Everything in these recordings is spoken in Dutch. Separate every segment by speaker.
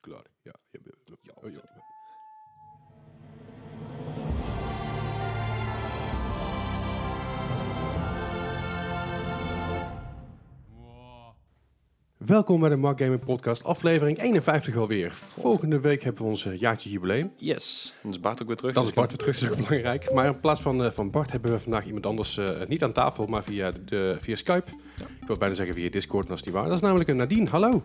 Speaker 1: klaar. Ja, ja, ja, ja, ja, ja. Welkom bij de Mark Gaming Podcast, aflevering 51 alweer. Volgende week hebben we ons eh, jaartje jubileum.
Speaker 2: Yes. Dan is Bart ook weer terug. dus
Speaker 1: Dat is Bart weer terug, is ook belangrijk. Maar in plaats van, eh, van Bart hebben we vandaag iemand anders eh, niet aan tafel, maar via, de, via Skype. Ik wil bijna zeggen via Discord, maar dat is niet waar. Dat is namelijk een Nadine. Hallo.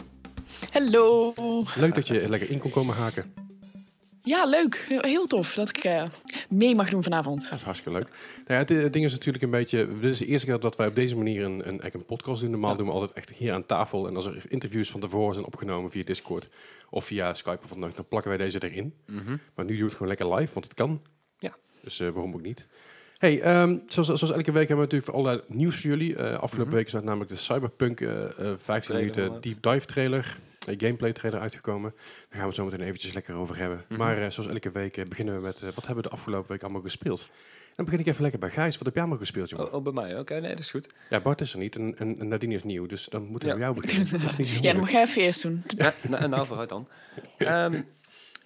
Speaker 3: Hallo.
Speaker 1: Leuk dat je lekker in kon komen haken.
Speaker 3: Ja, leuk. Heel tof dat ik eh, mee mag doen vanavond.
Speaker 1: Dat is hartstikke leuk. Nou ja, het, het ding is natuurlijk een beetje... Dit is de eerste keer dat wij op deze manier een, een, eigenlijk een podcast doen. Normaal doen we altijd echt hier aan tafel. En als er interviews van tevoren zijn opgenomen via Discord of via Skype of wat dan ook, dan plakken wij deze erin.
Speaker 2: Mhm.
Speaker 1: Maar nu doe het gewoon lekker live, want het kan.
Speaker 2: Ja.
Speaker 1: Dus eh, waarom ook niet? Hey, ehm, zoals, zoals elke week hebben we natuurlijk voor allerlei nieuws voor jullie. Eh, afgelopen week is namelijk de Cyberpunk eh, eh, 15
Speaker 2: Mhm. Trailer
Speaker 1: minuten
Speaker 2: inderdaad.
Speaker 1: deep dive trailer, eh, gameplay trailer uitgekomen. Daar gaan we het zo meteen eventjes lekker over hebben.
Speaker 2: Mhm.
Speaker 1: Maar eh, zoals elke week eh, beginnen we met eh, wat hebben we de afgelopen week allemaal gespeeld? Dan begin ik even lekker bij Gijs. Wat heb jij allemaal gespeeld, jongen?
Speaker 2: Oh, oh, bij mij. Oké, nee, dat is goed.
Speaker 1: Ja, Bart is er niet en, en, en Nadine is nieuw, dus dan moeten we
Speaker 2: Ja.
Speaker 1: bij jou beginnen. Dat is niet zo
Speaker 3: Ja, dan
Speaker 1: moeilijk.
Speaker 3: mag jij even eerst doen.
Speaker 2: Ja, nou, nou, vooruit dan. Ehm,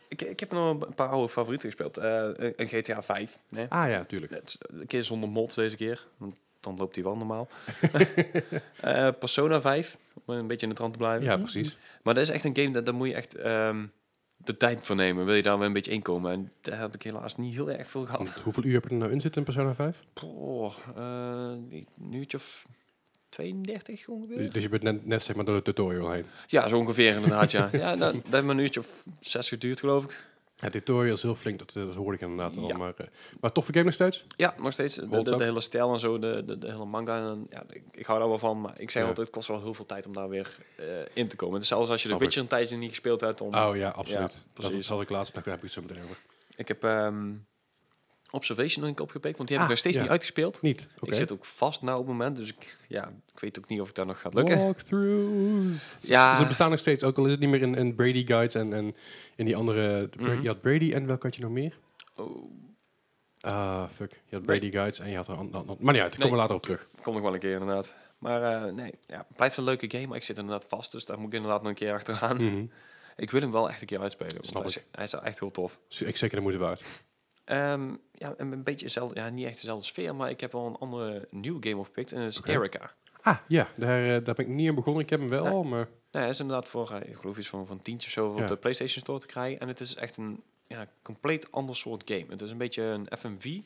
Speaker 2: ik, ik heb nog een paar oude favorieten gespeeld. Eh, een- een GTA 5. Nee?
Speaker 1: Ah ja, tuurlijk.
Speaker 2: Het is een keer zonder mods deze keer. Want dan loopt hij wel normaal. Eh, Persona 5. Om een beetje in de trant te blijven.
Speaker 1: Ja, precies.
Speaker 2: Maar dat is echt een game dat daar moet je echt ehm, de tijd voor nemen. Wil je daar weer een beetje inkomen. En daar heb ik helaas niet heel erg veel
Speaker 1: Want
Speaker 2: gehad.
Speaker 1: hoeveel uur heb je er nou in zitten in Persona 5?
Speaker 2: Poh, eh, een uurtje of 32 ongeveer.
Speaker 1: Dus je bent net, net zeg maar door de tutorial heen.
Speaker 2: Ja, zo ongeveer inderdaad, ja. ja nou, dat heeft me een uurtje of zes geduurd, geloof ik.
Speaker 1: Ja, tutorial is heel flink, dat, eh, dat hoorde ik inderdaad al.
Speaker 2: Ja.
Speaker 1: Maar, eh, maar toffe game nog steeds?
Speaker 2: Ja, nog steeds. De, de,
Speaker 1: Holds
Speaker 2: de
Speaker 1: up.
Speaker 2: hele stijl en zo, de, de, de hele manga. En, ja, ik, ik hou daar wel van, maar ik zeg
Speaker 1: Ja.
Speaker 2: altijd, het kost wel heel veel tijd om daar weer eh, in te komen. Het is zelfs als je de
Speaker 1: Snap ik.
Speaker 2: Witcher een tijdje niet gespeeld hebt. Om,
Speaker 1: Oh ja, absoluut. dat, dat
Speaker 2: precies.
Speaker 1: had ik laatst, daar heb ik het zo meteen over.
Speaker 2: Ik heb ehm, Observation nog een keer opgepikt, want die heb
Speaker 1: Ah,
Speaker 2: ik nog steeds
Speaker 1: ja.
Speaker 2: niet uitgespeeld.
Speaker 1: Niet, oké.
Speaker 2: Ik zit ook vast nou op het moment, dus ik, ja, ik weet ook niet of ik daar nog gaat lukken.
Speaker 1: Walkthroughs.
Speaker 2: Ja.
Speaker 1: Ze bestaan nog steeds, ook al is het niet meer in, in Brady Guides en, en in die andere... de Bra-
Speaker 2: Mhm.
Speaker 1: Je had Brady en welke had je nog meer?
Speaker 2: Oh,
Speaker 1: Ah, fuck. Je had Brady Guides en je had... een ander- ander- Maar niet uit, daar komen we later op terug.
Speaker 2: Komt nog wel een keer inderdaad. Maar eh, nee, ja, blijft een leuke game, maar ik zit inderdaad vast, dus daar moet ik inderdaad nog een keer achteraan.
Speaker 1: Mhm.
Speaker 2: Ik wil hem wel echt een keer uitspelen. Want
Speaker 1: Snap
Speaker 2: hij, is, hij is echt heel tof.
Speaker 1: Dus Ik zeker de moeite waard.
Speaker 2: Ehm, ja, en een beetje dezelfde, ja, niet echt dezelfde sfeer, maar ik heb wel een andere nieuwe game opgepikt. En dat is
Speaker 1: Oké.
Speaker 2: Erica.
Speaker 1: Ah, ja, daar, eh, daar ben ik niet aan begonnen. Ik heb hem wel,
Speaker 2: Nee.
Speaker 1: al, maar...
Speaker 2: Nou, hij is inderdaad voor, eh, ik geloof iets van, van tientje of zo
Speaker 1: Ja.
Speaker 2: op de PlayStation Store te krijgen. En het is echt een ja, compleet ander soort game. Het is een beetje een FMV.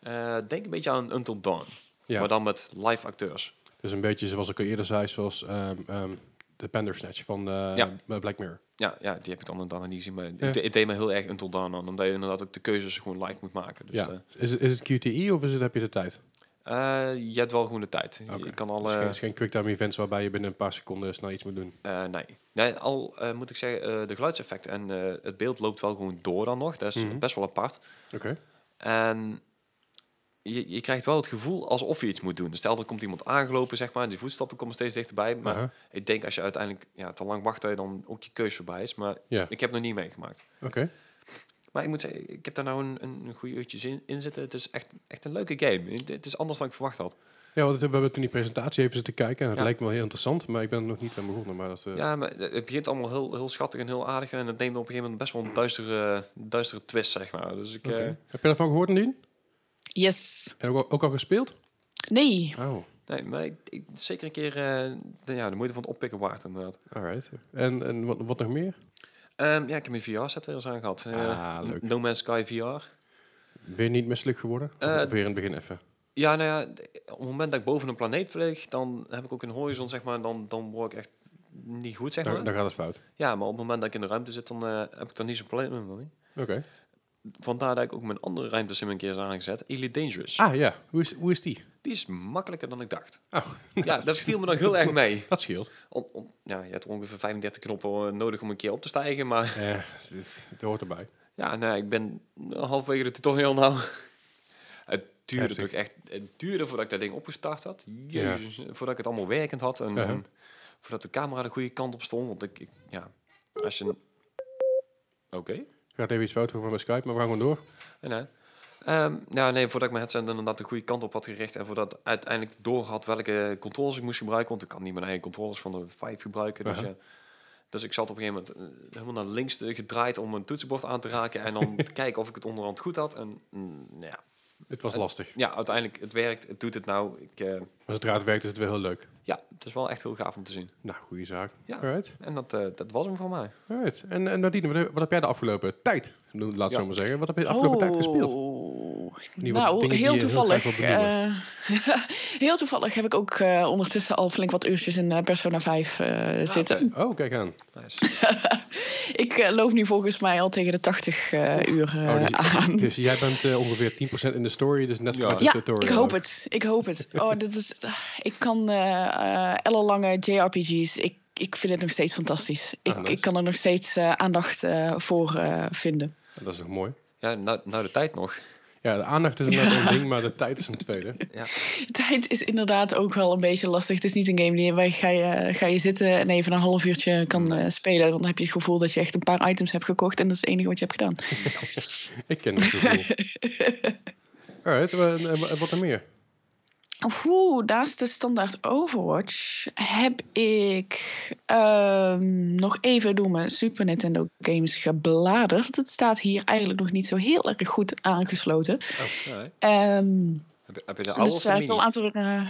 Speaker 2: Eh, denk een beetje aan Until Dawn.
Speaker 1: Ja.
Speaker 2: Maar dan met live acteurs.
Speaker 1: Dus een beetje zoals ik al eerder zei, zoals ehm, ehm, de Bandersnatch van eh,
Speaker 2: Ja.
Speaker 1: Black Mirror.
Speaker 2: Ja, ja, die heb ik dan inderdaad niet gezien. Maar
Speaker 1: Ja.
Speaker 2: het, het deed me heel erg Until Dawn aan. Omdat je inderdaad ook de keuzes gewoon live moet maken. Dus
Speaker 1: ja.
Speaker 2: eh,
Speaker 1: is, het, is het QTE of is het, heb je de tijd?
Speaker 2: eh, je hebt wel gewoon de tijd. Je-
Speaker 1: Oké.
Speaker 2: Je kan
Speaker 1: Dus
Speaker 2: alle...
Speaker 1: geen, is geen quicktime events waarbij je binnen een paar seconden snel iets moet doen.
Speaker 2: Eh, nee. nee, al eh, moet ik zeggen, eh, de geluidseffecten en eh, het beeld loopt wel gewoon door dan nog. Dat is
Speaker 1: Mhm.
Speaker 2: best wel apart.
Speaker 1: Oké.
Speaker 2: En je, je krijgt wel het gevoel alsof je iets moet doen. Dus Stel, er komt iemand aangelopen, zeg maar, die voetstappen komen steeds dichterbij. Maar
Speaker 1: Aha.
Speaker 2: ik denk als je uiteindelijk ja, te lang wacht, dat je dan ook je keus voorbij is. Maar
Speaker 1: Ja,
Speaker 2: ik heb nog niet meegemaakt.
Speaker 1: oké.
Speaker 2: Maar ik moet zeggen, ik heb daar nou een, een, een goede uurtje zin in zitten. Het is echt, echt een leuke game. Het- Het is anders dan ik verwacht had.
Speaker 1: Ja, want het- we hebben toen die presentatie even zitten kijken en het
Speaker 2: Ja.
Speaker 1: lijkt me wel heel interessant, maar ik ben er nog niet aan begonnen. Maar dat, eh,
Speaker 2: Ja, maar het begint allemaal heel, heel schattig en heel aardig. En het neemt op een gegeven moment best wel een duistere, duistere twist, zeg maar. Dus ik,
Speaker 1: oké.
Speaker 2: eh,
Speaker 1: Heb je daarvan gehoord, Nadine?
Speaker 3: Yes.
Speaker 1: En ook, al- ook al gespeeld?
Speaker 3: Nee.
Speaker 1: Oh,
Speaker 2: Nee, maar ik, ik- zeker een keer eh, de, ja, de moeite van het oppikken waard, inderdaad.
Speaker 1: alright. En, en wat, wat nog meer?
Speaker 2: Ehm, ja, ik heb mijn VR-set weer eens aangehad. Eh,
Speaker 1: Ah, leuk.
Speaker 2: No Man's Sky VR.
Speaker 1: Weer niet misselijk geworden? Of
Speaker 2: Eh,
Speaker 1: weer in het begin even.
Speaker 2: Ja, nou ja, d- op het moment dat ik boven een planeet vlieg, dan heb ik ook een horizon, zeg maar. Dan, dan word ik echt niet goed, zeg maar.
Speaker 1: Dan, dan gaat het fout.
Speaker 2: Ja, maar op het moment dat ik in de ruimte zit, dan eh, heb ik daar niet zo'n probleem mee.
Speaker 1: Oké.
Speaker 2: Vandaar dat ik ook mijn andere ruimtesim een keer is aangezet. Elite Dangerous.
Speaker 1: Ah ja, hoe is, hoe is die?
Speaker 2: Die is makkelijker dan ik dacht.
Speaker 1: Oh,
Speaker 2: Ja, dat viel me dan heel erg mee.
Speaker 1: dat scheelt.
Speaker 2: Om- om- ja, je hebt ongeveer 35 knoppen eh, nodig om een keer op te stijgen, maar...
Speaker 1: Eh, het is- het hoort erbij.
Speaker 2: Ja, nee, ik ben halverwege de tutorial nou. Het duurde
Speaker 1: Heftig.
Speaker 2: toch echt. Het duurde voordat ik dat ding opgestart had. Jezus, voordat ik het allemaal werkend had en,
Speaker 1: Ja.
Speaker 2: en voordat de camera de goede kant op stond. Want ik, ik- ja, als je. Oké.
Speaker 1: Gaat even iets fout voor mijn Skype, maar we gaan gewoon door.
Speaker 2: En, hè? Ehm, nou, nee, voordat ik mijn headset inderdaad de goede kant op had gericht en voordat ik uiteindelijk door had welke controls ik moest gebruiken, want ik kan niet mijn eigen controllers van de 5 gebruiken. Dus
Speaker 1: Aha.
Speaker 2: ja. Dus ik zat op een gegeven moment eh, helemaal naar links eh, gedraaid om mijn toetsenbord aan te raken. En dan te kijken of ik het onderhand goed had. En mm, nou ja.
Speaker 1: Het was lastig.
Speaker 2: ja, uiteindelijk, het werkt. Het doet het nou. Ik, eh,
Speaker 1: Maar zodra het werkt is het wel heel leuk.
Speaker 2: ja, het is wel echt heel gaaf om te zien.
Speaker 1: Nou, goede zaak.
Speaker 2: Ja.
Speaker 1: Alright.
Speaker 2: En dat, eh, dat was hem voor mij.
Speaker 1: Alright. En, en Nadine, wat heb, wat heb jij de afgelopen tijd, laat het
Speaker 2: Ja.
Speaker 1: zo maar zeggen, wat heb je de afgelopen tijd gespeeld?
Speaker 3: Oh.
Speaker 1: ieder geval
Speaker 3: Nou,
Speaker 1: dingen die je
Speaker 3: heel
Speaker 1: heel
Speaker 3: toevallig.
Speaker 1: graag wil benoemen.
Speaker 3: eh, heel toevallig heb ik ook eh, ondertussen al flink wat uurtjes in eh, Persona 5 eh, zitten.
Speaker 2: oké.
Speaker 1: Oh, kijk aan.
Speaker 2: Nice.
Speaker 3: Ik eh, loop nu volgens mij al tegen de 80 eh, uur eh,
Speaker 1: Oh, dus,
Speaker 3: aan.
Speaker 1: dus jij bent eh, ongeveer 10% in de story, dus net
Speaker 2: Ja.
Speaker 1: vanuit de
Speaker 3: Ja, ik
Speaker 1: tutorial.
Speaker 3: hoop
Speaker 1: ook.
Speaker 3: het. Ik hoop het. Oh, dit is, ik kan eh eh, ellenlange JRPG's. Ik, ik vind het nog steeds fantastisch. Ik,
Speaker 1: Ah, nice.
Speaker 3: ik kan er nog steeds eh, aandacht eh, voor eh, vinden.
Speaker 1: Dat is nog mooi.
Speaker 2: Ja, nou, nou de tijd nog.
Speaker 1: Ja, de aandacht is inderdaad een ding, maar de tijd is een tweede.
Speaker 3: Tijd is inderdaad ook wel een beetje lastig. Het is niet een game die waar je- ga je, ga je zitten en even een half uurtje kan eh, spelen. Dan heb je het gevoel dat je echt een paar items hebt gekocht en dat is het enige wat je hebt gedaan.
Speaker 1: Ik ken het gevoel. Alright, eh, en, en wat er meer?
Speaker 3: Oeh, naast de standaard Overwatch heb ik ehm, nog even door mijn Super Nintendo games gebladerd. Het staat hier eigenlijk nog niet zo heel erg goed aangesloten.
Speaker 2: Oh, alright.
Speaker 3: Ehm
Speaker 2: heb, je- heb je de oude
Speaker 3: dus
Speaker 2: of
Speaker 3: eh,
Speaker 2: de
Speaker 3: ik wil een
Speaker 2: mini?
Speaker 3: aantal... eh,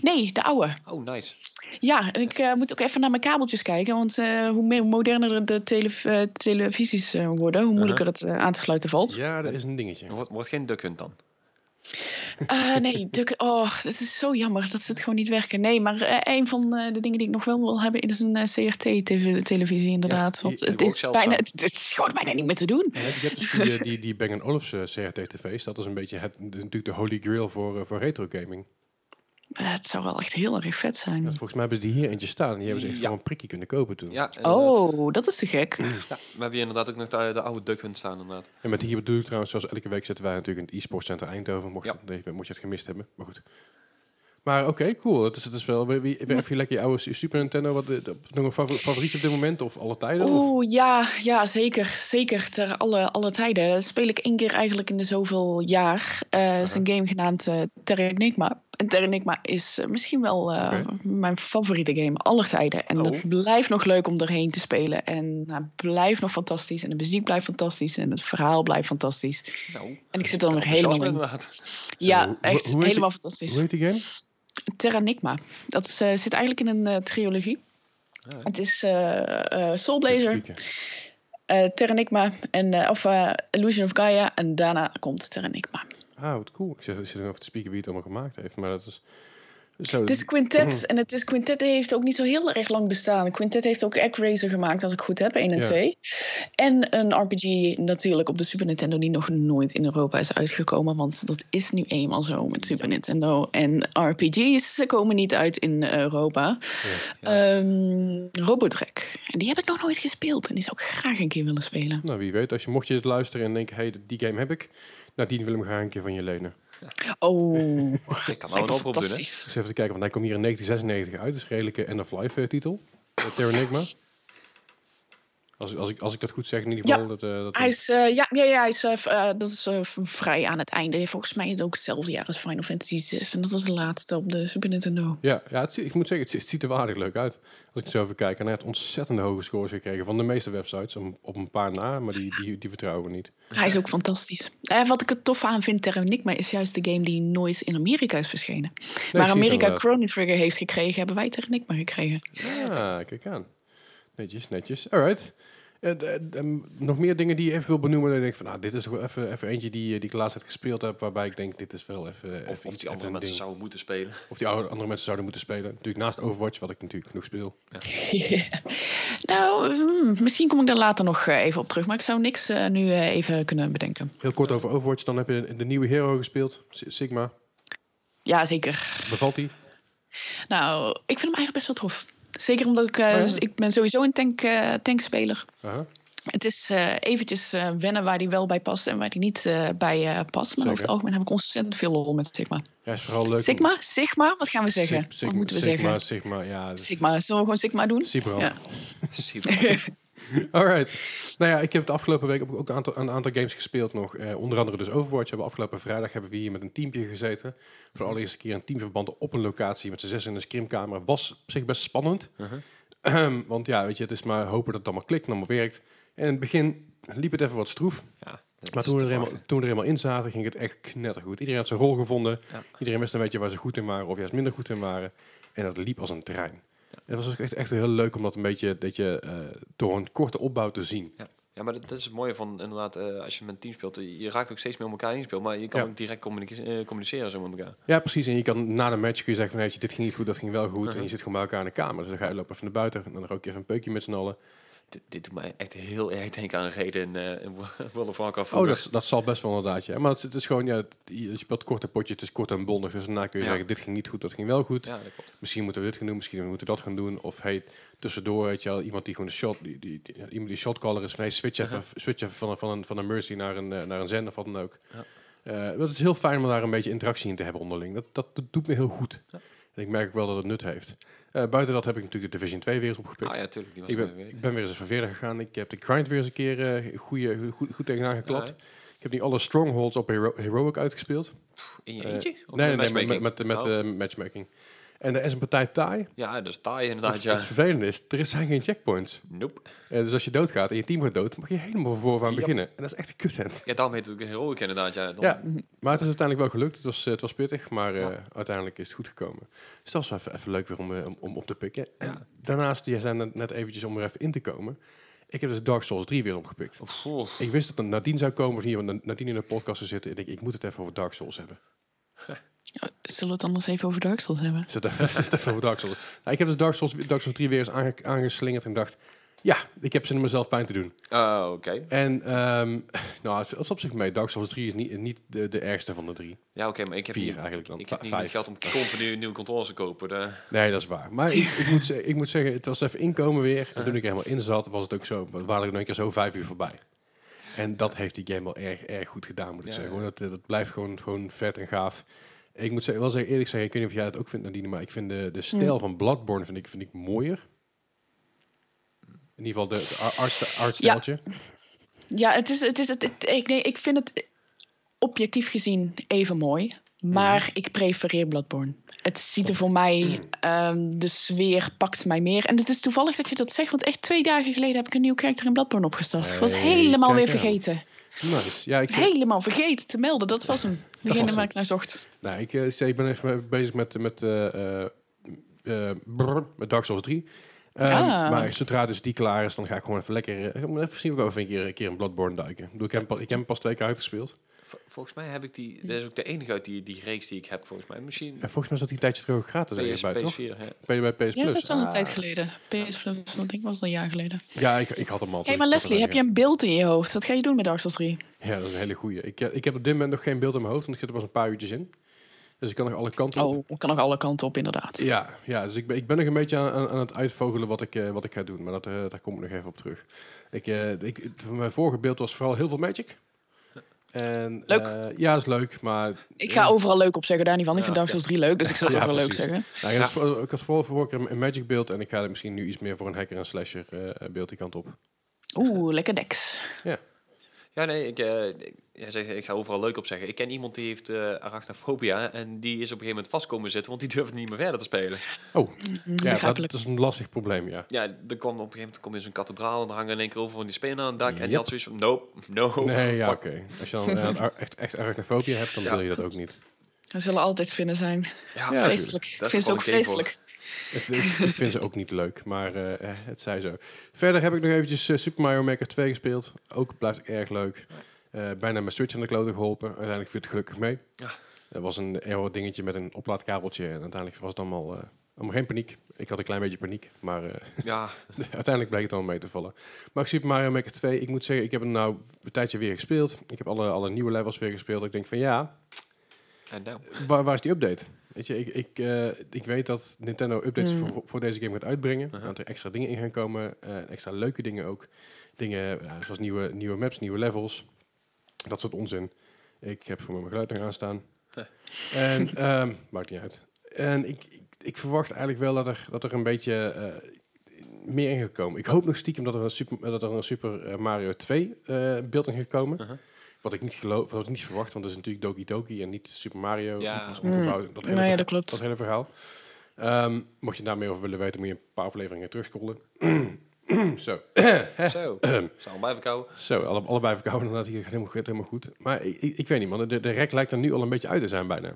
Speaker 3: nee, de oude.
Speaker 2: Oh, nice.
Speaker 3: Ja, en ik eh, moet ook even naar mijn kabeltjes kijken. Want eh, hoe me- moderner de telef- eh, televisies eh, worden, hoe moeilijker het
Speaker 2: Uh-huh.
Speaker 3: eh, aan te sluiten valt.
Speaker 1: Ja, dat is een dingetje.
Speaker 2: Wordt, wordt geen duck hunt dan?
Speaker 3: Eh, nee, de, oh, het is zo jammer dat ze het gewoon niet werken. Nee, maar eh, een van eh, de dingen die ik nog wel wil hebben, is een eh, CRT-televisie inderdaad.
Speaker 1: die-
Speaker 3: want
Speaker 2: die
Speaker 3: het
Speaker 2: we ook
Speaker 3: is,
Speaker 2: zeldzaam.
Speaker 3: bijna, het, het is gewoon bijna niet meer te doen.
Speaker 1: Je hebt, je hebt dus die, eh, die, die Bang Olufsen eh, CRT-tv's. Dat is een beetje het, natuurlijk de holy grail voor, eh, voor retro gaming.
Speaker 3: Eh, het zou wel echt heel erg vet zijn.
Speaker 1: Want volgens mij hebben ze die hier eentje staan. Die hebben ze echt
Speaker 2: Ja.
Speaker 1: voor een prikkie kunnen kopen toen.
Speaker 2: Ja, inderdaad.
Speaker 3: oh, dat is te gek.
Speaker 2: Ja, we hebben hier inderdaad ook nog de, de oude duck hunt staan inderdaad.
Speaker 1: En met hier bedoel ik trouwens, zoals elke week zitten wij natuurlijk in het e-sport center Eindhoven. Mocht,
Speaker 2: Ja.
Speaker 1: je het even, mocht je het gemist hebben, maar goed. Maar oké, cool. Het is, het is wel, wie- wie- werf je lekker je oude Super Nintendo? Wat, eh, dat- nog een favori- favorietje op dit moment of alle tijden? of?
Speaker 3: Oeh, ja, ja, zeker. Zeker ter alle, alle tijden. Speel ik één keer eigenlijk in de zoveel jaar. eh is een game genaamd eh Terranigma. En Terranigma is eh, misschien wel eh,
Speaker 1: Oké.
Speaker 3: mijn favoriete game aller tijden. En
Speaker 2: Oh.
Speaker 3: het blijft nog leuk om erheen te spelen. En nou, het blijft nog fantastisch. En de muziek blijft fantastisch. En het verhaal blijft fantastisch.
Speaker 2: Nou,
Speaker 3: En ik zit er nog
Speaker 2: enthousiasme
Speaker 3: helemaal in.
Speaker 2: inderdaad.
Speaker 1: Zo,
Speaker 3: Ja,
Speaker 1: hoe-
Speaker 3: echt
Speaker 1: hoe heet
Speaker 3: helemaal
Speaker 1: Hoe
Speaker 3: fantastisch.
Speaker 1: heet die game?
Speaker 3: Terranigma. Dat is, eh, zit eigenlijk in een eh, trilogie.
Speaker 1: Ah,
Speaker 2: Ja.
Speaker 3: Het is eh eh Soul Blazer,
Speaker 1: Even spieken.
Speaker 3: eh Terranigma en eh, of eh, Illusion of Gaia en daarna komt Terranigma.
Speaker 1: Ah, wat cool. Ik zit, ik zit er nog over te spieken wie het allemaal gemaakt heeft. Maar dat is... Zo,
Speaker 3: Het is
Speaker 2: Mhm.
Speaker 3: Quintet en het is Quintet heeft ook niet zo heel erg lang bestaan. Quintet heeft ook Actraiser gemaakt, als ik goed heb, 1 en
Speaker 1: Ja.
Speaker 3: 2. En een RPG natuurlijk op de Super Nintendo die nog nooit in Europa is uitgekomen, want dat is nu eenmaal zo met Super Nintendo. En RPG's ze komen niet uit in Europa.
Speaker 2: Ja.
Speaker 3: Ehm, Robotrek. En die heb ik nog nooit gespeeld en die zou ik graag een keer willen spelen.
Speaker 1: Nou, wie weet. Als je mocht je dit luisteren en denken, hey, die game heb ik. Nou, die wil hem graag een keer van je lenen.
Speaker 3: Oh,
Speaker 2: Ik kan nou een
Speaker 3: lijkt me
Speaker 2: oproep doen, hè?
Speaker 1: Dus even te kijken, want hij kwam hier in 1996 uit. Dat is een redelijke end-of-life eh, titel. Uh, Terranigma. Als, als, ik, als ik dat goed zeg in ieder
Speaker 3: Ja.
Speaker 1: geval. dat, eh, dat
Speaker 3: Hij is, eh, ja, ja, ja, hij is, eh, v- eh, dat is eh, v- vrij aan het einde. Volgens mij is het ook hetzelfde jaar als Final Fantasy 6. En dat was de laatste op de Super Nintendo.
Speaker 1: Ja, ja het, zie- ik moet zeggen, het, zi- het ziet er waardig leuk uit. Als ik het zo even kijk. En hij heeft ontzettend hoge scores gekregen van de meeste websites. Om, op een paar na, maar die, die, die vertrouwen we niet.
Speaker 3: Hij is ook fantastisch. Eh, wat ik er tof aan vind, Terranigma, is juist de game die nooit in Amerika is verschenen.
Speaker 1: zie het
Speaker 3: Waar Amerika
Speaker 1: inderdaad.
Speaker 3: Chrono Trigger heeft gekregen, hebben wij Terranigma gekregen.
Speaker 1: Ah, kijk aan. Netjes, netjes. Alright. Eh, d- eh, d- ehm, nog meer dingen die je even wil benoemen. Dan denk ik van, nou, dit is toch wel even, even eentje die, eh, die ik laatst had gespeeld heb. Waarbij ik denk, dit is wel even. even
Speaker 2: Of,
Speaker 1: iets-
Speaker 2: of die
Speaker 1: even
Speaker 2: andere
Speaker 1: een
Speaker 2: mensen
Speaker 1: ding.
Speaker 2: zouden moeten spelen.
Speaker 1: Of die oude- andere mensen zouden moeten spelen. Natuurlijk naast Overwatch, wat ik natuurlijk genoeg speel.
Speaker 3: nou, hmm, misschien kom ik daar later nog eh, even op terug. Maar ik zou niks eh, nu eh, even kunnen bedenken.
Speaker 1: Heel kort over Overwatch. Dan heb je de, de nieuwe hero gespeeld. S- Sigma.
Speaker 3: Ja, zeker.
Speaker 1: Bevalt die?
Speaker 3: Nou, ik vind hem eigenlijk best wel tof. Zeker omdat ik, eh,
Speaker 1: Oh ja.
Speaker 3: dus ik ben sowieso een tank, eh, tankspeler.
Speaker 1: Aha.
Speaker 3: Het is eh, eventjes eh, wennen waar hij wel bij past en waar hij niet eh, bij eh, past. Maar over
Speaker 1: Zeker.
Speaker 3: het algemeen heb ik ontzettend veel lol met Sigma.
Speaker 1: Ja, is vooral leuk. om-
Speaker 3: Sigma? Sigma? Wat gaan we
Speaker 1: Sig-
Speaker 3: zeggen?
Speaker 1: Sigma-
Speaker 3: Wat moeten we
Speaker 1: Sigma,
Speaker 3: zeggen?
Speaker 1: Sigma, ja. dat is-
Speaker 3: Sigma. Zullen we gewoon Sigma doen?
Speaker 1: Sybrand.
Speaker 3: Ja.
Speaker 2: Super.
Speaker 1: Alright. Nou ja, ik heb de afgelopen week ook ook een aantal, een aantal games gespeeld nog. Eh, onder andere dus Overwatch. Hebben we afgelopen vrijdag hebben we hier met een teampje gezeten. Voor de allereerste keer een teamverband op een locatie met z'n zes in een scrimkamer. Was op zich best spannend. Ehm,
Speaker 2: Uh-huh.
Speaker 1: Want ja, weet je, het is maar hopen dat het allemaal klikt en allemaal werkt. En in het begin liep het even wat stroef.
Speaker 2: Ja, dat
Speaker 1: Maar
Speaker 2: is
Speaker 1: toen we,
Speaker 2: te
Speaker 1: er helemaal,
Speaker 2: verwachten.
Speaker 1: toen we er helemaal in zaten, ging het echt knettergoed. Iedereen had zijn rol gevonden.
Speaker 2: Ja.
Speaker 1: Iedereen wist een beetje waar ze goed in waren of juist minder goed in waren. En dat liep als een trein. En Het was ook echt, echt heel leuk om dat een beetje dat je, eh, door een korte opbouw te zien.
Speaker 2: Ja. ja, maar dat, dat is het mooie van inderdaad, eh, als je met een team speelt, eh, je raakt ook steeds meer met elkaar ingespeeld, maar je kan
Speaker 1: Ja.
Speaker 2: ook direct communice- eh, communiceren zo met elkaar.
Speaker 1: Ja, precies. En je kan na de match kun je zeggen van, weet je, dit ging niet goed, dat ging wel goed.
Speaker 2: Mhm.
Speaker 1: En je zit gewoon bij elkaar in de kamer. Dus dan ga je lopen even naar buiten en dan rook je even een peukje met z'n allen.
Speaker 2: Dit, dit doet mij echt heel erg denken aan een reden in, eh, in World of Warcraft.
Speaker 1: Oh, dat, dat zal best wel inderdaad, ja. Maar het, het is gewoon, ja, het- je speelt korte potje, het is kort en bondig. Dus daarna kun je
Speaker 2: Ja.
Speaker 1: zeggen, dit ging niet goed, dat ging wel goed.
Speaker 2: Ja, dat klopt.
Speaker 1: Misschien moeten we dit gaan doen, misschien moeten we dat gaan doen. Of hey, tussendoor, weet je wel, iemand die gewoon een shot, die, die, die- iemand die shotcaller is. Van, hey, switch even, switch even van, een- van, een, van een Mercy naar een, eh, naar een Zen of wat dan ook.
Speaker 2: Ja.
Speaker 1: Eh, dat is heel fijn om daar een beetje interactie in te hebben onderling. Dat, dat, dat doet me heel goed.
Speaker 2: Ja.
Speaker 1: En ik merk ook wel dat het nut heeft. Eh, buiten dat heb ik natuurlijk de Division 2 weer eens opgepikt.
Speaker 2: Ah ja, tuurlijk. Die was
Speaker 1: Ik
Speaker 2: er
Speaker 1: ben,
Speaker 2: weer.
Speaker 1: ik ben weer eens even verder gegaan. Ik heb de grind weer eens een keer eh, goeie, goed, goed tegenaan geklapt.
Speaker 2: Ja,
Speaker 1: Ik heb nu alle strongholds op Hero- Heroic uitgespeeld.
Speaker 2: in je
Speaker 1: Eh,
Speaker 2: eentje? Of
Speaker 1: nee, nee, nee, met,
Speaker 2: matchmaking?
Speaker 1: met, met,
Speaker 2: Oh.
Speaker 1: eh, matchmaking. En er is een partij Thai.
Speaker 2: ja, dus taai inderdaad,
Speaker 1: Het, het
Speaker 2: ja.
Speaker 1: vervelende is, er zijn geen checkpoints.
Speaker 2: Nope.
Speaker 1: Eh, dus als je doodgaat en je team gaat dood, mag je helemaal van vooraf aan
Speaker 2: Yep.
Speaker 1: beginnen. En dat is echt een kuthand.
Speaker 2: Ja, daarom heet het ook heroic inderdaad, ja. Dan,
Speaker 1: Ja, maar het is uiteindelijk wel gelukt. Het was, eh, het was pittig, maar eh,
Speaker 2: Ja.
Speaker 1: uiteindelijk is het goed gekomen. Dus dat was wel even, even leuk weer om, eh, om, om op te pikken. En
Speaker 2: Ja.
Speaker 1: daarnaast, jij zei net, net eventjes om er even in te komen. Ik heb dus Dark Souls 3 weer opgepikt.
Speaker 2: Oef, oef.
Speaker 1: Ik wist dat het nadien zou komen, of hier nadien in de podcast zou zitten. En ik denk, ik moet het even over Dark Souls hebben.
Speaker 3: Zullen we het anders even over Dark Souls hebben?
Speaker 1: Zet even, zet even over Dark Souls. Nou, ik heb dus Dark Souls, Dark Souls 3 weer eens aange- aangeslingerd en dacht... Ja, ik heb zin om mezelf pijn te doen.
Speaker 2: Ah, oké.
Speaker 1: En ehm nou, het is op zich mee. Dark Souls 3 is niet, niet de, de ergste van de drie.
Speaker 2: Ja, oké, maar ik heb
Speaker 1: Vier
Speaker 2: niet,
Speaker 1: eigenlijk dan.
Speaker 2: ik heb niet
Speaker 1: Vijf.
Speaker 2: geld om continu nieuwe controles te kopen. daar-
Speaker 1: Nee, dat is waar. Maar ik, ik, moet, ze- ik moet zeggen, het was even inkomen weer. En toen ik er helemaal in zat, was het ook zo. We waren er in één keer zo vijf uur voorbij. En dat heeft die game wel erg, erg goed gedaan, moet ik
Speaker 2: Ja,
Speaker 1: zeggen.
Speaker 2: ja.
Speaker 1: hoor. Dat, eh, dat blijft gewoon, gewoon vet en gaaf. Ik moet zeggen, wel zeggen, eerlijk zeggen, ik weet niet of jij dat ook vindt, Nadine, maar ik vind de, de stijl van Bloodborne vind ik, vind ik mooier. In ieder geval de, de ar- artsta- artstijltje.
Speaker 3: Ja, het is, het is, het, het- ik, nee, ik vind het objectief gezien even mooi.
Speaker 1: Mhm.
Speaker 3: Maar ik prefereer Bloodborne. Het ziet er voor
Speaker 1: Mm.
Speaker 3: mij, ehm, de sfeer pakt mij meer. En het is toevallig dat je dat zegt, want echt twee dagen geleden heb ik een nieuw karakter in Bloodborne opgestart. ik was
Speaker 1: Hey,
Speaker 3: helemaal
Speaker 1: kijk
Speaker 3: weer
Speaker 1: aan.
Speaker 3: vergeten.
Speaker 1: Nice. Ja, ik, vind-
Speaker 3: Helemaal vergeten te melden. Dat was hem. Degene
Speaker 1: was
Speaker 3: waar
Speaker 1: hem.
Speaker 3: ik naar zocht.
Speaker 1: Nou, ik, eh, zei, ik ben even bezig met, met, eh, eh, eh, brr, met Dark Souls 3. Ehm,
Speaker 3: Ah.
Speaker 1: Maar zodra dus die klaar is, dan ga ik gewoon even lekker... eh, even zien of we een keer, een keer in Bloodborne duiken. Ik, bedoel, ik, heb, hem pas- ik heb hem pas twee keer uitgespeeld.
Speaker 2: Vo- volgens mij heb ik die... Dat is ook de enige uit die, die reeks die ik heb, volgens mij. Misschien
Speaker 1: En volgens mij zat hij een tijdje terug ook gratis ergens
Speaker 2: PS,
Speaker 1: bij, toch?
Speaker 2: PS4, hè.
Speaker 1: Bij, bij PS
Speaker 3: Ja, dat
Speaker 1: Plus.
Speaker 3: is al een
Speaker 1: Ah.
Speaker 3: tijd geleden. PS Plus, dat denk ik was al een jaar geleden.
Speaker 1: Ja, ik, ik had hem al.
Speaker 3: Hé,
Speaker 1: dus
Speaker 3: maar
Speaker 1: ik had hem
Speaker 3: Leslie, heb
Speaker 1: wel
Speaker 3: je een beeld in je hoofd? Wat ga je doen met Dark Souls 3?
Speaker 1: liggen. Ja, dat is een hele goeie. Ik, eh, ik heb op dit moment nog geen beeld in mijn hoofd, want ik zit er pas een paar uurtjes in. Dus ik kan nog alle kanten op.
Speaker 3: Oh, ik kan nog alle kanten op, inderdaad.
Speaker 1: Ja, ja, dus ik ben, ik ben nog een beetje aan, aan- aan het uitvogelen wat ik, eh, wat ik ga doen. Maar dat, eh, daar kom ik nog even op terug. Ik, eh, ik, het- mijn vorige beeld was vooral heel veel Magic. En,
Speaker 3: Leuk.
Speaker 1: eh, ja, dat is leuk. Maar nou,
Speaker 3: Ik ga overal leuk op zeggen, daar niet van. Ik vind
Speaker 2: Ja,
Speaker 3: Dark Souls 3 leuk, dus ik zal het
Speaker 1: Ja,
Speaker 3: ook wel leuk
Speaker 1: precies.
Speaker 3: zeggen.
Speaker 1: nou, ik, had voor- ik had vooral vorige keer een, een Magic beeld. En ik ga er misschien nu iets meer voor een hacker en slasher eh, beeld die kant op.
Speaker 3: Oeh, lekker deks.
Speaker 2: Ja, nee, ik, eh, ik- jij zegt, ik ga overal leuk op zeggen. Ik ken iemand die heeft eh arachnofobia en die is op een gegeven moment vast komen zitten, want die durfde niet meer verder te spelen.
Speaker 1: Oh, ja, dat,
Speaker 3: Begrijpelijk.
Speaker 1: is een lastig probleem, ja.
Speaker 2: Ja, er kwam op een gegeven moment kom je in zo'n kathedraal en er hangen in één keer over van die spenen aan het dak. En
Speaker 1: Yep.
Speaker 2: die had zoiets van, nope, no,
Speaker 1: Nee, ja,
Speaker 2: Oh, fuck.
Speaker 1: oké. Als je dan eh, ar- echt, echt arachnofobie hebt, dan
Speaker 2: Ja.
Speaker 1: wil je dat ook niet.
Speaker 3: Er zullen altijd spinnen zijn.
Speaker 2: Ja,
Speaker 1: Ja,
Speaker 3: vreselijk.
Speaker 2: natuurlijk. Dat
Speaker 3: Ik
Speaker 2: is
Speaker 3: vind ze
Speaker 2: ook
Speaker 3: ook
Speaker 2: wel een game
Speaker 3: vreselijk.
Speaker 1: Het, ik, ik vind ze ook niet leuk, maar eh, eh, het zij zo. Verder heb ik nog eventjes eh, Super Mario Maker 2 gespeeld. Ook blijft erg leuk. Eh, bijna mijn Switch aan de klote geholpen. Uiteindelijk viel het gelukkig mee.
Speaker 2: Ja.
Speaker 1: Er was een error dingetje met een oplaadkabeltje. En uiteindelijk was het allemaal, eh, allemaal geen paniek. Ik had een klein beetje paniek, maar eh,
Speaker 2: Ja,
Speaker 1: uiteindelijk bleek het allemaal mee te vallen. Maar ik Super Mario Maker 2, ik moet zeggen, ik heb het nou een tijdje weer gespeeld. Ik heb alle, alle nieuwe levels weer gespeeld. Ik denk van ja,
Speaker 2: en nou.
Speaker 1: Waar, waar is die update? Weet je, ik, ik, eh, ik weet dat Nintendo updates
Speaker 3: Mm.
Speaker 1: voor, voor deze game gaat uitbrengen.
Speaker 2: Aha.
Speaker 1: Dat er extra dingen in gaan komen. eh, extra leuke dingen ook. Dingen eh, zoals nieuwe, nieuwe maps, nieuwe levels. Dat soort onzin. Ik heb voor mijn geluid nog aanstaan.
Speaker 2: Huh.
Speaker 1: En, ehm, maakt niet uit. En ik, ik, ik verwacht eigenlijk wel dat er, dat er een beetje eh, meer in gaat komen. Ik hoop nog stiekem dat er een Super, dat er een super eh, Mario 2 eh, beeld in gaat komen.
Speaker 2: Uh-huh.
Speaker 1: Wat ik niet geloof, wat ik niet verwacht, want dat is natuurlijk Doki Doki en niet Super Mario.
Speaker 2: Ja.
Speaker 1: Oh, Dat is omgebouwd. Dat, hele
Speaker 3: Nee,
Speaker 1: verha-
Speaker 3: dat klopt.
Speaker 1: dat hele verhaal. Ehm, mocht je daar meer over willen weten, moet je een paar afleveringen terugscrollen. Zo.
Speaker 2: Zo, zal mij verkouden.
Speaker 1: Zo, alle, allebei verkouden inderdaad. Hier gaat helemaal, gaat helemaal goed. Maar ik, ik, ik weet niet, man. De, de rek lijkt er nu al een beetje uit te zijn bijna.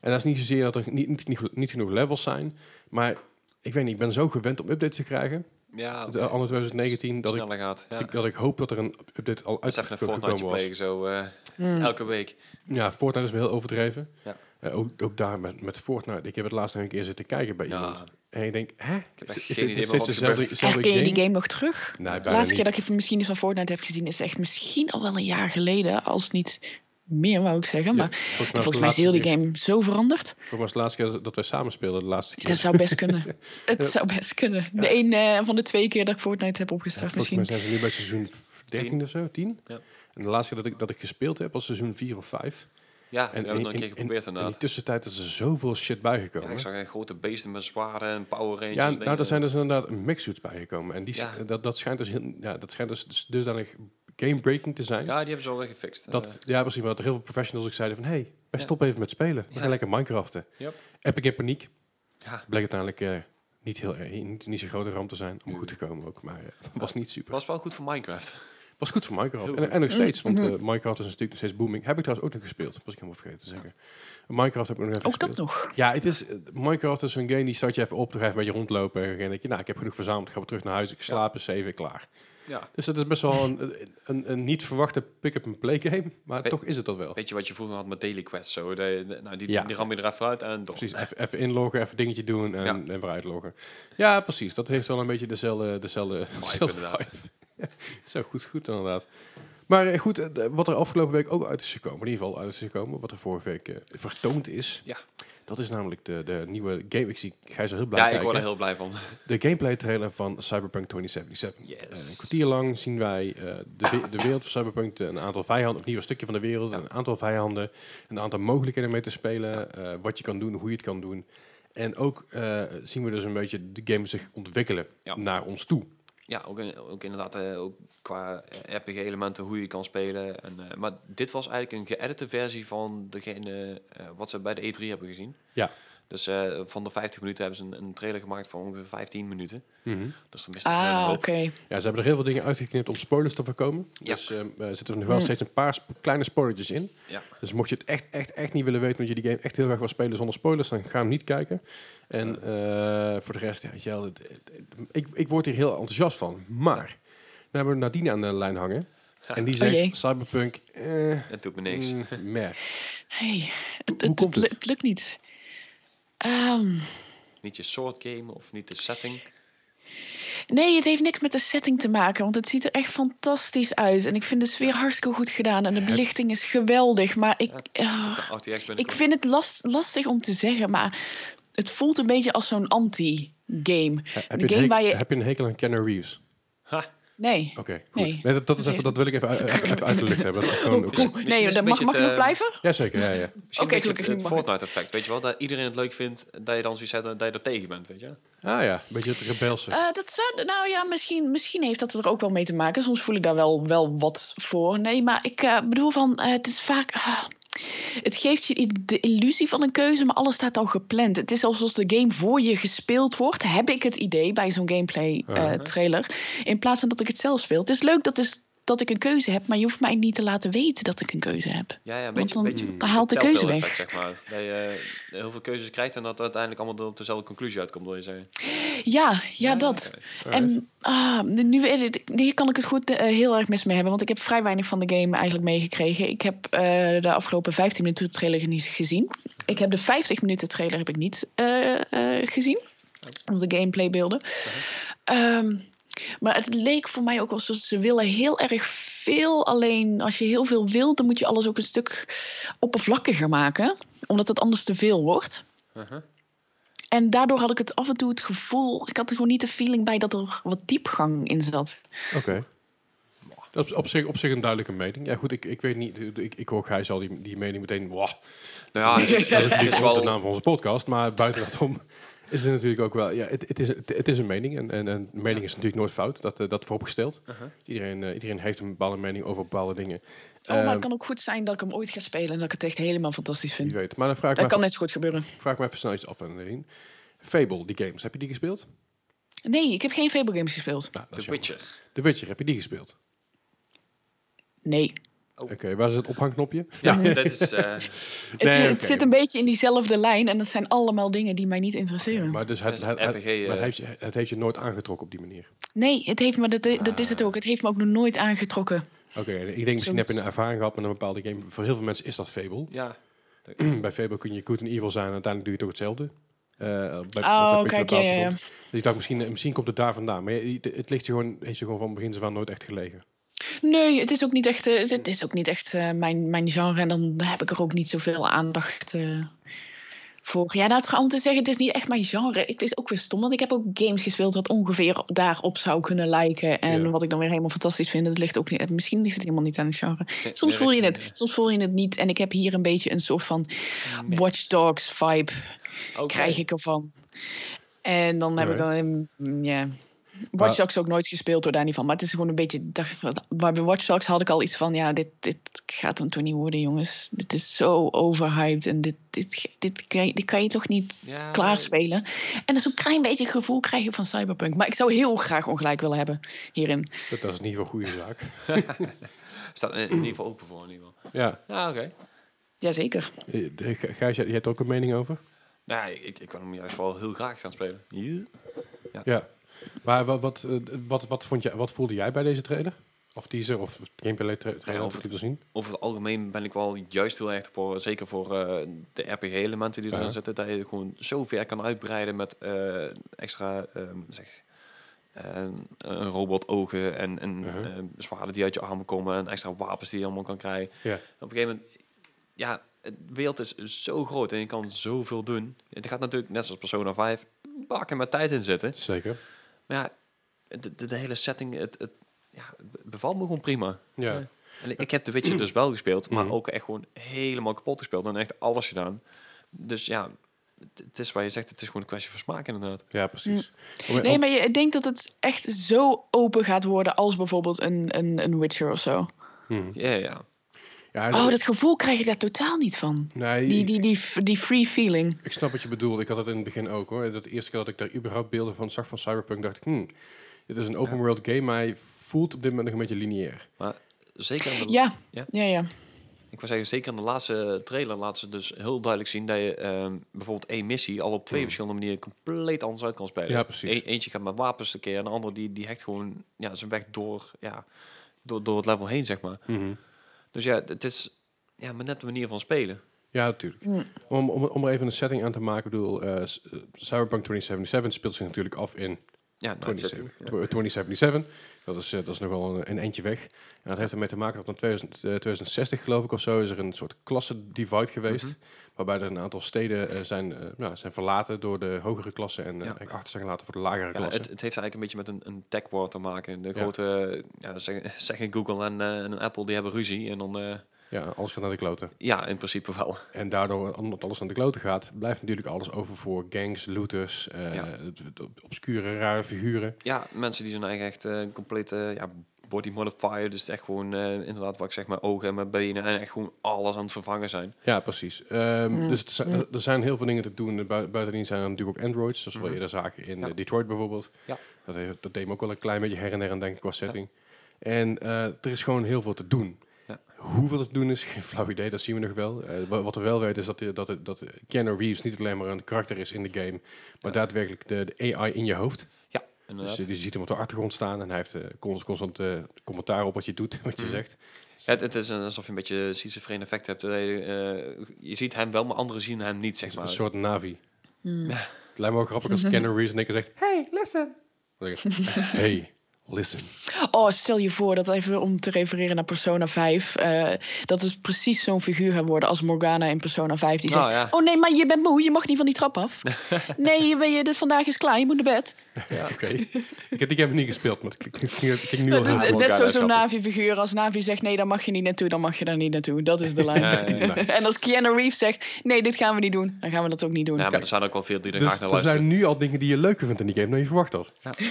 Speaker 1: En dat is niet zozeer dat er niet, niet, niet, niet genoeg levels zijn. Maar ik weet niet, ik ben zo gewend om updates te krijgen.
Speaker 2: Ja,
Speaker 1: Het
Speaker 2: oké.
Speaker 1: anno 2019, dat ik,
Speaker 2: sneller gaat. Ja.
Speaker 1: dat ik- dat ik hoop dat er een update al
Speaker 2: Dat is even een
Speaker 1: uitgekomen
Speaker 2: Fortnite
Speaker 1: was.
Speaker 2: plegen zo eh,
Speaker 3: Hmm.
Speaker 2: elke week.
Speaker 1: Ja, Fortnite is wel heel overdreven.
Speaker 2: Ja.
Speaker 1: Eh, ook, ook daar met, met Fortnite. Ik heb het laatst nog een keer zitten kijken bij
Speaker 2: Ja.
Speaker 1: iemand. En ik denk, hè?
Speaker 2: heb
Speaker 1: Is,
Speaker 2: echt
Speaker 1: is
Speaker 2: geen
Speaker 1: dit
Speaker 2: idee
Speaker 1: nog
Speaker 2: meer
Speaker 1: steeds
Speaker 2: wat er
Speaker 1: dezelfde,
Speaker 2: gebeurt.
Speaker 1: dezelfde
Speaker 3: Herken je die
Speaker 1: game?
Speaker 3: game nog terug?
Speaker 1: Nee,
Speaker 3: De
Speaker 1: bijna
Speaker 3: laatste
Speaker 1: niet.
Speaker 3: keer dat ik even misschien eens van Fortnite heb gezien is echt misschien al wel een jaar geleden, als niet meer, wou ik zeggen.
Speaker 1: Ja,
Speaker 3: Maar
Speaker 1: volgens mij, was
Speaker 3: volgens
Speaker 1: de
Speaker 3: mij is
Speaker 1: laatste
Speaker 3: heel die
Speaker 1: keer-
Speaker 3: game zo veranderd.
Speaker 1: volgens mij was de laatste keer dat- dat wij samen speelden. De laatste keer.
Speaker 3: Dat zou best kunnen. Het
Speaker 1: Ja.
Speaker 3: zou best kunnen. De een eh, van de twee keer dat ik Fortnite heb
Speaker 1: Ja,
Speaker 3: opgestart
Speaker 1: volgens mij
Speaker 3: misschien.
Speaker 1: zijn ze nu bij seizoen 13 of zo, 10.
Speaker 2: Ja.
Speaker 1: En de laatste keer dat ik, dat ik gespeeld heb was seizoen 4 of 5.
Speaker 2: Ja,
Speaker 1: En
Speaker 2: toen hebben we het nog een keer geprobeerd
Speaker 1: in die
Speaker 2: inderdaad.
Speaker 1: tussentijd is er zoveel shit
Speaker 2: Ja,
Speaker 1: bijgekomen.
Speaker 2: ik zag eh, grote beesten met zwaarden en power rangers.
Speaker 1: Ja,
Speaker 2: dingen.
Speaker 1: nou, daar zijn dus inderdaad mixsuits bijgekomen. En die, sch-
Speaker 2: Ja.
Speaker 1: dat, dat schijnt dus, heel- ja, dat schijnt dus dus dusdanig game-breaking te zijn.
Speaker 2: Ja, die hebben ze al weer gefixt.
Speaker 1: Dat,
Speaker 2: Eh,
Speaker 1: ja, precies. Maar dat er heel veel professionals ook zeiden van... hey, wij
Speaker 2: Ja.
Speaker 1: stoppen even met spelen. We
Speaker 2: Ja.
Speaker 1: gaan lekker Minecraften.
Speaker 2: Yep.
Speaker 1: Epic in paniek.
Speaker 2: ja,
Speaker 1: Bleek uiteindelijk eh, niet, heel, eh, niet, niet zo'n grote ramp te zijn. Om goed te komen ook. Maar eh, was niet super.
Speaker 2: was wel goed voor Minecraft.
Speaker 1: Was goed voor Minecraft.
Speaker 2: Heel
Speaker 1: En,
Speaker 2: goed.
Speaker 1: en nog steeds, want eh,
Speaker 3: Mhm.
Speaker 1: Minecraft is natuurlijk nog steeds booming. Heb ik trouwens ook nog gespeeld. Was ik helemaal vergeten te zeggen. Minecraft heb ik nog even
Speaker 3: Ook dat
Speaker 1: gespeeld.
Speaker 3: nog.
Speaker 1: Ja, het is, eh, Minecraft is zo'n game die start je even op. Dan ga je even een beetje rondlopen. En dan denk je, nou, ik heb genoeg verzameld. Ga weer terug naar huis. Ik slaap, is even klaar.
Speaker 2: Ja.
Speaker 1: Dus dat is best wel een, een, een niet verwachte pick-up-and-play game. Maar
Speaker 2: Weet-
Speaker 1: toch is het dat wel.
Speaker 2: Weet je wat je vroeger had met Daily Quest? Zo, de, de- nou, die,
Speaker 1: Ja.
Speaker 2: die ram je er even uit en door.
Speaker 1: Precies, even, even inloggen, even dingetje doen en,
Speaker 2: Ja.
Speaker 1: en weer uitloggen. Ja, precies. Dat heeft wel een beetje dezelfde... dezelfde, dezelfde
Speaker 2: inderdaad.
Speaker 1: vibe. Zo, goed, goed inderdaad. Maar eh, goed, eh, de- wat er afgelopen week ook uit is gekomen, in ieder geval uit is gekomen, wat er vorige week eh, vertoond is,
Speaker 2: Ja.
Speaker 1: dat is namelijk de, de nieuwe game, ik zie Gijs er heel blij
Speaker 2: Ja, ik
Speaker 1: kijken.
Speaker 2: word er heel blij van.
Speaker 1: De gameplay trailer van Cyberpunk 2077.
Speaker 2: Yes.
Speaker 1: En een kwartier lang zien wij eh, de, we- de wereld van Cyberpunk, eh, een aantal vijanden, of nieuw een stukje van de wereld, een aantal vijanden, een aantal mogelijkheden mee te spelen, eh, wat je kan doen, hoe je het kan doen. En ook eh, zien we dus een beetje de game zich ontwikkelen
Speaker 2: Ja.
Speaker 1: naar ons toe.
Speaker 2: Ja, ook, in- ook inderdaad eh, ook qua eh, RPG-elementen, hoe je kan spelen. En, eh, maar dit was eigenlijk een geëdite versie van degene eh, wat ze bij de E3 hebben gezien.
Speaker 1: Ja.
Speaker 2: Dus eh, van de 50 minuten hebben ze een, een trailer gemaakt van ongeveer 15 minuten. Dus dan mist er een
Speaker 3: Ah,
Speaker 2: hoop.
Speaker 3: oké.
Speaker 1: Ja, ze hebben er heel veel dingen uitgeknipt om spoilers te voorkomen.
Speaker 2: Ja.
Speaker 1: Dus eh, eh, zitten er nog wel steeds een paar sp- kleine spoilertjes in.
Speaker 2: Ja.
Speaker 1: Dus mocht je het echt, echt, echt niet willen weten, want je die game echt heel graag wil spelen zonder spoilers, dan ga hem niet kijken. En eh, voor de rest, ja, weet je wel, het- het- ik, ik word hier heel enthousiast van. Maar, dan hebben we Nadine aan de lijn hangen. En die
Speaker 3: Oh
Speaker 1: zegt,
Speaker 3: jee.
Speaker 1: Cyberpunk, eh,
Speaker 2: Het doet me niks.
Speaker 1: mm, meh.
Speaker 3: Hey, het,
Speaker 1: hoe komt
Speaker 3: het, het lu-
Speaker 1: het?
Speaker 3: het lukt niet. Ehm,
Speaker 2: Niet je soort game of niet de setting.
Speaker 3: nee, het heeft niks met de setting te maken, want het ziet er echt fantastisch uit. En ik vind de sfeer hartstikke goed gedaan en de
Speaker 1: Heb-
Speaker 3: belichting is geweldig. Maar ik, ah,
Speaker 2: De RTX
Speaker 3: ik
Speaker 2: binnenkort.
Speaker 3: vind het last, lastig om te zeggen, maar het voelt een beetje als zo'n anti-game.
Speaker 1: Heb,
Speaker 3: Een
Speaker 1: je een
Speaker 3: game
Speaker 1: hek-
Speaker 3: waar je-
Speaker 1: heb je een hekel aan Keanu Reeves?
Speaker 2: Ha,
Speaker 3: Nee.
Speaker 1: Oké, goed.
Speaker 3: Nee.
Speaker 1: Nee, dat, dat, is
Speaker 3: Dat Oh,
Speaker 1: even, dat wil ik even, even, even uit de lucht hebben. Dat is gewoon
Speaker 3: Oeh,
Speaker 1: ook-
Speaker 3: oeh,
Speaker 2: Misschien
Speaker 3: Nee,
Speaker 2: is
Speaker 3: dat
Speaker 2: een
Speaker 3: mag,
Speaker 2: beetje
Speaker 3: mag ik
Speaker 2: het,
Speaker 3: nog
Speaker 2: eh,
Speaker 3: blijven?
Speaker 1: Jazeker, ja, ja.
Speaker 2: Misschien
Speaker 3: Oké,
Speaker 2: een beetje het,
Speaker 3: gelukkig, nu
Speaker 2: het
Speaker 3: mag het.
Speaker 2: Fortnite-effect. Weet je wel, dat iedereen het leuk vindt, dat je dan zoiets hebt dat je er tegen bent, weet je.
Speaker 1: Ah ja, een beetje het rebelse.
Speaker 3: Eh, dat zou, nou ja, misschien, misschien heeft dat er ook wel mee te maken. Soms voel ik daar wel, wel wat voor. Nee, maar ik eh, bedoel van, eh, het is vaak... ah, het geeft je i- de illusie van een keuze, maar alles staat al gepland. Het is alsof de game voor je gespeeld wordt, heb ik het idee bij zo'n gameplay eh,
Speaker 1: Uh-huh.
Speaker 3: trailer. In plaats van dat ik het zelf speel. Het is leuk dat, is, dat ik een keuze heb, maar je hoeft mij niet te laten weten dat ik een keuze heb.
Speaker 2: Ja, ja, een
Speaker 3: Want
Speaker 2: beetje,
Speaker 3: dan
Speaker 2: beetje het-
Speaker 3: haalt de
Speaker 2: het
Speaker 3: keuze
Speaker 2: telltale
Speaker 3: weg.
Speaker 2: effect, zeg maar. Dat je eh, heel veel keuzes krijgt en dat uiteindelijk allemaal op dezelfde conclusie uitkomt, wil je zeggen.
Speaker 3: Ja, ja, dat.
Speaker 2: oké.
Speaker 3: En ah, nu, weet ik- hier kan ik het goed eh, heel erg mis mee hebben. Want ik heb vrij weinig van de game eigenlijk meegekregen. Ik heb eh, de afgelopen 15 minuten trailer niet gezien. Ik heb de 50 minuten trailer heb ik niet eh, eh, gezien. Of de gameplaybeelden. Ehm, maar het leek voor mij ook alsof ze willen heel erg veel. Alleen als je heel veel wilt, dan moet je alles ook een stuk oppervlakkiger maken. Omdat het anders te veel wordt.
Speaker 2: Uh-huh.
Speaker 3: En daardoor had ik het af en toe het gevoel, ik had er gewoon niet de feeling bij dat er wat diepgang in zat.
Speaker 1: Oké. Dat is op zich, op zich een duidelijke mening. Ja, goed, ik, ik weet niet. Ik, ik hoor Gijs al die, die mening meteen. Wow,
Speaker 2: Nou ja, het
Speaker 1: dat is
Speaker 2: is, het is
Speaker 1: natuurlijk wel de
Speaker 2: wel...
Speaker 1: naam van onze podcast. Maar buiten dat om is het natuurlijk ook wel. Ja, het, het, is, het, het is een mening. En, en, en mening is natuurlijk nooit fout. Dat, eh, dat vooropgesteld.
Speaker 2: Uh-huh.
Speaker 1: iedereen, eh, iedereen heeft een bepaalde mening over bepaalde dingen.
Speaker 3: Oh, maar
Speaker 1: Ehm,
Speaker 3: het kan ook goed zijn dat ik hem ooit ga spelen en dat ik het echt helemaal fantastisch
Speaker 1: Wie
Speaker 3: vind.
Speaker 1: weet. Maar dan vraag ik, me,
Speaker 3: Dat kan
Speaker 1: even,
Speaker 3: net zo goed gebeuren.
Speaker 1: vraag me even snel iets af en in. Fable, die games, heb je die gespeeld?
Speaker 3: Nee, ik heb geen Fable games gespeeld.
Speaker 1: Nou, dat is
Speaker 2: The
Speaker 1: jammer.
Speaker 2: Witcher.
Speaker 1: The Witcher, heb je die gespeeld?
Speaker 3: Nee.
Speaker 1: Oké, waar is het ophangknopje?
Speaker 2: Ja, dat is...
Speaker 1: Nee,
Speaker 2: eh,
Speaker 3: het, het
Speaker 1: oké.
Speaker 3: zit een beetje in diezelfde lijn en dat zijn allemaal dingen die mij niet interesseren.
Speaker 1: Maar, dus het,
Speaker 2: Dat is
Speaker 1: het, het-
Speaker 2: RPG, eh.
Speaker 1: maar het heeft, je- het heeft je nooit aangetrokken op die manier.
Speaker 3: Nee, het heeft me, dat, dat is het ook. Het heeft me ook nog nooit aangetrokken.
Speaker 1: Oké, ik denk misschien heb je
Speaker 3: Zoiets.
Speaker 1: een ervaring gehad met een bepaalde game. Voor heel veel mensen is dat Fable.
Speaker 2: ja,
Speaker 1: Hmm, bij Fable kun je good en evil zijn en uiteindelijk doe je toch hetzelfde. Eh, bij,
Speaker 3: Oh,
Speaker 1: een beetje
Speaker 3: kijk,
Speaker 1: op de
Speaker 3: ja, ja,
Speaker 1: achtergrond. Dus ik dacht, misschien, eh, misschien komt het daar vandaan. Maar je- je- het ligt je gewoon, heeft je gewoon van begin af aan nooit echt gelegen.
Speaker 3: Nee, het is ook niet echt, eh, het is ook niet echt eh, mijn, mijn genre. En dan heb ik er ook niet zoveel aandacht eh, voor. Ja, nou, trouw- om te zeggen, het is niet echt mijn genre. Het is ook weer stom, want ik heb ook games gespeeld... wat ongeveer daarop zou kunnen lijken. En
Speaker 1: Ja.
Speaker 3: wat ik dan weer helemaal fantastisch vind. Het ligt ook niet, eh, misschien ligt het helemaal niet aan het genre.
Speaker 2: nee,
Speaker 3: Soms
Speaker 2: nee,
Speaker 3: voel je
Speaker 2: dat-
Speaker 3: het, soms voel je het niet. En ik heb hier een beetje een soort van
Speaker 2: nee.
Speaker 3: Watch Dogs vibe...
Speaker 2: Oké.
Speaker 3: krijg ik ervan. En dan heb ik dan... mm, Ja...
Speaker 1: Maar-
Speaker 3: Watch Dogs ook nooit gespeeld door daar niet van. Maar het is gewoon een beetje... ik dacht van, Waar bij Watch Dogs had ik al iets van... Ja, dit, dit gaat hem toch niet worden, jongens. Dit is zo overhyped. En dit, dit, dit, kan, je, dit kan je toch niet
Speaker 2: Ja,
Speaker 3: klaarspelen? En dat is een klein beetje het gevoel krijgen van Cyberpunk. Maar ik zou heel graag ongelijk willen hebben hierin.
Speaker 1: Dat, dat is in ieder geval een goede zaak.
Speaker 2: Staat in in ieder geval open voor in ieder geval.
Speaker 1: ja.
Speaker 2: Ja, oké.
Speaker 3: Jazeker.
Speaker 1: Eh, de- Gijs, jij, jij hebt er ook een mening over?
Speaker 2: Nou, ik- ik, ik kan hem juist wel heel graag gaan spelen. Ja.
Speaker 1: Ja. Maar wat, wat, eh, wat, wat, vond jij, wat voelde jij bij deze trailer? Of teaser, of gameplay tra- trailer,
Speaker 2: Ja,
Speaker 1: of
Speaker 2: of-
Speaker 1: je wil zien?
Speaker 2: Over het algemeen ben ik wel juist heel erg voor, zeker voor eh, de RPG-elementen die erin
Speaker 1: Ja.
Speaker 2: zitten, dat je gewoon zo ver kan uitbreiden met eh, extra, ehm, zeg, ehm, een robotogen en, en
Speaker 1: Mhm.
Speaker 2: eh, zwaarden die uit je armen komen en extra wapens die je allemaal kan krijgen.
Speaker 1: Ja.
Speaker 2: Op een gegeven moment, ja, het wereld is zo groot en je kan zoveel doen. Het gaat natuurlijk, net zoals Persona 5, bakken met tijd in zitten.
Speaker 1: Zeker.
Speaker 2: Maar ja, de, de, de hele setting, het, het ja, het be- bevalt me gewoon prima.
Speaker 1: Ja.
Speaker 2: Ja. En ik heb The Witcher dus wel gespeeld, maar
Speaker 1: Mhm.
Speaker 2: ook echt gewoon helemaal kapot gespeeld. En echt alles gedaan. Dus ja, het, het is waar je zegt, het is gewoon een kwestie van smaak inderdaad.
Speaker 1: Ja, precies. Om-
Speaker 3: Nee,
Speaker 1: om-
Speaker 3: maar je- ik denk dat het echt zo open gaat worden... als bijvoorbeeld een, een, een Witcher of zo.
Speaker 1: Mhm.
Speaker 2: Ja, ja.
Speaker 1: Ja,
Speaker 3: Oh, dat gevoel krijg ik daar totaal niet van.
Speaker 1: nee,
Speaker 3: Die, die, die, die free feeling.
Speaker 1: Ik snap wat je bedoelt. Ik had het in het begin ook hoor. Dat eerste keer dat ik daar überhaupt beelden van zag van Cyberpunk, dacht ik, hmm, dit is een open world game, maar hij voelt op dit moment nog een beetje lineair.
Speaker 2: Zeker in de,
Speaker 3: Ja,
Speaker 2: Ja?
Speaker 3: ja, ja.
Speaker 2: Ik wou zeggen, zeker in de laatste trailer laten ze dus heel duidelijk zien dat je ehm, bijvoorbeeld één missie al op twee
Speaker 1: Mhm.
Speaker 2: verschillende manieren compleet anders uit kan spelen.
Speaker 1: Ja, precies.
Speaker 2: E- eentje gaat met wapens een keer en de andere die, die hecht gewoon ja, zijn weg door, ja, door, door het level heen, zeg maar.
Speaker 1: Mhm.
Speaker 2: Dus ja, het is ja, maar net de manier van spelen.
Speaker 1: Ja, natuurlijk.
Speaker 3: Mm.
Speaker 1: Om, om, om er even een setting aan te maken, ik bedoel, eh, s- eh, Cyberpunk 2077 speelt zich natuurlijk af in
Speaker 2: Ja, nou, het zit er.
Speaker 1: 2077. Tw- 2077. Dat is, eh, dat is nogal een, een eindje weg. En dat heeft ermee te maken dat in 2000, eh, 2060, geloof ik, of zo, is er een soort klasse-divide geweest.
Speaker 2: Mhm.
Speaker 1: Waarbij er een aantal steden eh, zijn, eh, nou, zijn verlaten door de hogere klassen en eh,
Speaker 2: Ja.
Speaker 1: eigenlijk achter zijn gelaten voor de lagere
Speaker 2: Ja,
Speaker 1: klassen.
Speaker 2: het, het heeft eigenlijk een beetje met een, een tech war te maken. De grote, ja, zeg, zeggen Google en, eh, en Apple, die hebben ruzie. En dan, eh,
Speaker 1: Ja, alles gaat naar de kloten.
Speaker 2: ja, in principe wel.
Speaker 1: En daardoor, omdat alles aan de kloten gaat, blijft natuurlijk alles over voor gangs, looters, eh,
Speaker 2: Ja.
Speaker 1: het- het ob- obscure, rare figuren.
Speaker 2: Ja, mensen die zijn eigen echt eh compleet eh, ja, body modifier. Dus echt gewoon, eh, inderdaad, wat ik zeg, mijn ogen en mijn benen. En echt gewoon alles aan het vervangen zijn.
Speaker 1: Ja, precies. Ehm,
Speaker 3: Mm.
Speaker 1: Dus het zijn- er- er zijn heel veel dingen te doen. Bui- Buitendien zijn er natuurlijk ook androids, zoals we
Speaker 2: Mhm.
Speaker 1: eerder zagen in
Speaker 2: Ja.
Speaker 1: eh, Detroit bijvoorbeeld.
Speaker 2: Ja.
Speaker 1: Dat, heeft, dat deed me ook wel een klein beetje her en der aan denken qua setting. En eh, er is gewoon heel veel te doen.
Speaker 2: Ja.
Speaker 1: Hoeveel te doen is, geen flauw idee, dat zien we nog wel. Eh, wa- wat we wel weten is dat, eh, dat, het- dat Keanu Reeves niet alleen maar een karakter is in de game, maar daadwerkelijk de, de AI in je hoofd.
Speaker 2: Ja,
Speaker 1: Dus
Speaker 2: inderdaad.
Speaker 1: je ziet hem op de achtergrond staan en hij heeft eh, constant, constant eh, commentaar op wat je doet, wat je
Speaker 2: Mhm.
Speaker 1: zegt.
Speaker 2: Ja, het, het is een- alsof je een beetje schizofreen effect hebt. Dat je, eh, je ziet hem wel, maar anderen zien hem niet, zeg
Speaker 1: Een
Speaker 2: maar.
Speaker 1: soort Navi.
Speaker 3: Hmm.
Speaker 1: Het lijkt me wel grappig als Keanu Reeves en ik zegt, hey, listen. Dan denk ik, hey, listen.
Speaker 3: Oh, stel je voor dat even om te refereren naar Persona 5. eh, dat is precies zo'n figuur gaan worden als Morgana in Persona 5. Die
Speaker 2: Nou,
Speaker 3: zegt:
Speaker 2: ja.
Speaker 3: Oh nee, maar je bent moe, je mag niet van die trap af. nee, je, ben je, dit vandaag is klaar, je moet naar bed.
Speaker 1: Oké. Ik heb die game niet gespeeld, maar het klinkt- het klinkt het klinkt nu al
Speaker 3: Dat dus is
Speaker 1: heel
Speaker 2: Morgana
Speaker 3: net zo-
Speaker 2: is
Speaker 3: zo'n
Speaker 2: grappig.
Speaker 3: Navi-figuur. Als Navi zegt: Nee, daar mag je niet naartoe, dan mag je daar niet naartoe. Dat is de lijn.
Speaker 2: Ja, ja, ja.
Speaker 1: nice.
Speaker 3: En als Keanu Reeves zegt: Nee, dit gaan we niet doen, dan gaan we dat ook niet doen.
Speaker 2: Ja, maar
Speaker 1: Kijk.
Speaker 2: er zijn ook wel veel die er
Speaker 1: Dus
Speaker 2: graag naar
Speaker 1: er
Speaker 2: luisteren.
Speaker 1: zijn nu al dingen die je leuker vindt in die game dan je verwacht had.
Speaker 2: Ja.
Speaker 1: Zie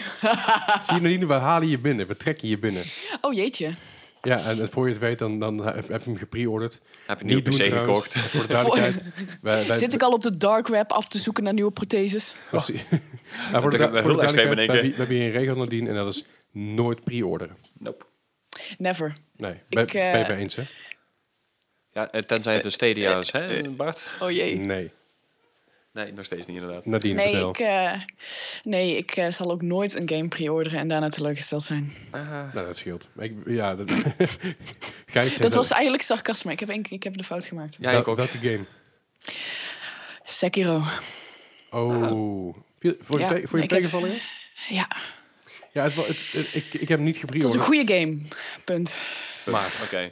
Speaker 1: je nou niet, we halen je binnen, we trekken je binnen.
Speaker 3: Oh jeetje.
Speaker 1: Ja, en, en voor je het weet, dan, dan heb heb je hem gepreorderd.
Speaker 2: Heb je nu een
Speaker 1: doen
Speaker 2: PC
Speaker 1: trouwens,
Speaker 2: gekocht?
Speaker 1: Voor de duidelijkheid. Wij- wij-
Speaker 3: Zit ik al op de dark web af te zoeken naar nieuwe protheses?
Speaker 2: Oh.
Speaker 1: Precies. Ja, Nou, voor de,
Speaker 2: begint
Speaker 1: du-
Speaker 2: wel
Speaker 1: voor de
Speaker 2: heel extreem in
Speaker 1: duidelijkheid, we
Speaker 2: één keer.
Speaker 1: hebben, hier- we hebben hier een regel nadien en dat is nooit pre-orderen.
Speaker 2: Nope.
Speaker 3: Never.
Speaker 1: Nee, ben
Speaker 3: Ik,
Speaker 1: ben je
Speaker 3: eh,
Speaker 1: het mee eens, hè?
Speaker 2: Ja, eh, tenzij het een Stadia is,
Speaker 1: Eh,
Speaker 2: hè Bart?
Speaker 3: Oh jee.
Speaker 1: Nee,
Speaker 2: Nee, nog steeds niet inderdaad.
Speaker 1: nadien
Speaker 3: Nee,
Speaker 1: vertel.
Speaker 3: ik, eh, nee, ik eh, zal ook nooit een game pre-orderen en daarna teleurgesteld zijn.
Speaker 1: Nou, dat scheelt. Maar Ik, ja, dat, Gijs zegt
Speaker 3: eh, Dat was eigenlijk sarcasme. Ik heb, één keer- ik heb de fout gemaakt.
Speaker 2: Ja,
Speaker 1: wel-
Speaker 2: ik ook.
Speaker 1: Welke game?
Speaker 3: Sekiro.
Speaker 1: Oh. Viel- Voor je,
Speaker 3: Ja,
Speaker 1: te- voor je
Speaker 3: ik heb-
Speaker 1: tegenvallen? ja?
Speaker 3: Ja,
Speaker 1: Ja, het, wa- het, het- ik, ik heb hem niet
Speaker 3: dat is een
Speaker 1: gepreorderd.
Speaker 3: goede game. Punt.
Speaker 1: Maar-
Speaker 2: Maar, oké.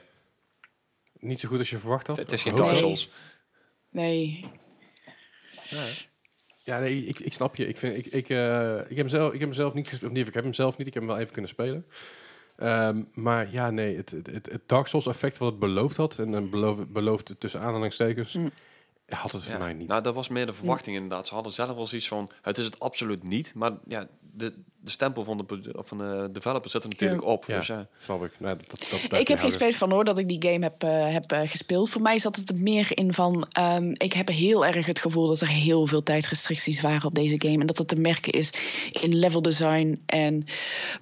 Speaker 1: Niet zo goed als je verwacht had.
Speaker 2: Het is geen
Speaker 1: Hoop ik.
Speaker 2: Dark Souls.
Speaker 3: Nee.
Speaker 1: Ja, nee, ik, ik snap je. Ik, vind, ik, ik, eh, ik, heb hem zelf, ik heb hem zelf niet gespeeld. Nee, ik heb hem zelf niet. Ik heb hem wel even kunnen spelen. Ehm, maar ja, nee, het, het, het, het Dark Souls effect wat het beloofd had, en dan beloof, beloofd tussen aanhalingstekens,
Speaker 3: Mm.
Speaker 1: had het voor
Speaker 2: Ja.
Speaker 1: mij niet.
Speaker 2: Nou, dat was meer de verwachting inderdaad. Ze hadden zelf wel zoiets van, het is het absoluut niet. Maar ja, de, de stempel van de, produ- van de developer zit er natuurlijk op.
Speaker 1: Ja.
Speaker 2: Dus ja,
Speaker 1: Snap ik. Nou, dat, dat blijft
Speaker 3: ik heb geen
Speaker 1: inhouden.
Speaker 3: spijt van hoor dat ik die game heb, eh, heb eh, gespeeld. Voor mij zat het er meer in van. ehm, ik heb heel erg het gevoel dat er heel veel tijdrestricties waren op deze game. En dat dat te merken is in level design en
Speaker 2: Eh.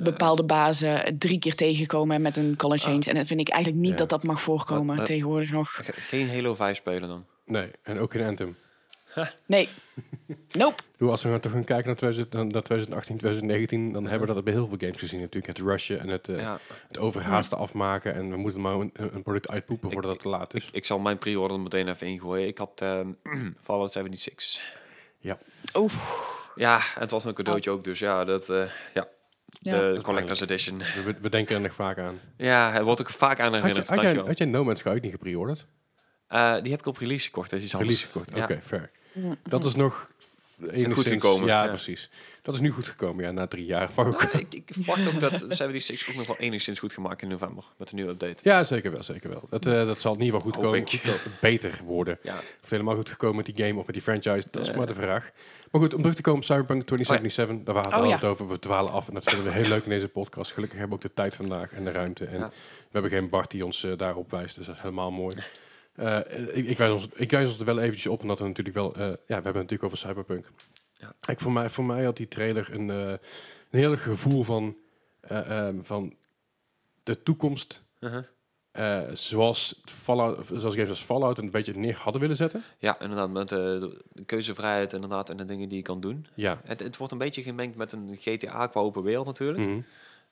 Speaker 3: bepaalde bazen drie keer tegenkomen met een color change. En dat vind ik eigenlijk niet
Speaker 1: Ja.
Speaker 3: dat dat mag voorkomen
Speaker 2: Ah. Maar, eh,
Speaker 3: tegenwoordig nog.
Speaker 2: ge- geen Halo 5 spelen dan.
Speaker 1: Nee, en ook in Anthem.
Speaker 3: Nee. Nope.
Speaker 1: Doe, als we nou toch gaan kijken naar, 2000, dan- naar 2018, 2019, dan hebben we dat bij heel veel games gezien natuurlijk. Het rushen en het, eh,
Speaker 2: Ja,
Speaker 1: het overhaasten afmaken. En we moeten maar een, een product uitpoepen voordat het te laat is.
Speaker 2: ik zal mijn pre-order meteen even ingooien. Ik had ehm, Fallout 76.
Speaker 1: Ja,
Speaker 3: Oeh.
Speaker 2: Ja, het was een cadeautje ook, dus ja, dat, eh, ja.
Speaker 3: Ja.
Speaker 2: de Collector's Edition.
Speaker 1: we, we denken er nog vaak aan.
Speaker 2: Ja, hij wordt ook vaak aan
Speaker 1: Had, je,
Speaker 2: herinnerd.
Speaker 1: had, jij,
Speaker 2: dankjewel.
Speaker 1: had jij No Man's Sky ook niet gepreorderd?
Speaker 2: Eh, die heb ik op release gekocht, dat is iets anders.
Speaker 1: Release gekocht, oké,
Speaker 2: Ja.
Speaker 1: fair. Dat is nog enigszins...
Speaker 2: gekomen,
Speaker 1: Ja,
Speaker 2: ja.
Speaker 1: precies. Dat is nu goed gekomen, ja, na drie jaar. Maar ook-
Speaker 2: Nou, ik, ik verwacht ook dat 76 ook nog wel enigszins goed gemaakt in november, met een nieuwe update.
Speaker 1: Ja, zeker wel, zeker wel. Dat, eh, dat zal in ieder geval goed
Speaker 2: Hoop
Speaker 1: komen.
Speaker 2: ik.
Speaker 1: Goed komen, beter worden.
Speaker 2: Ja,
Speaker 1: Of het helemaal goed gekomen met die game of met die franchise, dat is maar de vraag. Maar goed, om terug te komen op Cyberpunk 2077, daar hadden we
Speaker 3: Eh. Oh, ja.
Speaker 1: het over. We dwalen af en dat vinden we heel leuk in deze podcast. Gelukkig hebben we ook de tijd vandaag en de ruimte. En
Speaker 2: Ja.
Speaker 1: we hebben geen Bart die ons eh, daarop wijst, dus dat is helemaal mooi. Eh, ik, ik, wijs ons, ik wijs ons er wel eventjes op, omdat we natuurlijk wel... eh, ja, we hebben het natuurlijk over Cyberpunk.
Speaker 2: Ja.
Speaker 1: Ik, voor, mij, voor mij had die trailer een, eh een heel gevoel van, eh, ehm, van de toekomst...
Speaker 2: Mhm.
Speaker 1: eh, zoals, Fallout, zoals games als Fallout een beetje neer hadden willen zetten.
Speaker 2: ja inderdaad, met eh, de keuzevrijheid inderdaad, en de dingen die je kan doen.
Speaker 1: Ja,
Speaker 2: Het, het wordt een beetje gemengd met een GTA qua open wereld natuurlijk,
Speaker 1: Mhm.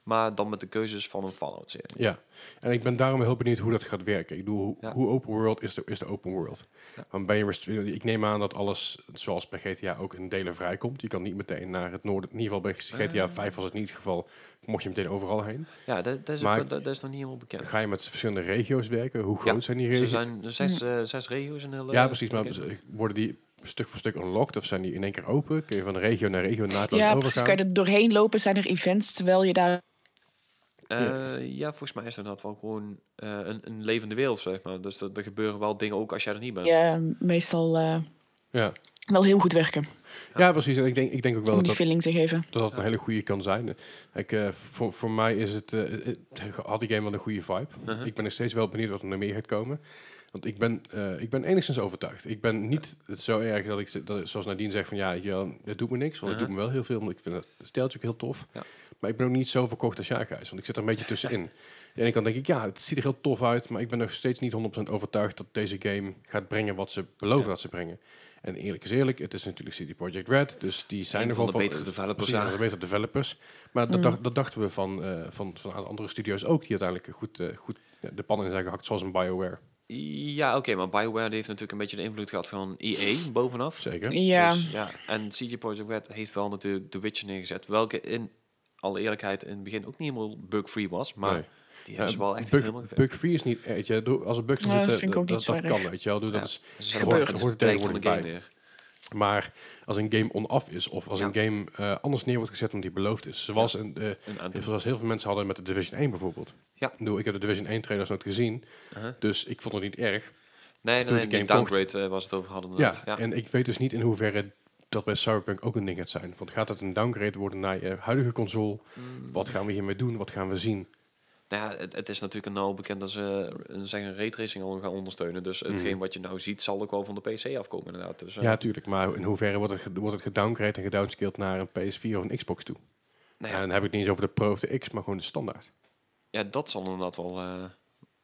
Speaker 2: maar dan met de keuzes van een Fallout-serie.
Speaker 1: Ja, en ik ben daarom heel benieuwd hoe dat gaat werken. Ik bedoel, hoe-
Speaker 2: Ja.
Speaker 1: hoe open world is de, is de open world?
Speaker 2: Ja.
Speaker 1: Want ben je rest- ik neem aan dat alles, zoals bij GTA, ook in delen vrijkomt. Je kan niet meteen naar het noorden, in ieder geval bij
Speaker 2: Eh.
Speaker 1: GTA 5 was het niet het geval, mocht je meteen overal heen.
Speaker 2: Ja, dat, dat, is,
Speaker 1: Maar-
Speaker 2: dat, dat is nog niet helemaal bekend.
Speaker 1: Ga je met verschillende regio's werken? Hoe groot
Speaker 2: Ja,
Speaker 1: zijn die
Speaker 2: Er
Speaker 1: regio's?
Speaker 2: zijn zes, eh, zes regio's in heel eh,
Speaker 1: Ja, precies, maar
Speaker 2: bekend.
Speaker 1: worden die stuk voor stuk unlocked of zijn die in één keer open? Kun je van regio naar regio naadloos
Speaker 3: Ja, precies.
Speaker 1: overgaan?
Speaker 3: Kan je er doorheen lopen? Zijn er events terwijl je daar.
Speaker 2: Eh, ja, volgens mij is dat wel gewoon eh, een, een levende wereld, zeg maar. Dus dat- er gebeuren wel dingen ook als jij er niet bent.
Speaker 3: Ja, meestal eh,
Speaker 1: ja.
Speaker 3: wel heel goed werken.
Speaker 1: ja, precies. En ik denk, ik denk ook wel
Speaker 3: om
Speaker 1: dat dat
Speaker 3: die feeling te geven.
Speaker 1: dat dat een hele goede kan zijn. Ik, eh, voor, voor mij is het, eh, het- had die game wel een goede vibe.
Speaker 2: Mhm.
Speaker 1: Ik ben nog steeds wel benieuwd wat er nog meer gaat komen. Want ik ben, eh, ik ben enigszins overtuigd. Ik ben niet zo erg dat ik, ze- dat, ik- zoals Nadine zegt, van ja, weet je wel, het doet me niks. Want het
Speaker 2: Mhm.
Speaker 1: doet me wel heel veel, want ik vind het steltje ook heel tof.
Speaker 2: Ja.
Speaker 1: Maar ik ben ook niet zo verkocht als jij, Gijs. Want ik zit er een beetje tussenin. Aan de ene kant denk ik, ja, het ziet er heel tof uit. Maar ik ben nog steeds niet 100% overtuigd dat deze game gaat brengen wat ze beloven
Speaker 2: Ja.
Speaker 1: dat ze brengen. En eerlijk is eerlijk, het is natuurlijk CD Projekt Red. Dus die zijn
Speaker 2: Een
Speaker 1: er
Speaker 2: van
Speaker 1: wel
Speaker 2: de betere developers,
Speaker 1: Precies,
Speaker 2: ja.
Speaker 1: de betere developers. Maar
Speaker 3: Mm.
Speaker 1: dat, dacht- dat dachten we van, eh, van, van aan andere studio's ook, die uiteindelijk goed, eh, goed ja, de pannen in zijn gehakt, zoals een BioWare.
Speaker 2: Ja, oké, maar BioWare die heeft natuurlijk een beetje de invloed gehad van EA bovenaf.
Speaker 1: Zeker.
Speaker 3: Ja.
Speaker 2: Dus, ja. En CG Projekt Red heeft wel natuurlijk The Witcher neergezet, welke in alle eerlijkheid in het begin ook niet helemaal bug-free was, maar
Speaker 1: Nee.
Speaker 2: die hebben ze wel echt helemaal
Speaker 1: bug,
Speaker 2: gefixt.
Speaker 1: bug free is niet, eh, weet je, doe- als er bugs in
Speaker 3: Ja, dat
Speaker 1: zitten,
Speaker 3: vind ik ook
Speaker 1: dat,
Speaker 3: niet
Speaker 1: dat
Speaker 3: zo
Speaker 1: kan,
Speaker 3: erg.
Speaker 1: weet je wel. Doe,
Speaker 2: Ja,
Speaker 1: Dat is,
Speaker 2: Ze zetten
Speaker 1: hoort,
Speaker 3: gebeurt.
Speaker 2: wel
Speaker 1: hoort
Speaker 2: echt
Speaker 1: er
Speaker 2: het break
Speaker 1: tegenwoordig
Speaker 2: van de game
Speaker 1: bij.
Speaker 2: neer.
Speaker 1: Maar als een game on-off is, of als
Speaker 2: Ja.
Speaker 1: een game eh, anders neer wordt gezet dan die beloofd is, zoals, een, eh,
Speaker 2: Een aantal.
Speaker 1: zoals heel veel mensen hadden met de Division 1 bijvoorbeeld.
Speaker 2: Ja.
Speaker 1: Ik, bedoel, ik heb de Division 1 trailers nooit gezien,
Speaker 2: Uh-huh.
Speaker 1: dus ik vond het niet erg.
Speaker 2: Nee,
Speaker 1: toen
Speaker 2: nee, nee,
Speaker 1: de
Speaker 2: die
Speaker 1: game kocht.
Speaker 2: downgrade eh, was het over hadden.
Speaker 1: Ja,
Speaker 2: inderdaad. Ja,
Speaker 1: en ik weet dus niet in hoeverre dat bij Cyberpunk ook een ding gaat zijn.
Speaker 2: Mm.
Speaker 1: Want gaat dat een downgrade worden naar je huidige console? Wat gaan we hiermee doen? Wat gaan we zien?
Speaker 2: Nou ja, het, het is natuurlijk nou bekend dat ze eh, zeggen raytracing al gaan ondersteunen. Dus hetgeen wat je nou ziet zal ook wel van de PC afkomen inderdaad. Dus, eh,
Speaker 1: Mhm. Ja, tuurlijk. Maar in hoeverre wordt het, ge- wordt het gedowngraded en gedownscaled naar een PS4 of een Xbox toe?
Speaker 2: nou
Speaker 1: En
Speaker 2: ja,
Speaker 1: dan heb ik het niet eens over de Pro of de X, maar gewoon de standaard.
Speaker 2: ja, dat zal inderdaad wel... eh,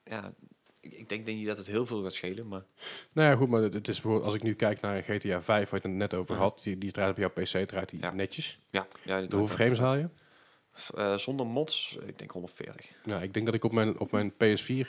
Speaker 2: ja, ik, ik denk niet dat het heel veel gaat schelen, maar...
Speaker 1: Nou ja, goed, maar het is bijvoorbeeld, als ik nu kijk naar GTA 5, waar je het net over
Speaker 2: Ja.
Speaker 1: had, die, die draait op jouw PC, draait die
Speaker 2: Ja.
Speaker 1: netjes.
Speaker 2: Ja, ja, dit
Speaker 1: De hoeveel frames haal je?
Speaker 2: Eh, zonder mods, ik denk 140.
Speaker 1: Nou, ik denk dat ik op mijn, op mijn PS4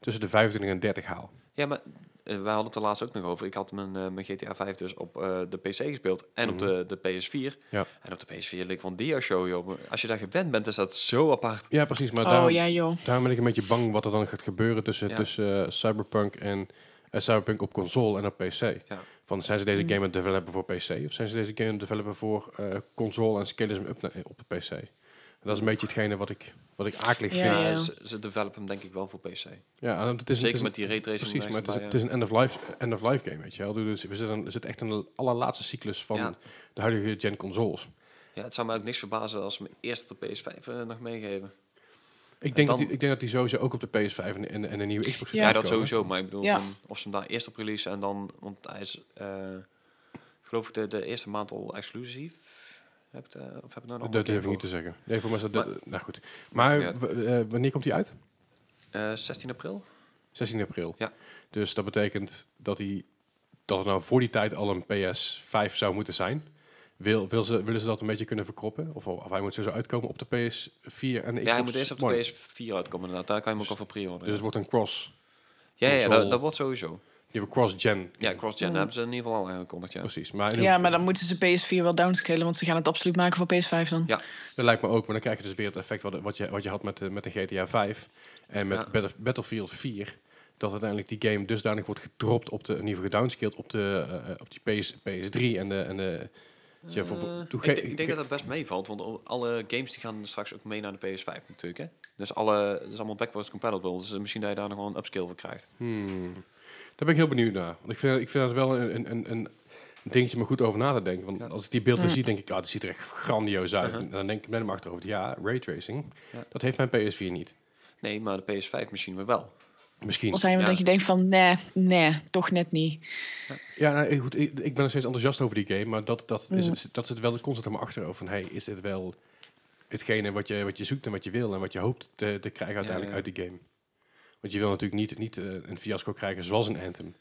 Speaker 1: tussen de 25 en 30 haal.
Speaker 2: Ja, maar eh, wij hadden het er laatst ook nog over. Ik had mijn, eh, mijn GTA 5 dus op eh, de PC gespeeld en
Speaker 1: Mhm.
Speaker 2: op de, de PS4.
Speaker 1: Ja.
Speaker 2: En op de PS4 leek van Dia Show, joh. Maar Als je daar gewend bent, is dat zo apart.
Speaker 1: Ja, precies. Maar
Speaker 3: oh
Speaker 1: daarom,
Speaker 3: ja, joh.
Speaker 1: daarom ben ik een beetje bang wat er dan gaat gebeuren tussen,
Speaker 2: Ja.
Speaker 1: tussen eh, Cyberpunk en eh, Cyberpunk op console en op PC.
Speaker 2: Ja.
Speaker 1: Van zijn ze deze
Speaker 3: Mm.
Speaker 1: game aan het developen voor PC of zijn ze deze game aan het developen voor eh, console en scalen ze hem up na- op de PC? En dat is een beetje hetgene wat ik, wat ik akelig
Speaker 3: Ja,
Speaker 1: vind.
Speaker 2: Ja,
Speaker 3: ja.
Speaker 2: Ze, ze developen hem denk ik wel voor PC.
Speaker 1: Ja, en het is, het
Speaker 2: Zeker
Speaker 1: is-
Speaker 2: met die raytracing.
Speaker 1: Precies, maar het is,
Speaker 2: erbij,
Speaker 1: het
Speaker 2: ja.
Speaker 1: is een end-of-life end of life game, weet je wel. Dus we zitten, we zitten echt in de allerlaatste cyclus van
Speaker 2: Ja.
Speaker 1: de huidige gen consoles.
Speaker 2: Ja, het zou me ook niks verbazen als ze me eerst op de PS5 eh, nog meegeven.
Speaker 1: Ik denk,
Speaker 2: dan-
Speaker 1: dat die, ik denk dat die sowieso ook op de PS5 en, en, en een nieuwe Xbox
Speaker 3: Ja.
Speaker 2: Ja,
Speaker 1: gaat
Speaker 2: dat
Speaker 1: komen.
Speaker 2: sowieso. Maar ik bedoel,
Speaker 3: Ja.
Speaker 2: van, of ze hem daar eerst op releasen en dan... Want hij is, eh, geloof ik, de, de eerste maand al exclusief. Heb ik, de- of heb ik nou
Speaker 1: Dat
Speaker 2: nog een
Speaker 1: durf ik
Speaker 2: keer
Speaker 1: niet te zeggen. Nee, voor mij is dat... dat- nou goed.
Speaker 2: Maakt
Speaker 1: Maar
Speaker 2: niet
Speaker 1: w- eh, wanneer komt die uit?
Speaker 2: voor? Eh, 16 april?
Speaker 1: 16 april.
Speaker 2: Ja.
Speaker 1: Dus dat betekent dat, die, dat er nou voor die tijd al een PS5 zou moeten zijn. Wil, wil ze, willen ze dat een beetje kunnen verkroppen? Of, of hij moet sowieso uitkomen op de PS4 en de
Speaker 2: Ja, hij
Speaker 1: Xbox
Speaker 2: moet eerst op
Speaker 1: One.
Speaker 2: de PS4 uitkomen inderdaad. Daar kan je hem ook al voor pre-orderen.
Speaker 1: Dus het dus wordt een cross...
Speaker 2: ja, ja, ja,
Speaker 1: console-
Speaker 2: dat, dat wordt sowieso.
Speaker 1: Je hebt een cross-gen.
Speaker 2: Ja, cross-gen hebben ze in ieder geval al aangekondigd, ja.
Speaker 1: Precies. Maar in
Speaker 3: Ja, maar dan moeten ze PS4 wel downscalen, want ze gaan het absoluut maken voor PS5 dan.
Speaker 2: Ja.
Speaker 1: Dat lijkt me ook, maar dan krijg je dus weer het effect wat, wat, je, wat je had met, de- met de GTA 5 en met
Speaker 2: Ja.
Speaker 1: Battle- Battlefield 4. Dat uiteindelijk die game dusdanig wordt gedropt op de, in ieder geval gedownscaled op de, eh, op die PS, PS3 en de... En de weet je, voor- voor-
Speaker 2: Eh,
Speaker 1: toen
Speaker 2: ik,
Speaker 1: ge-
Speaker 2: denk- ik denk dat dat best meevalt, want al- alle games die gaan straks ook mee naar de PS5 natuurlijk. Hè? Dus alle, het is allemaal backwards compatible, dus misschien dat je daar nog wel een upscale voor krijgt.
Speaker 1: Hmm. Daar ben ik heel benieuwd naar. Want ik vind, ik vind dat wel een, een, een, een dingetje om er goed over na te denken. Want
Speaker 2: Ja.
Speaker 1: als ik die beelden zie, denk ik, ah, dit ziet er echt grandioos uit.
Speaker 2: Uh-huh.
Speaker 1: En dan denk ik met hem achterover, ja, raytracing,
Speaker 2: Ja.
Speaker 1: dat heeft mijn PS4 niet.
Speaker 2: Nee, maar de PS5 misschien weer wel.
Speaker 1: Misschien.
Speaker 3: Al zijn we
Speaker 2: Ja.
Speaker 3: dat je denkt van, nee, nee, toch net niet.
Speaker 1: Ja, nou, ik- goed, ik, ik ben nog steeds enthousiast over die game, maar dat, dat, is,
Speaker 3: Mm.
Speaker 1: het- dat zit wel constant aan mijn achterhoofd. Van, hey, is dit wel hetgene wat je, wat je zoekt en wat je wil en wat je hoopt te, te krijgen uiteindelijk
Speaker 2: ja.
Speaker 1: uit die game? Want je wil natuurlijk niet, niet eh, een fiasco krijgen zoals een Anthem.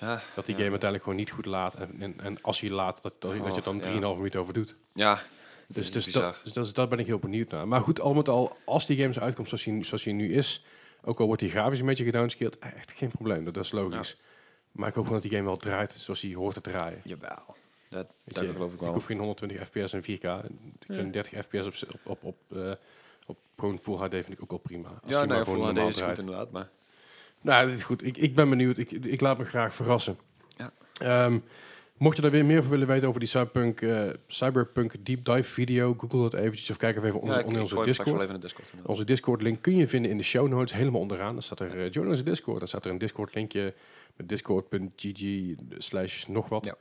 Speaker 2: Ja,
Speaker 1: Dat die
Speaker 2: ja.
Speaker 1: game uiteindelijk gewoon niet goed laat. En, en, en als hij laat, dat, dat, dat je het dan
Speaker 2: Oh, ja.
Speaker 1: 3,5 minuten over doet.
Speaker 2: Ja,
Speaker 1: Dus,
Speaker 2: is
Speaker 1: dus,
Speaker 2: bizar.
Speaker 1: dat, dus dat, daar ben ik heel benieuwd naar. Maar goed, al met al, als die game zo uitkomt zoals hij, zoals hij nu is, ook al wordt die grafisch een beetje gedownscaled, echt geen probleem, dat, dat is logisch. Maar ik hoop gewoon dat die game wel draait zoals hij hoort te draaien.
Speaker 2: jawel. Dat,
Speaker 1: Weet
Speaker 2: dat
Speaker 1: je,
Speaker 2: geloof ik
Speaker 1: Ik
Speaker 2: wel.
Speaker 1: hoef geen 120 fps en 4K. Ik
Speaker 3: Ja.
Speaker 1: vind 30 fps op, op, op, eh, op gewoon Full HD vind ik ook al prima. Als die
Speaker 2: Ja,
Speaker 1: maar
Speaker 2: nou,
Speaker 1: gewoon
Speaker 2: voor
Speaker 1: normaal
Speaker 2: deze is goed
Speaker 1: draait.
Speaker 2: inderdaad, maar...
Speaker 1: Nou, dit is goed. Ik, ik ben benieuwd. Ik, ik laat me graag verrassen.
Speaker 2: Ja.
Speaker 1: Ehm, mocht je daar weer meer over willen weten over die Cyberpunk, eh, Cyberpunk Deep Dive video, google dat eventjes of kijk even onder,
Speaker 2: Ja, ik-
Speaker 1: onder
Speaker 2: ik
Speaker 1: onze
Speaker 2: gooi hem straks
Speaker 1: Discord.
Speaker 2: wel even in de Discord. inderdaad.
Speaker 1: Onze Discord-link kun je vinden in de show notes, helemaal onderaan. Dan staat er uh, join onze Discord. Dan staat er een Discord-linkje met discord.gg slash nog wat.
Speaker 2: Ja.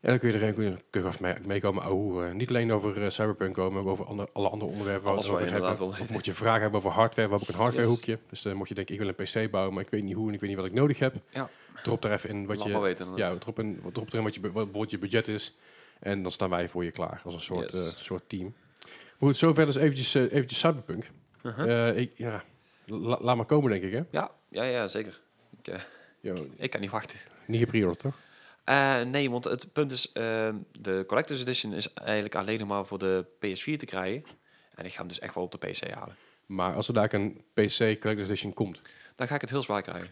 Speaker 1: En dan kun je er kun je, kun je af mee, mee komen ahoeren. Niet alleen over eh, Cyberpunk komen, maar ook over ander- alle andere onderwerpen. waar we
Speaker 2: Alles
Speaker 1: het
Speaker 2: waar
Speaker 1: over
Speaker 2: je
Speaker 1: hebben.
Speaker 2: inderdaad wil
Speaker 1: Of moet je vragen hebben over hardware, we hebben ook een hardwarehoekje. Dus dan moet je denken, ik wil een PC bouwen, maar ik weet niet hoe en ik weet niet wat ik nodig heb.
Speaker 2: Ja.
Speaker 1: Drop daar even in wat
Speaker 2: Laat
Speaker 1: je...
Speaker 2: maar weten
Speaker 1: Ja,
Speaker 2: inderdaad.
Speaker 1: drop, in, drop erin wat je, bu- wat bijvoorbeeld je budget is. En dan staan wij voor je klaar als een soort,
Speaker 2: Yes.
Speaker 1: eh, soort team. Maar goed, zover dus eventjes, eh, eventjes Cyberpunk.
Speaker 2: Uh-huh.
Speaker 1: Eh, ik, ja, la- laat maar komen, denk ik, hè?
Speaker 2: Ja, ja, ja, zeker. Ik, eh,
Speaker 1: Yo,
Speaker 2: ik kan niet wachten.
Speaker 1: niet geprioriteerd, toch?
Speaker 2: Eh, nee, want het punt is, eh, de Collector's Edition is eigenlijk alleen nog maar voor de PS4 te krijgen. En ik ga hem dus echt wel op de PC halen.
Speaker 1: Maar als er daar een PC Collector's Edition komt,
Speaker 2: Dan ga ik het heel zwaar krijgen.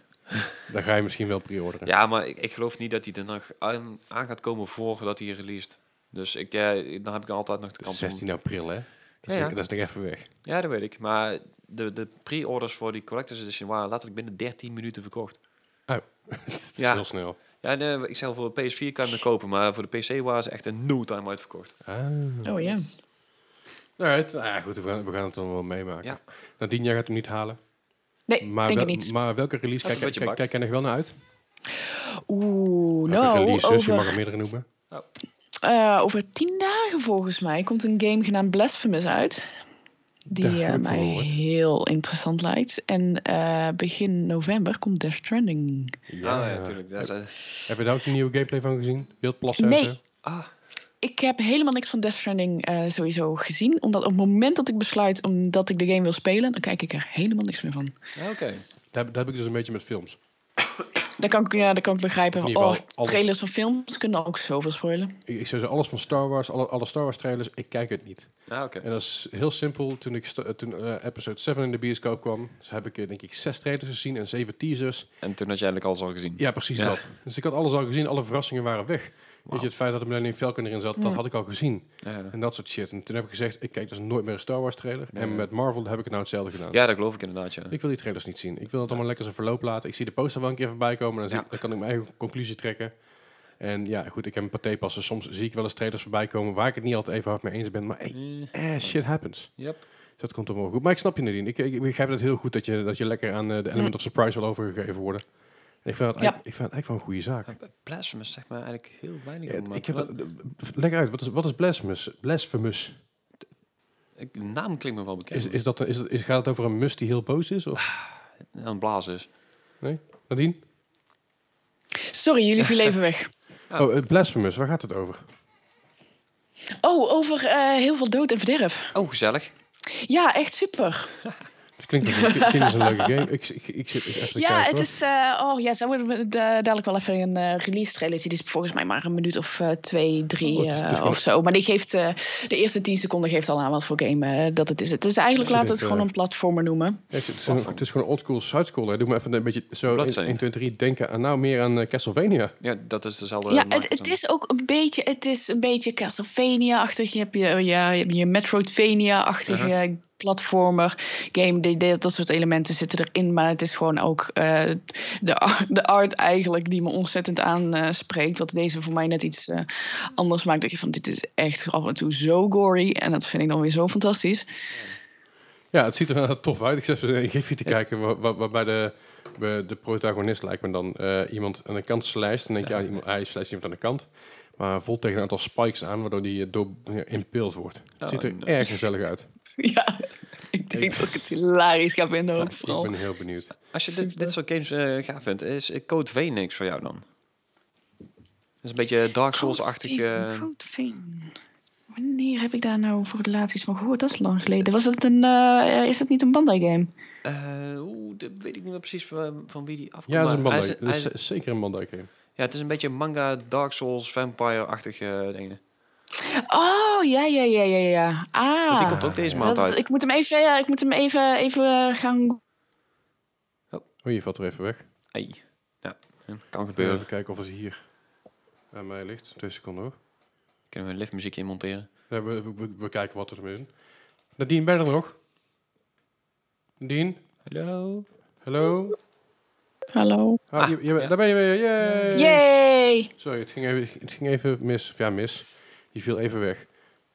Speaker 1: dan ga je misschien wel pre-orderen.
Speaker 2: Ja, maar ik, ik geloof niet dat hij er nog aan, aan gaat komen voordat hij released. Dus ik, eh, dan heb ik altijd nog de kans om...
Speaker 1: 16 april, hè? Dat is,
Speaker 2: Ja, ja.
Speaker 1: Nog, dat is nog even weg.
Speaker 2: Ja, dat weet ik. Maar de, de pre-orders voor die Collector's Edition waren letterlijk binnen 13 minuten verkocht.
Speaker 1: Het Oh. is
Speaker 2: Ja.
Speaker 1: heel snel.
Speaker 2: Ja, nee, ik zei voor de PS4 kan je hem kopen, maar voor de PC waren ze echt een no time uitverkocht.
Speaker 1: Ah.
Speaker 3: Oh ja.
Speaker 1: Alright, nou ja, goed, we gaan, we gaan het dan wel meemaken.
Speaker 2: Ja.
Speaker 1: Nadien, jij gaat hem niet halen.
Speaker 3: Nee,
Speaker 1: Maar,
Speaker 3: denk ik
Speaker 1: wel-
Speaker 3: niet.
Speaker 1: maar welke release
Speaker 2: Dat
Speaker 1: kijk,
Speaker 2: is een
Speaker 1: kijk,
Speaker 2: beetje
Speaker 1: kijk, jij nog wel naar uit?
Speaker 3: Oeh,
Speaker 1: Welke
Speaker 3: nou,
Speaker 1: release, dus je mag
Speaker 3: over,
Speaker 1: er meerdere noemen.
Speaker 3: eh, over tien dagen volgens mij komt een game genaamd Blasphemous uit.
Speaker 1: Daar
Speaker 3: die
Speaker 1: heb
Speaker 3: eh,
Speaker 1: ik van
Speaker 3: mij
Speaker 1: gehoord.
Speaker 3: heel interessant lijkt. En eh, begin november komt Death Stranding.
Speaker 2: Ja, ja, natuurlijk. Dat is, eh,
Speaker 1: Heb je daar ook een nieuwe gameplay van gezien? Wildplassen?
Speaker 3: Nee.
Speaker 1: en zo?
Speaker 2: ah,
Speaker 3: Ik heb helemaal niks van Death Stranding eh, sowieso gezien. Omdat op het moment dat ik besluit omdat ik de game wil spelen, dan kijk ik er helemaal niks meer van.
Speaker 2: ja, oké.
Speaker 1: Daar, daar heb ik dus een beetje met films.
Speaker 3: Dan kan ik, ja, dan kan ik
Speaker 1: Of
Speaker 3: begrijpen
Speaker 1: in
Speaker 3: van,
Speaker 1: ieder
Speaker 3: oh,
Speaker 1: geval alles-
Speaker 3: trailers van films kunnen ook zoveel spoilen.
Speaker 1: Ik, ik zou zeggen, alles van Star Wars, alle, alle Star Wars trailers, ik kijk het niet.
Speaker 2: Ja, oké.
Speaker 1: En dat is heel simpel. Toen, ik sta- eh, toen eh, episode 7 in de bioscoop kwam, dus heb ik eh, denk ik zes trailers gezien en zeven teasers.
Speaker 2: En toen had jij eigenlijk alles al gezien.
Speaker 1: Ja, precies
Speaker 2: Ja.
Speaker 1: dat. Dus ik had alles al gezien, alle verrassingen waren weg. Weet je, het feit dat de Millennium Falcon erin zat, dat
Speaker 3: Ja.
Speaker 1: had ik al gezien.
Speaker 2: Ja.
Speaker 1: En dat soort shit. En toen heb ik gezegd, ik kijk dus nooit meer een Star Wars trailer.
Speaker 2: Ja.
Speaker 1: En met Marvel heb ik het nou hetzelfde gedaan.
Speaker 2: Ja, dat geloof ik inderdaad, ja.
Speaker 1: Ik wil die trailers niet zien. Ik wil het allemaal lekker zijn verloop laten. Ik zie de poster wel een keer voorbij komen. Dan, zie
Speaker 2: Ja.
Speaker 1: ik- dan kan ik mijn eigen conclusie trekken. En ja, goed, ik heb een partijpassen. Soms zie ik wel eens trailers voorbij komen waar ik het niet altijd even hard mee eens ben. Maar hey,
Speaker 2: Eh,
Speaker 1: eh, shit happens.
Speaker 2: Yep.
Speaker 1: Dus dat komt allemaal wel goed. Maar ik snap je, Nadine. Ik, ik, ik begrijp het heel goed dat je, dat je lekker aan
Speaker 2: Hm.
Speaker 1: eh, de element of surprise wil overgegeven worden. En ik vind het
Speaker 3: Ja.
Speaker 1: eigenlijk, ik vind het eigenlijk wel een goede zaak.
Speaker 2: Ja, eh, Blasphemous zegt maar eigenlijk heel weinig.
Speaker 1: Ja,
Speaker 2: om, maar
Speaker 1: ik heb
Speaker 2: wat-
Speaker 1: dat, d- leg uit, wat is, wat is blasphemous? blasphemous?
Speaker 2: ik- de naam klinkt me wel bekend.
Speaker 1: Is, is dat, is, is, gaat het over een mus die heel boos is?
Speaker 2: Ah.
Speaker 1: Of?
Speaker 2: Aan het blazen is.
Speaker 1: Nee? Nadine?
Speaker 3: Sorry, jullie vielen even weg.
Speaker 2: Ah.
Speaker 1: Oh, eh, blasphemous, waar gaat het over?
Speaker 3: Oh, over eh, heel veel dood en verderf.
Speaker 2: Oh, gezellig.
Speaker 3: Ja, echt super.
Speaker 1: Het klinkt als een, klinkt als een leuke game. Ik, ik, ik zit even te
Speaker 3: Ja,
Speaker 1: kijken,
Speaker 3: het
Speaker 1: hoor.
Speaker 3: is... eh, oh ja, zo worden we da- dadelijk wel even een eh, release trailer. Die is volgens mij maar een minuut of eh, twee, drie
Speaker 1: Oh, het is- het is
Speaker 3: eh,
Speaker 1: wel-
Speaker 3: of zo. Maar die geeft, eh, de eerste tien seconden geeft al aan wat voor game eh, dat het is. Het is
Speaker 1: Dus
Speaker 3: eigenlijk,
Speaker 1: je
Speaker 3: laten we het
Speaker 1: denkt,
Speaker 3: gewoon
Speaker 1: eh,
Speaker 3: een platformer noemen.
Speaker 1: Ja, het, is een-
Speaker 2: platform.
Speaker 1: het is gewoon een oldschool sidescroller. Doe maar even een beetje zo in
Speaker 2: Bloodstained.
Speaker 1: 1, 2, 3 denken aan nou meer aan eh, Castlevania.
Speaker 2: Ja, dat is dezelfde
Speaker 3: Ja,
Speaker 2: markt
Speaker 3: het,
Speaker 2: als
Speaker 3: het
Speaker 2: een-
Speaker 3: is ook een beetje, het is een beetje Castlevania-achtig. Je hebt je, ja, je, hebt je Metroidvania-achtige
Speaker 1: Uh-huh.
Speaker 3: platformer game. Die- die- dat soort elementen zitten erin. Maar het is gewoon ook eh, de, ar- de art eigenlijk die me ontzettend aanspreekt. Wat deze voor mij net iets eh, anders maakt. Dat je van, dit is echt af en toe zo gory. En dat vind ik dan weer zo fantastisch.
Speaker 1: Ja, het ziet er inderdaad tof uit. Ik, zet even, ik geef je te
Speaker 2: Yes.
Speaker 1: kijken waar- waar- waarbij de, bij de protagonist lijkt me dan eh, iemand aan de kant slijst. Dan denk je, ja, iemand, hij slijst iemand aan de kant. Maar voelt tegen een aantal spikes aan, waardoor die eh, door, ja, impeeld wordt. Het
Speaker 2: Oh,
Speaker 1: ziet er
Speaker 2: nice.
Speaker 1: erg gezellig uit.
Speaker 3: ja, ik denk dat ik het hilarisch ga vinden ook vooral.
Speaker 1: Ik ben heel benieuwd.
Speaker 2: Als je dit, dit soort games eh gaaf vindt, is eh, Code V niks voor jou dan? Dat is een beetje Dark Souls-achtig. eh,
Speaker 3: Grootveen. Wanneer heb ik daar nou voor het laatst iets van gehoord? Dat is lang geleden. Was het een, eh, is het niet een Bandai game?
Speaker 2: eh, Oeh, dat weet ik niet meer precies van, van wie die afkomt.
Speaker 1: Ja, dat is
Speaker 2: maar
Speaker 1: een
Speaker 2: hij
Speaker 1: Bandai.
Speaker 2: hij
Speaker 1: Dat is z- zeker een Bandai game.
Speaker 2: ja, het is een beetje manga, Dark Souls, vampire-achtige eh, dingen.
Speaker 3: Oh, ja, ja, ja, ja, ja.
Speaker 2: Want die
Speaker 3: Ah.
Speaker 2: komt ook deze
Speaker 1: ja.
Speaker 2: maand
Speaker 3: Dat-
Speaker 2: uit.
Speaker 3: ik moet hem even, ja, ik moet hem even, even eh, gaan...
Speaker 1: Oh, je valt er even weg.
Speaker 2: Ei. Ja, hm, kan gebeuren.
Speaker 1: Even kijken of het hier aan mij ligt. Twee seconden hoor.
Speaker 2: Kunnen we een liftmuziek in monteren?
Speaker 1: Ja, we, we- we, we kijken wat we ermee doen. Nadine, ben je er nog? Nadine?
Speaker 2: Hallo?
Speaker 1: Hallo?
Speaker 3: Hallo.
Speaker 1: Ah,
Speaker 2: Ah,
Speaker 1: je- je-
Speaker 2: ja.
Speaker 1: Daar ben je weer. Yay!
Speaker 3: Yay!
Speaker 1: Sorry, het ging, even, het ging even mis. Of ja, mis. Die viel even weg.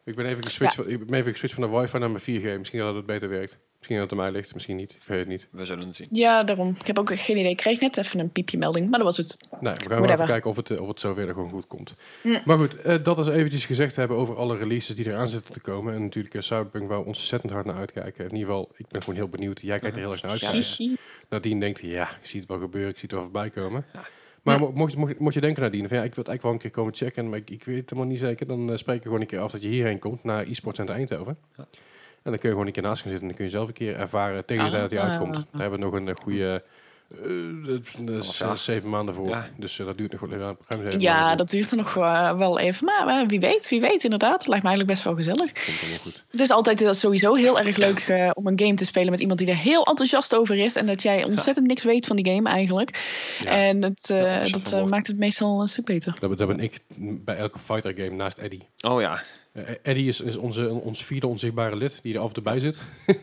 Speaker 1: Ik ben even geswitcht, van, ik ben even geswitcht van de wifi naar mijn 4G. Misschien dat het beter werkt. Misschien dat het aan mij ligt. Misschien niet. Ik weet het niet.
Speaker 2: We zullen het zien.
Speaker 3: Ja, daarom. Ik heb ook geen idee. Ik kreeg net even een piepje melding, maar dat was het.
Speaker 1: Nou, we gaan maar even
Speaker 3: Whatever.
Speaker 1: kijken of het, eh, of het zover er gewoon goed komt.
Speaker 3: Mm.
Speaker 1: Maar goed, eh, dat is eventjes gezegd hebben over alle releases die eraan zitten te komen. En natuurlijk eh, Cyberpunk waar we ontzettend hard naar uitkijken. In ieder geval, ik ben gewoon heel benieuwd. Jij kijkt er heel erg naar uit.
Speaker 2: Ja.
Speaker 1: Thijs.
Speaker 3: Hihi.
Speaker 1: Nadine denkt, ja, ik zie het wel gebeuren, ik zie het wel voorbij komen. Maar mo- mocht, mocht, mocht je denken, Nadine, van, ja, ik wil het eigenlijk wel een keer komen checken, maar ik, ik weet het helemaal niet zeker, dan eh, spreken we gewoon een keer af dat je hierheen komt, naar eSports Center Eindhoven.
Speaker 2: Ja.
Speaker 1: En dan kun je gewoon een keer naast gaan zitten en dan kun je zelf een keer ervaren tegen de tijd dat hij
Speaker 3: Ah.
Speaker 1: uitkomt. Daar hebben we nog een eh, goede eh, eh,
Speaker 2: Half jaar.
Speaker 1: zes, zeven maanden voor.
Speaker 2: Ja.
Speaker 1: Dus eh, dat duurt nog wel even. ruim zeven maanden
Speaker 3: Ja,
Speaker 1: voor.
Speaker 3: dat duurt er nog eh, wel even. Maar eh, wie weet, wie weet inderdaad. Het lijkt me eigenlijk best wel gezellig.
Speaker 1: komt allemaal goed.
Speaker 3: Het is altijd eh, sowieso heel erg leuk eh, om een game te spelen met iemand die er heel enthousiast over is. En dat jij ontzettend niks weet van die game eigenlijk.
Speaker 1: Ja.
Speaker 3: En het, eh,
Speaker 2: Ja, dat is
Speaker 3: dat
Speaker 2: wel
Speaker 3: eh,
Speaker 2: mooi.
Speaker 3: maakt het meestal een stuk beter.
Speaker 1: Dat, ben- dat ben ik bij elke fighter game naast Eddie.
Speaker 2: Oh ja,
Speaker 1: Eh, Eddie is, is onze, ons vierde onzichtbare lid die er af en toe bij zit.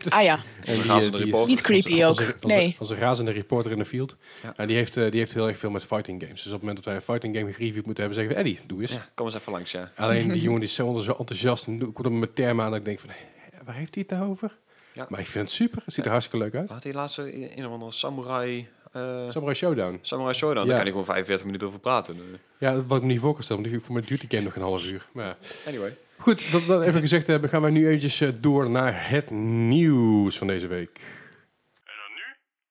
Speaker 3: Ah ja,
Speaker 1: En
Speaker 2: Een
Speaker 1: die,
Speaker 2: razende
Speaker 1: eh, die
Speaker 2: reporter.
Speaker 3: Niet creepy
Speaker 1: als-
Speaker 3: ook,
Speaker 1: Als, als,
Speaker 3: nee.
Speaker 1: als een razende reporter in de field.
Speaker 2: Ja.
Speaker 1: En die heeft, eh, die heeft heel erg veel met fighting games. Dus op het moment dat wij een fighting game gereviewd moeten hebben, zeggen we, Eddie, doe eens.
Speaker 2: ja, kom eens even langs, ja.
Speaker 1: Alleen die jongen die is zo onder- zo enthousiast en doe- komt op mijn termen aan dat ik denk van, "Hé, waar heeft hij het nou over?
Speaker 2: Ja.
Speaker 1: Maar ik vind het super. Het ziet er hartstikke leuk uit.
Speaker 2: Had hij laatst een een of eh, andere samurai eh,
Speaker 1: Samurai Showdown.
Speaker 2: Samurai Showdown.
Speaker 1: Ja.
Speaker 2: Daar kan ik gewoon 45 minuten over praten. eh.
Speaker 1: Ja, wat ik me niet voor kan stellen, want ik voor mijn duty game nog een half uur. Maar ja.
Speaker 2: Anyway.
Speaker 1: goed, dat we dat even gezegd hebben, gaan wij nu eventjes eh, door naar het nieuws van deze week.
Speaker 4: En dan nu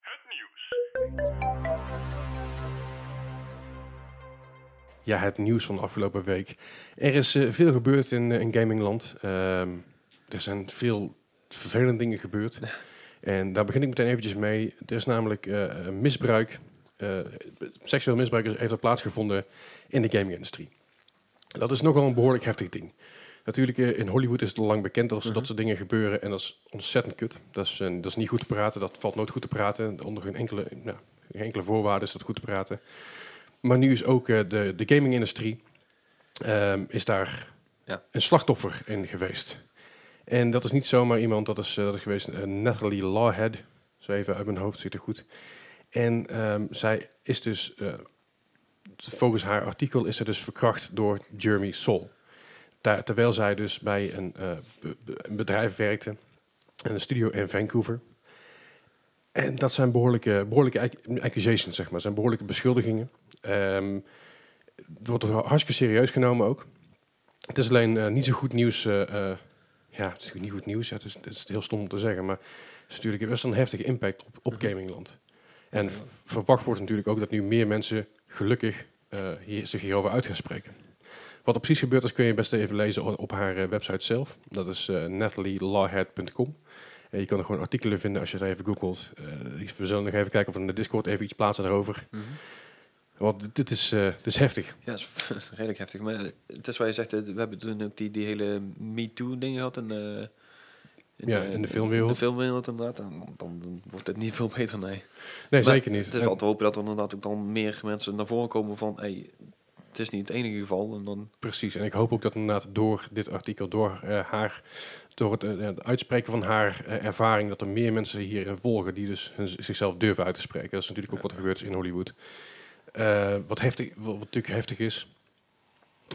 Speaker 4: het nieuws.
Speaker 1: Ja, het nieuws van de afgelopen week. Er is eh, veel gebeurd in, eh, in gamingland. Ehm, er zijn veel vervelende dingen gebeurd. En daar begin ik meteen eventjes mee. Er is namelijk eh, een misbruik. eh, seksueel misbruik is- heeft er plaatsgevonden in de gaming-industrie. Dat is nogal een behoorlijk heftig ding. Natuurlijk, eh, in Hollywood is het al lang bekend dat, dat soort dingen gebeuren. En dat is ontzettend kut. Dat is, eh, dat is niet goed te praten. Dat valt nooit goed te praten. Onder geen enkele, nou, geen enkele voorwaarde is dat goed te praten. Maar nu is ook eh, de, de gaming-industrie ehm, is daar
Speaker 2: Ja.
Speaker 1: een slachtoffer in geweest. En dat is niet zomaar iemand, dat is, eh, dat is geweest eh, Natalie Lawhead. Zo even uit mijn hoofd zit er goed. En ehm, zij is dus, eh, volgens haar artikel, is ze dus verkracht door Jeremy Sol. Ta- terwijl zij dus bij een, eh, be- be- een bedrijf werkte, in een studio in Vancouver. En dat zijn behoorlijke, behoorlijke ac- accusations, zeg maar. zijn behoorlijke beschuldigingen. Ehm, het wordt toch hartstikke serieus genomen ook. Het is alleen eh, niet zo goed nieuws. eh, eh, ja, het is niet goed nieuws. ja, het, is, het is heel stom om te zeggen, maar het is natuurlijk best wel een heftige impact op, op gamingland. En v- verwacht wordt natuurlijk ook dat nu meer mensen gelukkig eh, hier, zich hierover uit gaan spreken. Wat er precies gebeurd is, kun je best even lezen o- op haar eh, website zelf. Dat is eh natalielawhead.com. En je kan er gewoon artikelen vinden als je het even googelt. Eh, we zullen nog even kijken of we in de Discord even iets plaatsen daarover.
Speaker 2: Mhm.
Speaker 1: Want dit- dit is, eh, dit is heftig.
Speaker 2: Ja, dat is redelijk heftig. Maar eh, het is waar je zegt, eh, we hebben toen ook die, die hele MeToo-ding gehad. En, eh,
Speaker 1: Ja, in de filmwereld.
Speaker 2: In de filmwereld inderdaad. Dan, dan, dan wordt het niet veel beter, nee.
Speaker 1: Nee,
Speaker 2: Maar
Speaker 1: zeker niet.
Speaker 2: Het is wel te hopen dat er inderdaad ook dan meer mensen naar voren komen van... Hey, het is niet het enige geval. En dan,
Speaker 1: Precies, en ik hoop ook dat inderdaad door dit artikel, door eh, haar, door het, eh, het uitspreken van haar eh, ervaring, dat er meer mensen hierin volgen die dus hun- zichzelf durven uit te spreken. Dat is natuurlijk ook wat er gebeurd is in Hollywood. Eh, wat, heftig, wat, wat natuurlijk heftig is.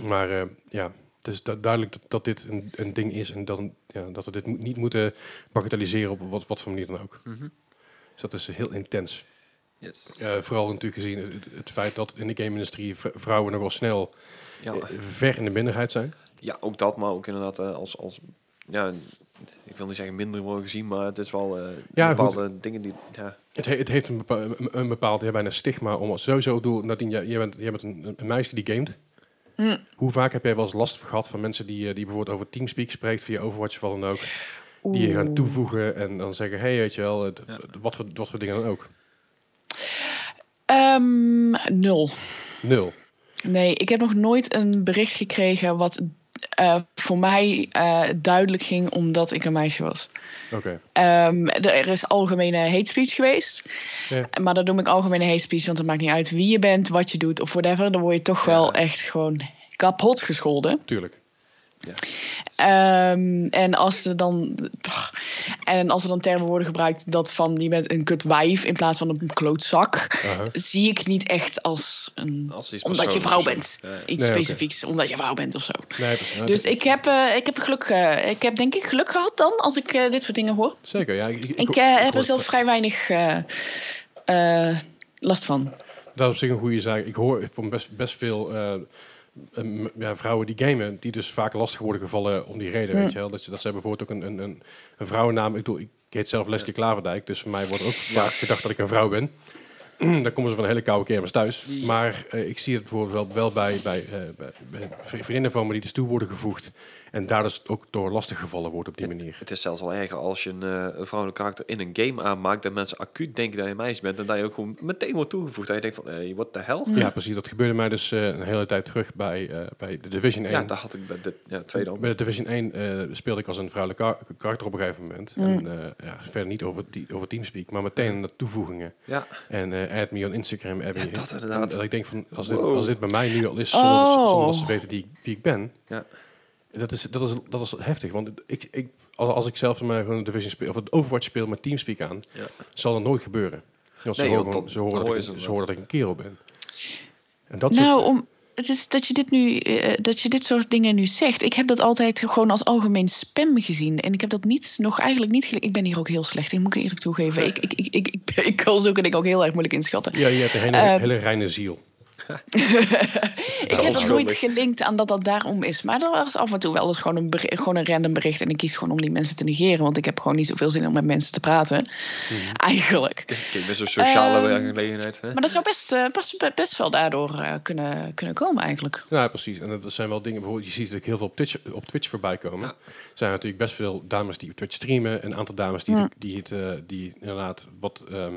Speaker 1: Maar eh, ja, het is du- duidelijk dat, dat dit een, een ding is en dat, ja, dat we dit moet- niet moeten bagatelliseren op wat, wat voor manier dan ook. Dus dat is heel intens.
Speaker 2: yes.
Speaker 1: Eh, vooral natuurlijk gezien het, het feit dat in de game-industrie v- vrouwen nogal snel
Speaker 2: ja.
Speaker 1: eh, ver in de minderheid zijn.
Speaker 2: ja, ook dat. Maar ook inderdaad eh, als... als ja, ik wil niet zeggen minder worden gezien, maar het is wel eh,
Speaker 1: Ja, goed.
Speaker 2: bepaalde dingen die... Ja,
Speaker 1: Het, he- het heeft een, bepa- een- een bepaald ja, bijna stigma om sowieso door. Nadine, jij, jij bent, jij bent een, een meisje die gamet.
Speaker 3: Hm.
Speaker 1: Hoe vaak heb jij wel eens last gehad van mensen die, eh, die bijvoorbeeld over Teamspeak spreekt via Overwatch of wat dan ook. Die je gaan
Speaker 3: Oeh.
Speaker 1: toevoegen en dan zeggen, hey, weet je wel, het-
Speaker 2: Ja.
Speaker 1: wat, voor, wat voor dingen dan ook.
Speaker 3: Ehm, nul.
Speaker 1: Nul.
Speaker 3: Nee, ik heb nog nooit een bericht gekregen wat eh, voor mij eh, duidelijk ging omdat ik een meisje was.
Speaker 1: Oké.
Speaker 3: Ehm, d- er is algemene hate speech geweest.
Speaker 1: Ja.
Speaker 3: Maar dat noem ik algemene hate speech, want het maakt niet uit wie je bent, wat je doet of whatever. Dan word je toch wel echt gewoon kapot gescholden.
Speaker 1: Tuurlijk.
Speaker 3: Ehm, en als er dan. pff, en als er dan termen worden gebruikt dat van je bent een kutwijf in plaats van een klootzak,
Speaker 1: Aha.
Speaker 3: zie ik niet echt als een.
Speaker 2: als iets
Speaker 3: Omdat je
Speaker 2: persoonlijks
Speaker 3: vrouw
Speaker 2: of zo.
Speaker 3: bent.
Speaker 2: Ja, ja.
Speaker 1: Nee,
Speaker 3: Iets
Speaker 1: oké.
Speaker 3: specifieks, omdat je vrouw bent of zo.
Speaker 1: Nee, precies. Nou,
Speaker 3: Dus
Speaker 1: dat-
Speaker 3: ik heb, eh, ik heb geluk. eh, ik heb denk ik geluk gehad dan als ik eh, dit soort dingen hoor.
Speaker 1: Zeker, ja. Ik, ik-
Speaker 3: Ik
Speaker 1: ik
Speaker 3: eh,
Speaker 1: hoor
Speaker 3: heb er
Speaker 1: het
Speaker 3: zelf
Speaker 1: va-
Speaker 3: vrij weinig eh, eh, last van.
Speaker 1: Dat is op zich een goede zaak. Ik hoor van best, best veel eh, m- ja, vrouwen die gamen, die dus vaak lastig worden gevallen om die reden.
Speaker 3: Mm.
Speaker 1: Weet je wel? Dat, ze- dat zij bijvoorbeeld ook een, een, een, een vrouwennaam. Ik, bedoel, ik heet zelf Leslie Klaverdijk, dus voor mij wordt ook vaak gedacht dat ik een vrouw ben. Dan komen ze van een hele koude kermis thuis. Maar eh, ik zie het bijvoorbeeld wel, wel bij, bij, eh, bij, bij vriendinnen van me die dus toe worden gevoegd. En daar dus ook door lastig gevallen wordt op die manier.
Speaker 2: Het is zelfs al erger als je een, eh, een vrouwelijk karakter in een game aanmaakt... dat mensen acuut denken dat je een meisje bent... en dat je ook gewoon meteen wordt toegevoegd. Dat je denkt van, hey, what the hell?
Speaker 1: Ja, precies. Dat gebeurde mij dus eh, een hele tijd terug bij, eh, bij de Division 1.
Speaker 2: Ja, daar had ik bij de ja, tweede al.
Speaker 1: Bij de Division 1 eh, speelde ik als een vrouwelijke kar- karakter op een gegeven moment.
Speaker 3: Mm.
Speaker 1: En eh, ja, verder niet over, die, over Teamspeak, maar meteen naar toevoegingen.
Speaker 2: Ja,
Speaker 1: En eh add me on Instagram, add me.
Speaker 2: Ja, dat
Speaker 1: En
Speaker 2: inderdaad.
Speaker 1: dat ik denk van, als dit,
Speaker 2: Wow.
Speaker 1: als dit bij mij nu al is, zonder, dat ze- zonder dat ze
Speaker 3: Oh.
Speaker 1: weten die, wie ik ben.
Speaker 2: Ja.
Speaker 1: Dat, is, dat, is, dat is heftig, want ik, ik, als als ik zelf maar gewoon Division speel, of het Overwatch speel met Teamspeak aan,
Speaker 2: Ja.
Speaker 1: zal dat nooit gebeuren. Want ze,
Speaker 2: Nee,
Speaker 1: horen,
Speaker 2: want
Speaker 1: gewoon-
Speaker 2: dan-
Speaker 1: ze, horen
Speaker 2: dan
Speaker 1: dat
Speaker 2: hoor
Speaker 1: ik,
Speaker 2: je ze
Speaker 1: ze horen dat ik een kerel ben. En dat soort-
Speaker 3: nou, om, het is dat je dit nu, eh, dat je dit soort dingen nu zegt. Ik heb dat altijd gewoon als algemeen spam gezien. En ik heb dat niet, nog eigenlijk niet gele- Ik ben hier ook heel slecht in, moet ik eerlijk toegeven. Ik, ik, ik, ik, ik, ik kan zulke dingen ook heel erg moeilijk inschatten.
Speaker 1: Ja, je hebt een hele,
Speaker 3: Eh,
Speaker 1: hele reine ziel.
Speaker 3: Ik heb dat nooit
Speaker 2: onschuldig.
Speaker 3: gelinkt aan dat dat daarom is. Maar er was af en toe wel eens gewoon een, beri- gewoon een random bericht. En ik kies gewoon om die mensen te negeren. Want ik heb gewoon niet zoveel zin om met mensen te praten. Eigenlijk.
Speaker 2: Kijk, best een sociale
Speaker 3: Ehm,
Speaker 2: aangelegenheid. Hè?
Speaker 3: Maar dat zou best, eh, best, best wel daardoor eh, kunnen, kunnen komen eigenlijk.
Speaker 1: Ja, Nou, precies. En dat zijn wel dingen, bijvoorbeeld, je ziet natuurlijk heel veel op Twitch, op Twitch voorbij komen.
Speaker 2: Ja.
Speaker 1: Er zijn natuurlijk best veel dames die op Twitch streamen. Een aantal dames die, die, het, eh, die inderdaad wat, ehm,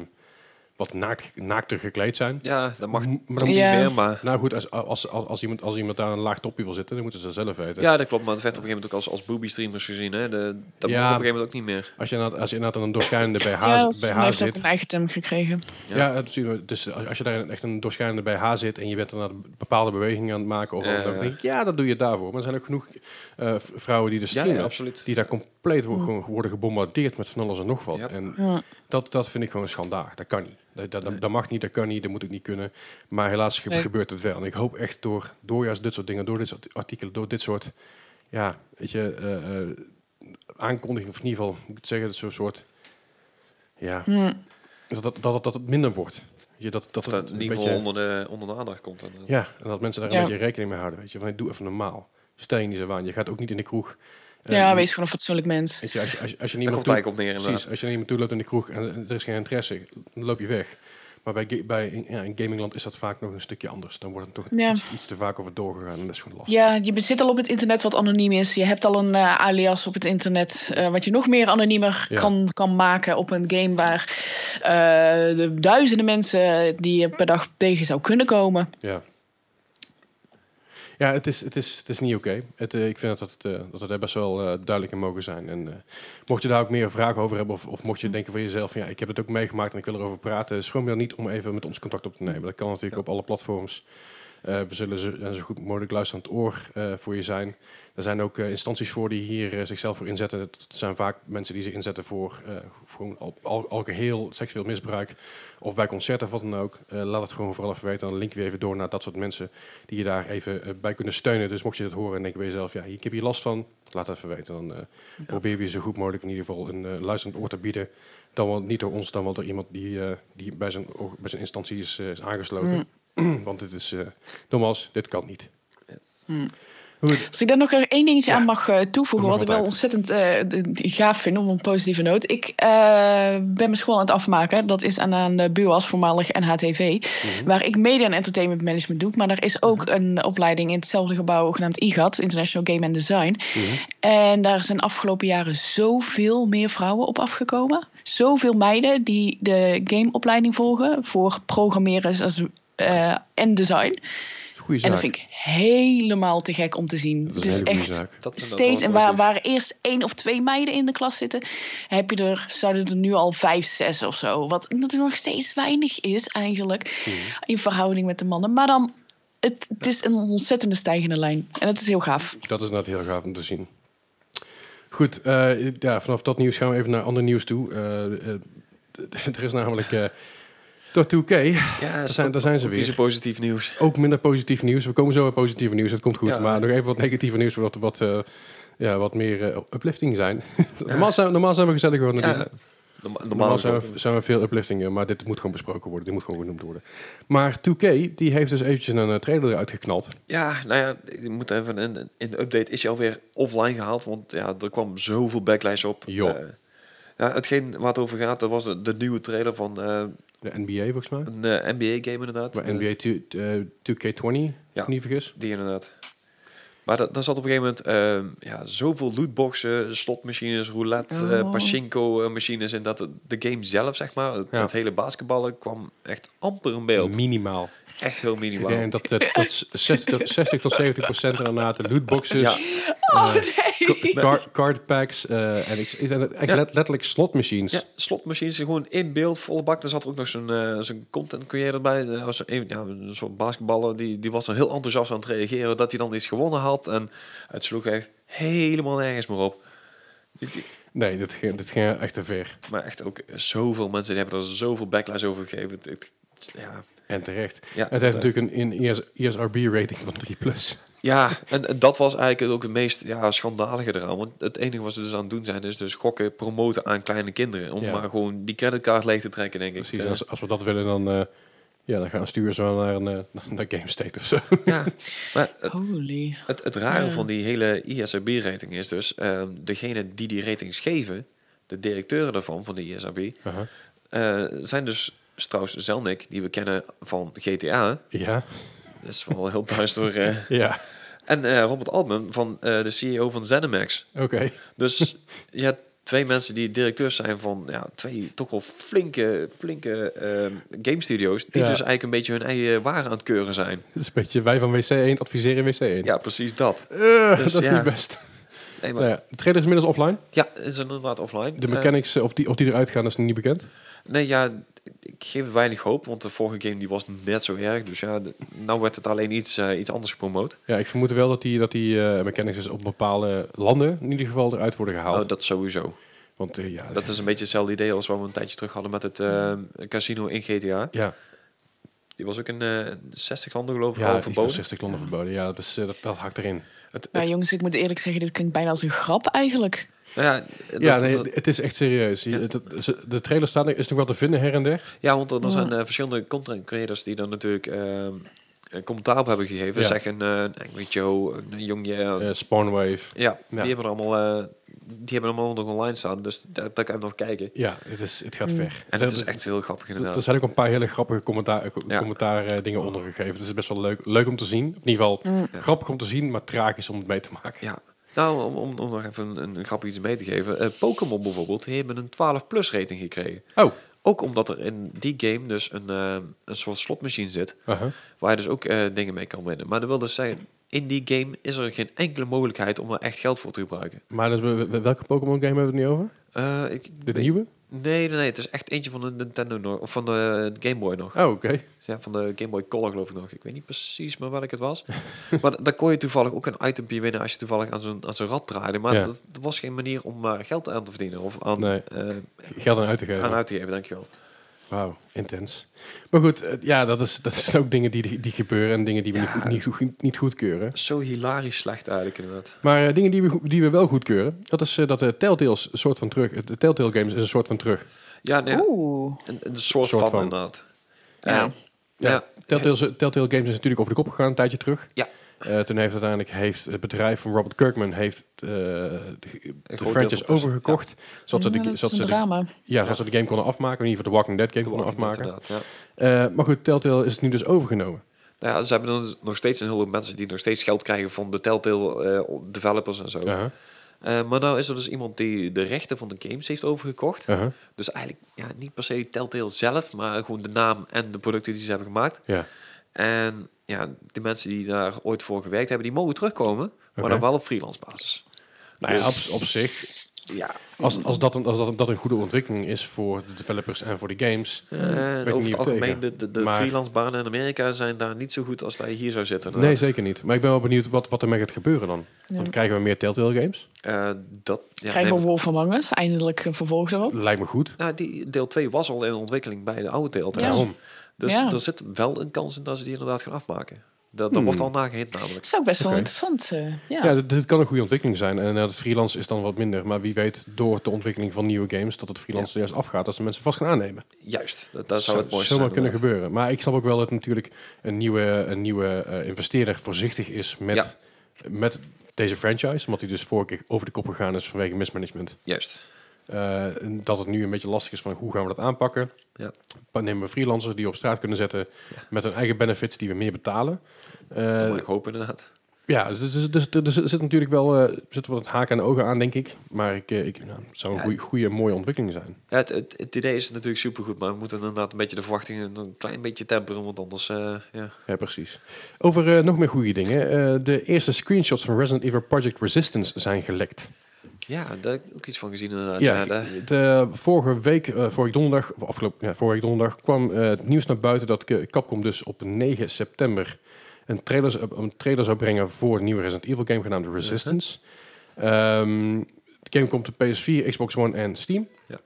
Speaker 1: wat naakt, naakter gekleed zijn.
Speaker 2: Ja, dat mag
Speaker 1: M- maar
Speaker 2: niet
Speaker 3: Ja.
Speaker 2: meer, maar...
Speaker 1: Nou goed, als, als, als, als, iemand, als iemand daar een laag topje wil zitten, dan moeten ze dat zelf weten.
Speaker 2: Ja, dat klopt, maar het werd op een gegeven moment ook als, als booby-streamers gezien. Hè? De, dat
Speaker 1: Ja.
Speaker 2: mag op een gegeven moment ook niet meer.
Speaker 1: Als je inderdaad, als je inderdaad aan een doorschijnende BH,
Speaker 3: ja,
Speaker 1: z-
Speaker 3: dat
Speaker 1: BH
Speaker 3: heeft ook
Speaker 1: zit.
Speaker 3: een eigen term gekregen.
Speaker 1: Ja, dat zien we. Dus als als je daar echt een doorschijnende BH zit en je bent inderdaad een bepaalde beweging aan het maken, of wat
Speaker 2: Ja,
Speaker 1: dan
Speaker 2: ja.
Speaker 1: denk ik, ja, dat doe je daarvoor. Maar er zijn ook genoeg eh, v- vrouwen die er
Speaker 2: Ja,
Speaker 1: streamen.
Speaker 2: ja, absoluut.
Speaker 1: Die daar compleet wo- gewoon worden gebombardeerd met van alles en nog wat.
Speaker 2: Ja.
Speaker 1: En
Speaker 3: Mm. Ja.
Speaker 1: dat, dat vind ik gewoon schandalig. Dat kan niet. Dat, dat, dat mag niet, dat kan niet, dat moet ik niet kunnen. Maar helaas ge-
Speaker 3: Nee.
Speaker 1: gebeurt het wel. En ik hoop echt door, door juist dit soort dingen, door dit soort artikelen, door dit soort ja, weet je, eh, eh, aankondigingen, of in ieder geval, moet ik het zeggen, dat zo'n soort. Ja,
Speaker 3: Hm.
Speaker 1: dat, dat, dat, dat het minder wordt. Weet je, dat, dat,
Speaker 2: Dat
Speaker 1: het
Speaker 2: het in
Speaker 1: een
Speaker 2: ieder geval
Speaker 1: beetje-
Speaker 2: onder, de, onder de aandacht komt. En, dat-
Speaker 1: ja, en dat mensen daar
Speaker 3: Ja.
Speaker 1: een beetje rekening mee houden. Weet je, van hey, doe even normaal. Stel je niet zo aan. Je gaat ook niet in de kroeg. eh,
Speaker 3: ja, wees gewoon een fatsoenlijk mens.
Speaker 1: Weet je, als je, als je, als je
Speaker 2: Daar
Speaker 1: niemand
Speaker 2: komt het eigenlijk op neer inderdaad.
Speaker 1: Precies, als je naar iemand toe loopt in de kroeg en eh, er is geen interesse, dan loop je weg. Maar bij, ga- bij in- ja, in gamingland is dat vaak nog een stukje anders. Dan wordt het toch
Speaker 3: Ja.
Speaker 1: iets, iets te vaak over doorgegaan en dat is gewoon lastig.
Speaker 3: Ja, je zit al op het internet wat anoniem is. Je hebt al een eh, alias op het internet, eh, wat je nog meer anoniemer
Speaker 1: Ja.
Speaker 3: kan, kan maken op een game waar eh, de duizenden mensen die je per dag tegen zou kunnen komen.
Speaker 1: Ja, ja het, is, het, is, het is niet oké. Het, eh, ik vind dat het, eh, dat het er best wel eh, duidelijk in mogen zijn. En eh, mocht je daar ook meer vragen over hebben, of, of mocht je denken van jezelf, van, ja, ik heb het ook meegemaakt en ik wil erover praten, schroom je dan niet om even met ons contact op te nemen. Dat kan natuurlijk op alle platforms. Eh, we zullen zo, eh, zo goed mogelijk luisterend oor eh, voor je zijn. Er zijn ook eh, instanties voor die hier eh, zichzelf voor inzetten. Het zijn vaak mensen die zich inzetten voor, eh, voor gewoon al, al, algeheel seksueel misbruik. Of bij concerten of wat dan ook. Eh, laat het gewoon vooral even weten. Dan linken we even door naar dat soort mensen die je daar even eh, bij kunnen steunen. Dus mocht je dat horen en denken bij jezelf, ja, ik heb hier last van. Laat het even weten. Dan eh, proberen we je zo goed mogelijk in ieder geval een eh, luisterend oor te bieden. Dan wel niet door ons, dan wel door iemand die, eh, die bij, zijn, or- bij zijn instantie is, eh, is aangesloten. Want dit is, eh nogmaals, dit kan niet. Goed,
Speaker 3: Als ik daar nog er één dingetje
Speaker 1: Ja.
Speaker 3: aan mag eh, toevoegen,
Speaker 1: Dat
Speaker 3: wat
Speaker 1: mag
Speaker 3: ik wel ontzettend eh, d- d- gaaf vind om een positieve noot. Ik eh, ben mijn school aan het afmaken. Dat is aan, aan de BUAS, voormalig NHTV,
Speaker 1: Mhm.
Speaker 3: waar ik media en entertainment management doe. Maar er is ook een opleiding in hetzelfde gebouw genaamd IGAT, International Game and Design.
Speaker 1: Mhm.
Speaker 3: En daar zijn afgelopen jaren zoveel meer vrouwen op afgekomen. Zoveel meiden die de gameopleiding volgen voor programmeren als, eh, en design.
Speaker 1: goede
Speaker 3: En
Speaker 1: zaak.
Speaker 3: dat vind ik helemaal te gek om te zien.
Speaker 1: Dat
Speaker 3: het
Speaker 1: is
Speaker 3: is
Speaker 1: een hele goede
Speaker 3: echt
Speaker 1: zaak.
Speaker 2: Dat is
Speaker 3: steeds.
Speaker 2: wel
Speaker 3: En waar,
Speaker 2: positief.
Speaker 3: waar eerst één of twee meiden in de klas zitten, heb je er, zouden er nu al vijf, zes of zo. Wat natuurlijk nog steeds weinig is eigenlijk
Speaker 1: Mhm.
Speaker 3: in verhouding met de mannen. Maar dan, het, het is een ontzettende stijgende lijn. En dat is heel gaaf.
Speaker 1: Dat is inderdaad heel gaaf om te zien. Goed, eh, ja, vanaf dat nieuws gaan we even naar ander nieuws toe. Eh, eh, er is namelijk eh, door 2K,
Speaker 2: Ja,
Speaker 1: daar zijn, daar zijn ze
Speaker 2: die is
Speaker 1: weer.
Speaker 2: positief nieuws.
Speaker 1: Ook minder positief nieuws. We komen zo bij positieve nieuws, dat komt goed.
Speaker 2: Ja.
Speaker 1: Maar nog even wat negatieve nieuws, wat, wat, eh, ja, wat meer eh, uplifting zijn. normaal, zijn normaal zijn we gezellig gewoon
Speaker 2: Ja,
Speaker 1: natuurlijk.
Speaker 2: norma-
Speaker 1: Normaal
Speaker 2: normaal
Speaker 1: zijn we, zijn we veel upliftingen, maar dit moet gewoon besproken worden. Dit moet gewoon genoemd worden. Maar 2K, die heeft dus eventjes een eh, trailer eruit geknald.
Speaker 2: Ja, nou ja, ik moet even een, in de update is hij alweer offline gehaald, want ja, er kwam zoveel backlash op.
Speaker 1: Joh.
Speaker 2: Eh, ja, hetgeen waar het over gaat, dat was de, de nieuwe trailer van eh,
Speaker 1: De NBA volgens mij.
Speaker 2: een NBA-game inderdaad.
Speaker 1: Maar
Speaker 2: Eh,
Speaker 1: NBA 2, eh, 2K20,
Speaker 2: Ja.
Speaker 1: ja. niet vergis.
Speaker 2: Die inderdaad. Maar da- daar zat op een gegeven moment ehm, ja, zoveel lootboxen, slotmachines, roulette, eh,
Speaker 3: Oh.
Speaker 2: pachinko-machines in dat de game zelf, zeg maar, het,
Speaker 1: Ja.
Speaker 2: het hele basketballen kwam echt amper in beeld.
Speaker 1: Minimaal.
Speaker 2: echt heel minimaal.
Speaker 1: Ik denk dat, eh, dat s- 60, tot- 60 tot 70 procent eraan de lootboxes,
Speaker 2: Ja.
Speaker 1: eh,
Speaker 3: nee.
Speaker 1: ca- car- card packs eh, en ik, is dat echt
Speaker 2: Ja.
Speaker 1: let- letterlijk slotmachines.
Speaker 2: Ja, slotmachines gewoon in beeld, volle bak. Er zat er ook nog zo'n eh, zo'n content creator bij. eh, als een, ja, zo'n basketballer, die, die was dan heel enthousiast aan het reageren dat hij dan iets gewonnen had. En het sloeg echt helemaal nergens meer op. Ik- ik-
Speaker 1: Nee, dit ging, dit ging echt te ver.
Speaker 2: Maar echt ook zoveel mensen die hebben er zoveel backlash over gegeven. Het- het- ja,
Speaker 1: En terecht.
Speaker 2: Ja,
Speaker 1: het heeft natuurlijk een E in ES, ESRB-rating van 3+. Plus.
Speaker 2: Ja, en, en dat was eigenlijk ook het meest ja, schandalige eraan. Want het enige wat ze dus aan het doen zijn, is dus gokken promoten aan kleine kinderen. Om
Speaker 1: Ja.
Speaker 2: maar gewoon die creditcard leeg te trekken, denk ik.
Speaker 1: Precies,
Speaker 2: Eh,
Speaker 1: Dus als, als we dat willen, dan, eh, ja, dan gaan sturen ze wel naar, een, eh, naar GameState of zo.
Speaker 2: ja. Maar het,
Speaker 3: Holy.
Speaker 2: het, het rare
Speaker 3: Ja.
Speaker 2: van die hele ISRB-rating is dus, ehm degene die die ratings geven, de directeuren daarvan, van de ISRB,
Speaker 1: Aha.
Speaker 2: eh, zijn dus Strauss-Zelnick, die we kennen van GTA.
Speaker 1: Ja,
Speaker 2: Dat is wel heel duister. eh.
Speaker 1: ja,
Speaker 2: En eh, Robert Altman, van, eh, de CEO van ZeniMax.
Speaker 1: oké.
Speaker 2: Dus je hebt twee mensen die directeurs zijn van ja, twee toch wel flinke, flinke ehm game studio's. Die
Speaker 1: Ja.
Speaker 2: dus eigenlijk een beetje hun eigen waren aan het keuren zijn.
Speaker 1: Dat is een beetje wij van WC1 adviseren WC1.
Speaker 2: Ja, precies dat.
Speaker 1: Eh,
Speaker 2: Dus
Speaker 1: dat is
Speaker 2: ja.
Speaker 1: niet best.
Speaker 2: Nee, maar,
Speaker 1: Nou ja, de trailer is inmiddels offline.
Speaker 2: ja, het is inderdaad offline.
Speaker 1: De
Speaker 2: Eh,
Speaker 1: mechanics, eh, of, die, of die eruit gaan, is nog niet bekend.
Speaker 2: nee, ja, ik geef het weinig hoop, want de vorige game die was net zo erg. Dus ja, de- nou werd het alleen iets, eh, iets anders gepromoot.
Speaker 1: Ja, ik vermoed wel dat die, dat die eh, mechanics dus op bepaalde landen in ieder geval eruit worden gehaald.
Speaker 2: Oh, dat sowieso.
Speaker 1: Want eh, ja,
Speaker 2: Dat is een beetje hetzelfde idee als wat we een tijdje terug hadden met het ehm, casino in GTA.
Speaker 1: ja,
Speaker 2: Die was ook in eh 60 landen geloof ik
Speaker 1: ja
Speaker 2: al
Speaker 1: die van
Speaker 2: verboden.
Speaker 1: 60 landen verboden. Ja, dat, is, eh, dat, dat hakt erin.
Speaker 2: Het,
Speaker 3: Ja,
Speaker 2: het-
Speaker 3: jongens, ik moet eerlijk zeggen, dit klinkt bijna als een grap eigenlijk.
Speaker 2: nou ja, dat-
Speaker 1: ja,
Speaker 2: dat-
Speaker 1: nee, het is echt serieus. Je-
Speaker 2: Ja.
Speaker 1: dat- ze- de trailer staat, er- is nog wel te vinden her en der.
Speaker 2: Ja, want er, er
Speaker 3: Ja.
Speaker 2: zijn eh, verschillende content creators die dan natuurlijk ehm, een commentaar op hebben gegeven.
Speaker 1: Ja.
Speaker 2: Zeggen eh, een Angry Joe, een Young Ye-
Speaker 1: Eh, Spawnwave.
Speaker 2: ja,
Speaker 1: ja.
Speaker 2: die hebben er allemaal, eh, die hebben allemaal nog online staan. Dus daar, daar kan je nog kijken.
Speaker 1: Ja, het, is, het gaat ver.
Speaker 2: En dat is echt heel grappig
Speaker 1: Er-
Speaker 2: inderdaad.
Speaker 1: Er zijn ook een paar hele grappige commentaar, co-
Speaker 2: Ja.
Speaker 1: commentaar eh, dingen ondergegeven. Dus het is best wel leuk, leuk om te zien. In ieder geval grappig om te zien, maar tragisch om het mee te maken.
Speaker 2: Ja. Nou, om, om, om nog even een, een grappig iets mee te geven. Eh, Pokémon bijvoorbeeld, die hebben een 12 plus rating gekregen.
Speaker 1: Oh,
Speaker 2: Ook omdat er in die game dus een, eh, een soort slotmachine zit.
Speaker 1: aha.
Speaker 2: Waar je dus ook eh, dingen mee kan winnen. Maar dat wil dus zeggen, in die game is er geen enkele mogelijkheid om er echt geld voor te gebruiken.
Speaker 1: maar dus, we- we- welke Pokémon game hebben we het nu over?
Speaker 2: Eh, ik,
Speaker 1: De
Speaker 2: weet-
Speaker 1: nieuwe?
Speaker 2: Nee, nee, nee. Het is echt eentje van de Nintendo nog. Of van de Game Boy nog.
Speaker 1: Oh, oké.
Speaker 2: Ja, van de Game Boy Color geloof ik nog. Ik weet niet precies maar welk het was. maar da- daar kon je toevallig ook een itempje winnen als je toevallig aan zo'n, aan zo'n rad draaide. Maar
Speaker 1: Ja.
Speaker 2: dat, er was geen manier om eh, geld aan te verdienen. Of aan,
Speaker 1: Nee.
Speaker 2: eh,
Speaker 1: Geld aan uit te geven.
Speaker 2: aan uit te geven, dankjewel.
Speaker 1: Wauw, intens. Maar goed, eh, ja, dat, is, dat zijn ook dingen die, die gebeuren en dingen die we
Speaker 2: Ja.
Speaker 1: niet, goed, niet, goed- niet goedkeuren.
Speaker 2: Zo hilarisch slecht eigenlijk inderdaad.
Speaker 1: Maar eh, dingen die we, goed- die we wel goedkeuren, dat is eh, dat de Telltale's een soort van terug, de Telltale Games is een soort van terug.
Speaker 2: Ja, nee,
Speaker 3: Oeh.
Speaker 2: een, een soort,
Speaker 1: Soort
Speaker 2: van,
Speaker 1: van.
Speaker 2: inderdaad.
Speaker 3: Ja.
Speaker 2: Eh,
Speaker 1: Ja.
Speaker 2: ja.
Speaker 1: Telltale, Telltale Games is natuurlijk over de kop gegaan een tijdje terug.
Speaker 2: Ja.
Speaker 1: Eh, toen heeft uiteindelijk heeft het bedrijf van Robert Kirkman heeft, eh, de, de
Speaker 2: groot deel
Speaker 1: franchise
Speaker 2: van-
Speaker 1: overgekocht. Zodat ze
Speaker 3: Ja,
Speaker 1: de,
Speaker 3: dat
Speaker 1: zodat
Speaker 3: is
Speaker 1: ze
Speaker 3: een
Speaker 1: de,
Speaker 3: drama.
Speaker 1: ja, zodat ze de game konden afmaken. In ieder geval de Walking Dead game konden afmaken.
Speaker 2: Inderdaad, ja.
Speaker 1: Eh, maar goed, Telltale is het nu dus overgenomen.
Speaker 2: Nou ja, ze hebben dan nog steeds een heleboel mensen die nog steeds geld krijgen van de Telltale eh, developers en zo.
Speaker 1: Aha,
Speaker 2: Eh, maar nou is er dus iemand die de rechten van de games heeft overgekocht.
Speaker 1: aha,
Speaker 2: Dus eigenlijk ja, niet per se Telltale zelf, maar gewoon de naam en de producten die ze hebben gemaakt.
Speaker 1: ja.
Speaker 2: En ja, de mensen die daar ooit voor gewerkt hebben, die mogen terugkomen,
Speaker 1: Oké.
Speaker 2: maar dan wel op freelance basis.
Speaker 1: Nou ja,
Speaker 2: Dus-
Speaker 1: op, op zich,
Speaker 2: Ja,
Speaker 1: als, als, dat een, als dat, dat een goede ontwikkeling is voor de developers en voor de games.
Speaker 2: Eh, en
Speaker 1: niet
Speaker 2: over
Speaker 1: op
Speaker 2: het algemeen,
Speaker 1: tegen.
Speaker 2: de, de, de
Speaker 1: Maar-
Speaker 2: freelance banen in Amerika zijn daar niet zo goed als dat je hier zou zitten.
Speaker 1: Nee,
Speaker 2: inderdaad.
Speaker 1: zeker niet. Maar ik ben wel benieuwd wat, wat ermee gaat gebeuren dan. Want krijgen we meer Telltale Games?
Speaker 2: Eh, dat, ja,
Speaker 3: Krijgen
Speaker 2: nee,
Speaker 3: we Wolf Among Us, eindelijk een vervolg erop.
Speaker 1: Lijkt me goed.
Speaker 2: nou, die, deel 2 was al in ontwikkeling bij de oude Telltale.
Speaker 3: Ja.
Speaker 1: Daarom.
Speaker 2: Dus
Speaker 3: Ja.
Speaker 2: er zit wel een kans in dat ze die inderdaad gaan afmaken. Dat, dat
Speaker 1: Hmm.
Speaker 2: wordt al nagehind namelijk.
Speaker 3: Dat is ook best wel
Speaker 1: Oké.
Speaker 3: interessant. eh, ja.
Speaker 1: Ja, dit, dit kan een goede ontwikkeling zijn. En eh, het freelance is dan wat minder. Maar wie weet door de ontwikkeling van nieuwe games dat het freelance juist afgaat. Dat ze mensen vast gaan aannemen.
Speaker 2: Juist, dat, dat zou het mooiste
Speaker 1: zomaar
Speaker 2: zijn.
Speaker 1: kunnen
Speaker 2: inderdaad.
Speaker 1: gebeuren. Maar ik snap ook wel dat natuurlijk een nieuwe, een nieuwe eh, investeerder voorzichtig is met,
Speaker 2: Ja.
Speaker 1: met deze franchise. Omdat hij dus vorige keer over de kop gegaan is vanwege mismanagement.
Speaker 2: Juist.
Speaker 1: Eh, en dat het nu een beetje lastig is van hoe gaan we dat aanpakken.
Speaker 2: Ja.
Speaker 1: Dan nemen we freelancers die we op straat kunnen zetten met hun eigen benefits die we meer betalen. Eh,
Speaker 2: Dat moet ik hopen inderdaad.
Speaker 1: ja, dus, dus, dus, dus er zit natuurlijk wel eh, zit wat haken en ogen aan, denk ik. Maar ik, eh, ik, nou, het zou een
Speaker 2: Ja.
Speaker 1: goeie- goede, mooie ontwikkeling zijn.
Speaker 2: Ja, het, het, het idee is natuurlijk supergoed, maar we moeten inderdaad een beetje de verwachtingen een klein beetje temperen, want anders, eh, ja.
Speaker 1: Ja, precies. Over eh, nog meer goede dingen. Eh, de eerste screenshots van Resident Evil Project Resistance zijn gelekt.
Speaker 2: Ja, daar heb ik ook iets van gezien inderdaad.
Speaker 1: Ja,
Speaker 2: Ja, daar-
Speaker 1: de, vorige week, eh, vorige donderdag, of afgelopen, ja, vorige donderdag, kwam eh, het nieuws naar buiten dat Ke- Capcom dus op 9 september een trailer, zou- een trailer zou brengen voor een nieuwe Resident Evil game genaamd Resistance. Ehm, de game komt op PS4, Xbox One en Steam.
Speaker 2: Ja.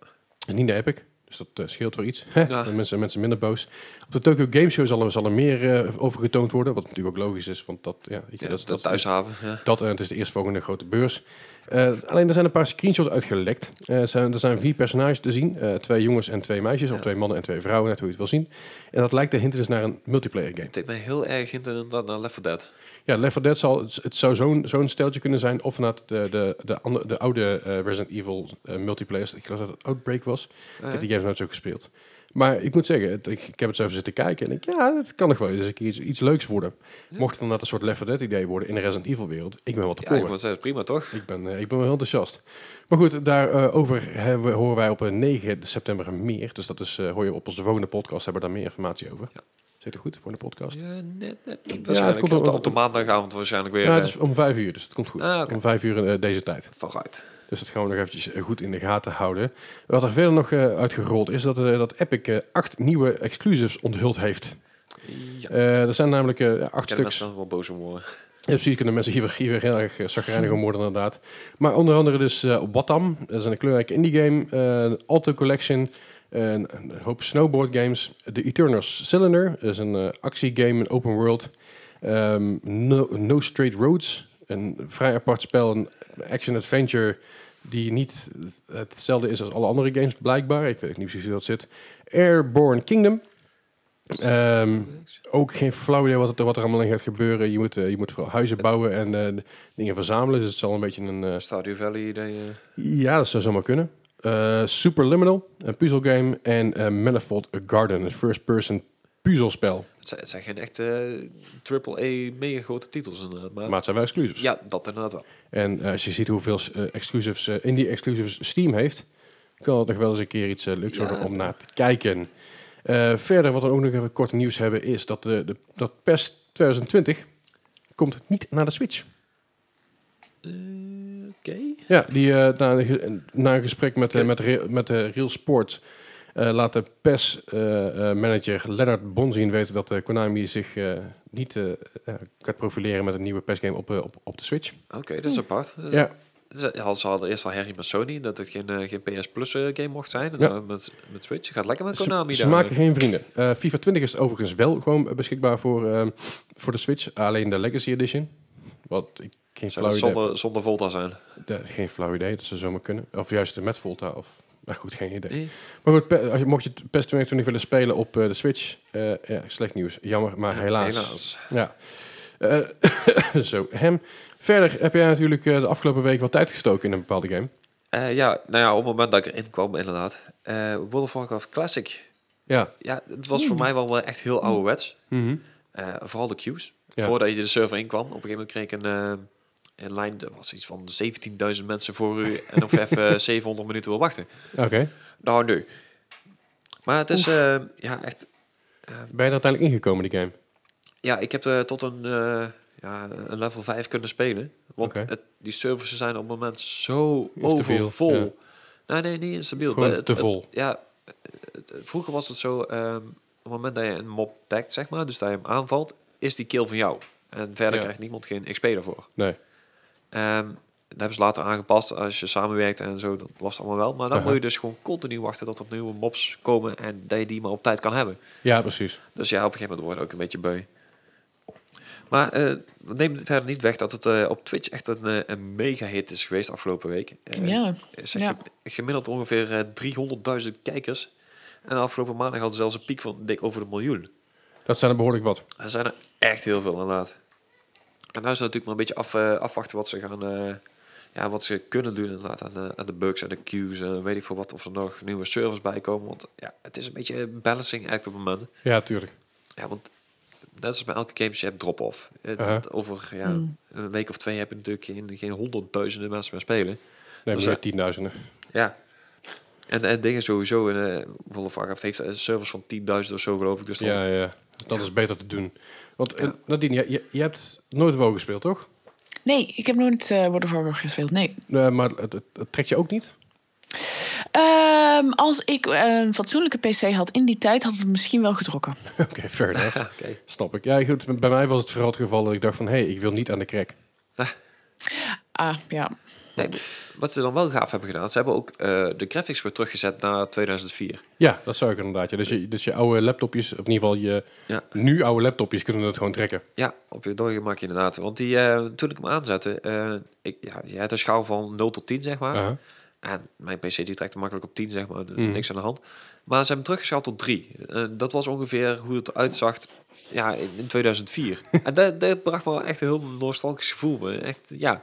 Speaker 1: En niet naar Epic. Dus dat eh, scheelt wel iets.
Speaker 2: Ja.
Speaker 1: Dan mensen, mensen minder boos. Op de Tokyo Game Show zal er, zal er meer eh, over getoond worden. Wat natuurlijk ook logisch is, want dat, ja, weet je,
Speaker 2: Ja,
Speaker 1: dat, is- dat, is-
Speaker 2: thuishaven. Ja.
Speaker 1: dat en het is de eerstvolgende grote beurs. Eh, alleen er zijn een paar screenshots uitgelekt. Eh, zijn, er zijn vier personages te zien. eh, twee jongens en twee meisjes. Of
Speaker 2: Ja.
Speaker 1: twee mannen en twee vrouwen, net hoe je het wil zien. En dat lijkt de hint dus naar een multiplayer game.
Speaker 2: Het deed mij heel erg hint inderdaad naar Left 4 Dead.
Speaker 1: Ja, Left 4 Dead zal, het- het zou zo'n zo'n steltje kunnen zijn. Of vanuit de, de, de, ander- de oude eh, Resident Evil eh, multiplayers. Ik geloof dat het Outbreak was.
Speaker 2: Oh,
Speaker 1: Ik heb die games nooit zo gespeeld. Maar ik moet zeggen, het- ik, ik heb het zo even zitten kijken. En ik denk, ja, dat kan nog wel eens een keer iets, iets leuks worden. Mocht het dan net een soort Left 4 Dead idee worden in de Resident Evil wereld. Ik ben wat te
Speaker 2: Ja, ik
Speaker 1: koren.
Speaker 2: wou zeggen, prima toch?
Speaker 1: Ik ben, eh, ik ben wel heel enthousiast. Maar goed, daarover hebben we horen wij op eh, 9 september meer. Dus dat is, eh, hoor je op onze volgende podcast, hebben we daar meer informatie over. Zit het goed voor de podcast?
Speaker 2: Ja, net, net niet.
Speaker 1: het
Speaker 2: Waarschijnlijk
Speaker 1: komt
Speaker 2: op, de,
Speaker 1: wel-
Speaker 2: op de maandagavond waarschijnlijk weer.
Speaker 1: Ja, het
Speaker 2: eh,
Speaker 1: is om 5 uur, dus het komt goed.
Speaker 2: Ah, oké.
Speaker 1: Om 5 uur eh, deze tijd.
Speaker 2: Vooruit.
Speaker 1: Dus dat gaan we nog eventjes eh, goed in de gaten houden. Wat er verder nog eh, uitgerold is, dat, eh, dat Epic eh, acht nieuwe exclusives onthuld heeft.
Speaker 2: Ja.
Speaker 1: Eh er zijn namelijk eh, acht
Speaker 2: Ik ken de
Speaker 1: stuks.
Speaker 2: mensen dan wel boos om worden.
Speaker 1: Ja, precies, kunnen mensen hier, weer- hier weer heel erg eh, chagrijnig om worden inderdaad. Maar onder andere dus eh, op Batam, dat is een kleurrijke indie game, eh, de Alto Collection, eh, een, een hoop snowboard games, The Eternals Cylinder, dat is een eh, actiegame, een open world, Ehm, no, no Straight Roads, een vrij apart spel, een action-adventure die niet hetzelfde is als alle andere games blijkbaar, ik weet niet precies hoe dat zit, Airborne Kingdom, Ehm ook geen flauw idee wat, er- wat er allemaal in gaat gebeuren. Je moet, eh, je moet vooral huizen bouwen en eh, dingen verzamelen. Dus het zal een beetje een... eh,
Speaker 2: Stadio Valley idee. eh.
Speaker 1: ja, dat zou zomaar kunnen. Eh Superliminal, een puzzelgame. En eh, Manifold Garden, een first-person puzzelspel.
Speaker 2: Het, zijn, het zijn geen echte eh, triple A mega grote titels inderdaad. Maar,
Speaker 1: Maar het zijn wel exclusives.
Speaker 2: ja, dat inderdaad wel.
Speaker 1: En eh, als je ziet hoeveel eh, exclusives, eh, indie-exclusives Steam heeft... kan het nog wel eens een keer iets eh, leuks
Speaker 2: Ja.
Speaker 1: worden om naar te kijken. Eh, verder, wat we ook nog even kort nieuws hebben... is dat, de, de, dat PES 2020 komt niet naar de Switch.
Speaker 2: Eh, Oké.
Speaker 1: Ja, die, eh, na, een ge- na een gesprek met, eh,
Speaker 2: Oké.
Speaker 1: met, Re- met eh, Real Sport eh, laat de PES-manager Lennart Bonzien weten dat eh, Konami zich eh, niet eh, eh, gaat profileren met een nieuwe PES-game op, eh, op, op de Switch.
Speaker 2: Oké, dat is apart. Dat is-
Speaker 1: Ja.
Speaker 2: Ze hadden- ze hadden eerst al herrie met Sony dat het geen, eh, geen PS Plus eh, game mocht zijn. En
Speaker 1: Ja.
Speaker 2: dan met, met Switch. Gaat lekker met
Speaker 1: Ze-
Speaker 2: Konami
Speaker 1: ze,
Speaker 2: daar.
Speaker 1: maken geen vrienden. Eh, FIFA 20 is overigens wel gewoon eh, beschikbaar voor, eh, voor de Switch, alleen de Legacy Edition. Wat ik geen
Speaker 2: Zou
Speaker 1: flauw
Speaker 2: dat
Speaker 1: idee
Speaker 2: zonder, zonder Volta zijn?
Speaker 1: Ja, geen flauw idee, dat ze zomaar kunnen. Of juist met Volta, of... Nou goed, geen idee.
Speaker 2: Nee.
Speaker 1: Maar goed, pe- als je, mocht je het PES 2020 willen spelen op eh, de Switch... eh, ja, slecht nieuws. Jammer, maar helaas. Ja. Eh, zo, hem. Verder heb jij natuurlijk eh, de afgelopen week wat tijd gestoken in een bepaalde game.
Speaker 2: Eh, ja, nou ja, op het moment dat ik erin kwam inderdaad. Eh World of Warcraft Classic.
Speaker 1: Ja.
Speaker 2: Ja, het was voor mij wel wel echt heel ouderwets.
Speaker 1: Mhm.
Speaker 2: Eh, vooral de queues.
Speaker 1: Ja.
Speaker 2: Voordat je de server inkwam, op een gegeven moment kreeg ik een, eh, een lijn, er was iets van 17.000 mensen voor u en of je even 700 minuten wil wachten.
Speaker 1: Oké.
Speaker 2: Nou, nu. Maar het is, eh, ja, echt,
Speaker 1: Ben je er uiteindelijk ingekomen, die game?
Speaker 2: ja, ik heb eh, tot een, eh, ja, een level 5 kunnen spelen. Want
Speaker 1: Oké.
Speaker 2: het- die services zijn op het moment zo
Speaker 1: Is te veel,
Speaker 2: overvol.
Speaker 1: ja.
Speaker 2: Nee, nee, niet instabiel.
Speaker 1: Gewoon
Speaker 2: Dat- eh, het-
Speaker 1: te
Speaker 2: het-
Speaker 1: vol.
Speaker 2: ja, het- het- vroeger was het zo, ehm, op het moment dat je een mob tagt, zeg maar, dus dat je hem aanvalt, is die kill van jou. En verder
Speaker 1: Ja.
Speaker 2: krijgt niemand geen XP daarvoor.
Speaker 1: Nee.
Speaker 2: Ehm dat hebben ze later aangepast. Als je samenwerkt en zo, dat was het allemaal wel. Maar dan
Speaker 1: Aha.
Speaker 2: moet je dus gewoon continu wachten tot er nieuwe mobs komen en dat je die maar op tijd kan hebben.
Speaker 1: Ja, precies.
Speaker 2: Dus ja, op een gegeven moment word je ook een beetje beu. Maar eh neem het verder niet weg dat het eh, op Twitch echt een, eh, een mega hit is geweest afgelopen week. Eh,
Speaker 3: ja.
Speaker 2: zeg,
Speaker 3: ja.
Speaker 2: ge- Gemiddeld ongeveer eh, 300.000 kijkers. En afgelopen maandag hadden ze zelfs een piek van dik over de miljoen.
Speaker 1: Dat zijn er behoorlijk wat.
Speaker 2: Er zijn er echt heel veel inderdaad. En nou is het natuurlijk maar een beetje af, eh, afwachten wat ze gaan... eh, ja, wat ze kunnen doen inderdaad aan, de- aan de bugs en de queues en weet ik veel wat. Of er nog nieuwe servers bij komen. Want ja, het is een beetje balancing act op het moment.
Speaker 1: Ja, tuurlijk.
Speaker 2: Ja, want net als bij elke game, je hebt drop-off. Eh,
Speaker 1: Aha.
Speaker 2: dat Over ja,
Speaker 3: Mm.
Speaker 2: een week of twee heb je natuurlijk geen, geen honderdduizenden mensen meer spelen.
Speaker 1: Nee,
Speaker 2: Dus,
Speaker 1: maar
Speaker 2: eh,
Speaker 1: tienduizenden.
Speaker 2: Ja. En, en dingen sowieso, in, eh World of Warcraft heeft een servers van 10.000 of zo geloof ik. Dus dan,
Speaker 1: Ja, ja. Dat is beter te doen. Want eh, Nadine, je- je, je hebt nooit WoW gespeeld, toch?
Speaker 3: Nee, ik heb nog niet eh World of Warcraft gespeeld. Nee.
Speaker 1: Eh, maar het, het, het trekt je ook niet?
Speaker 3: Ehm, als ik een fatsoenlijke PC had in die tijd, had het misschien wel getrokken.
Speaker 1: Oké, fair enough.
Speaker 2: Ja, Ah, oké.
Speaker 1: Snap ik. Ja, goed, bij mij was het vooral het geval dat ik dacht van... hé, hey, ik wil niet aan de crack.
Speaker 3: Ah, ja.
Speaker 2: Nee, wat ze dan wel gaaf hebben gedaan, ze hebben ook eh, de graphics weer teruggezet naar 2004.
Speaker 1: Ja, dat zou ik inderdaad. Ja. Dus, je, dus je oude laptopjes, of in ieder geval je
Speaker 2: Ja.
Speaker 1: nu oude laptopjes, kunnen dat gewoon trekken.
Speaker 2: Ja, op je doorgemak inderdaad. Want die, eh, toen ik hem aanzette, eh, ik, ja, je hebt een schaal van 0 tot 10, zeg maar.
Speaker 1: Aha.
Speaker 2: En mijn PC die trekt er makkelijk op 10, zeg maar. Dus
Speaker 1: Mhm.
Speaker 2: Niks aan de hand. Maar ze hebben teruggeschaald tot 3. Eh, dat was ongeveer hoe het uitzag ja, in, in 2004. en dat, dat bracht me wel echt een heel nostalgisch gevoel. bij. Echt, ja,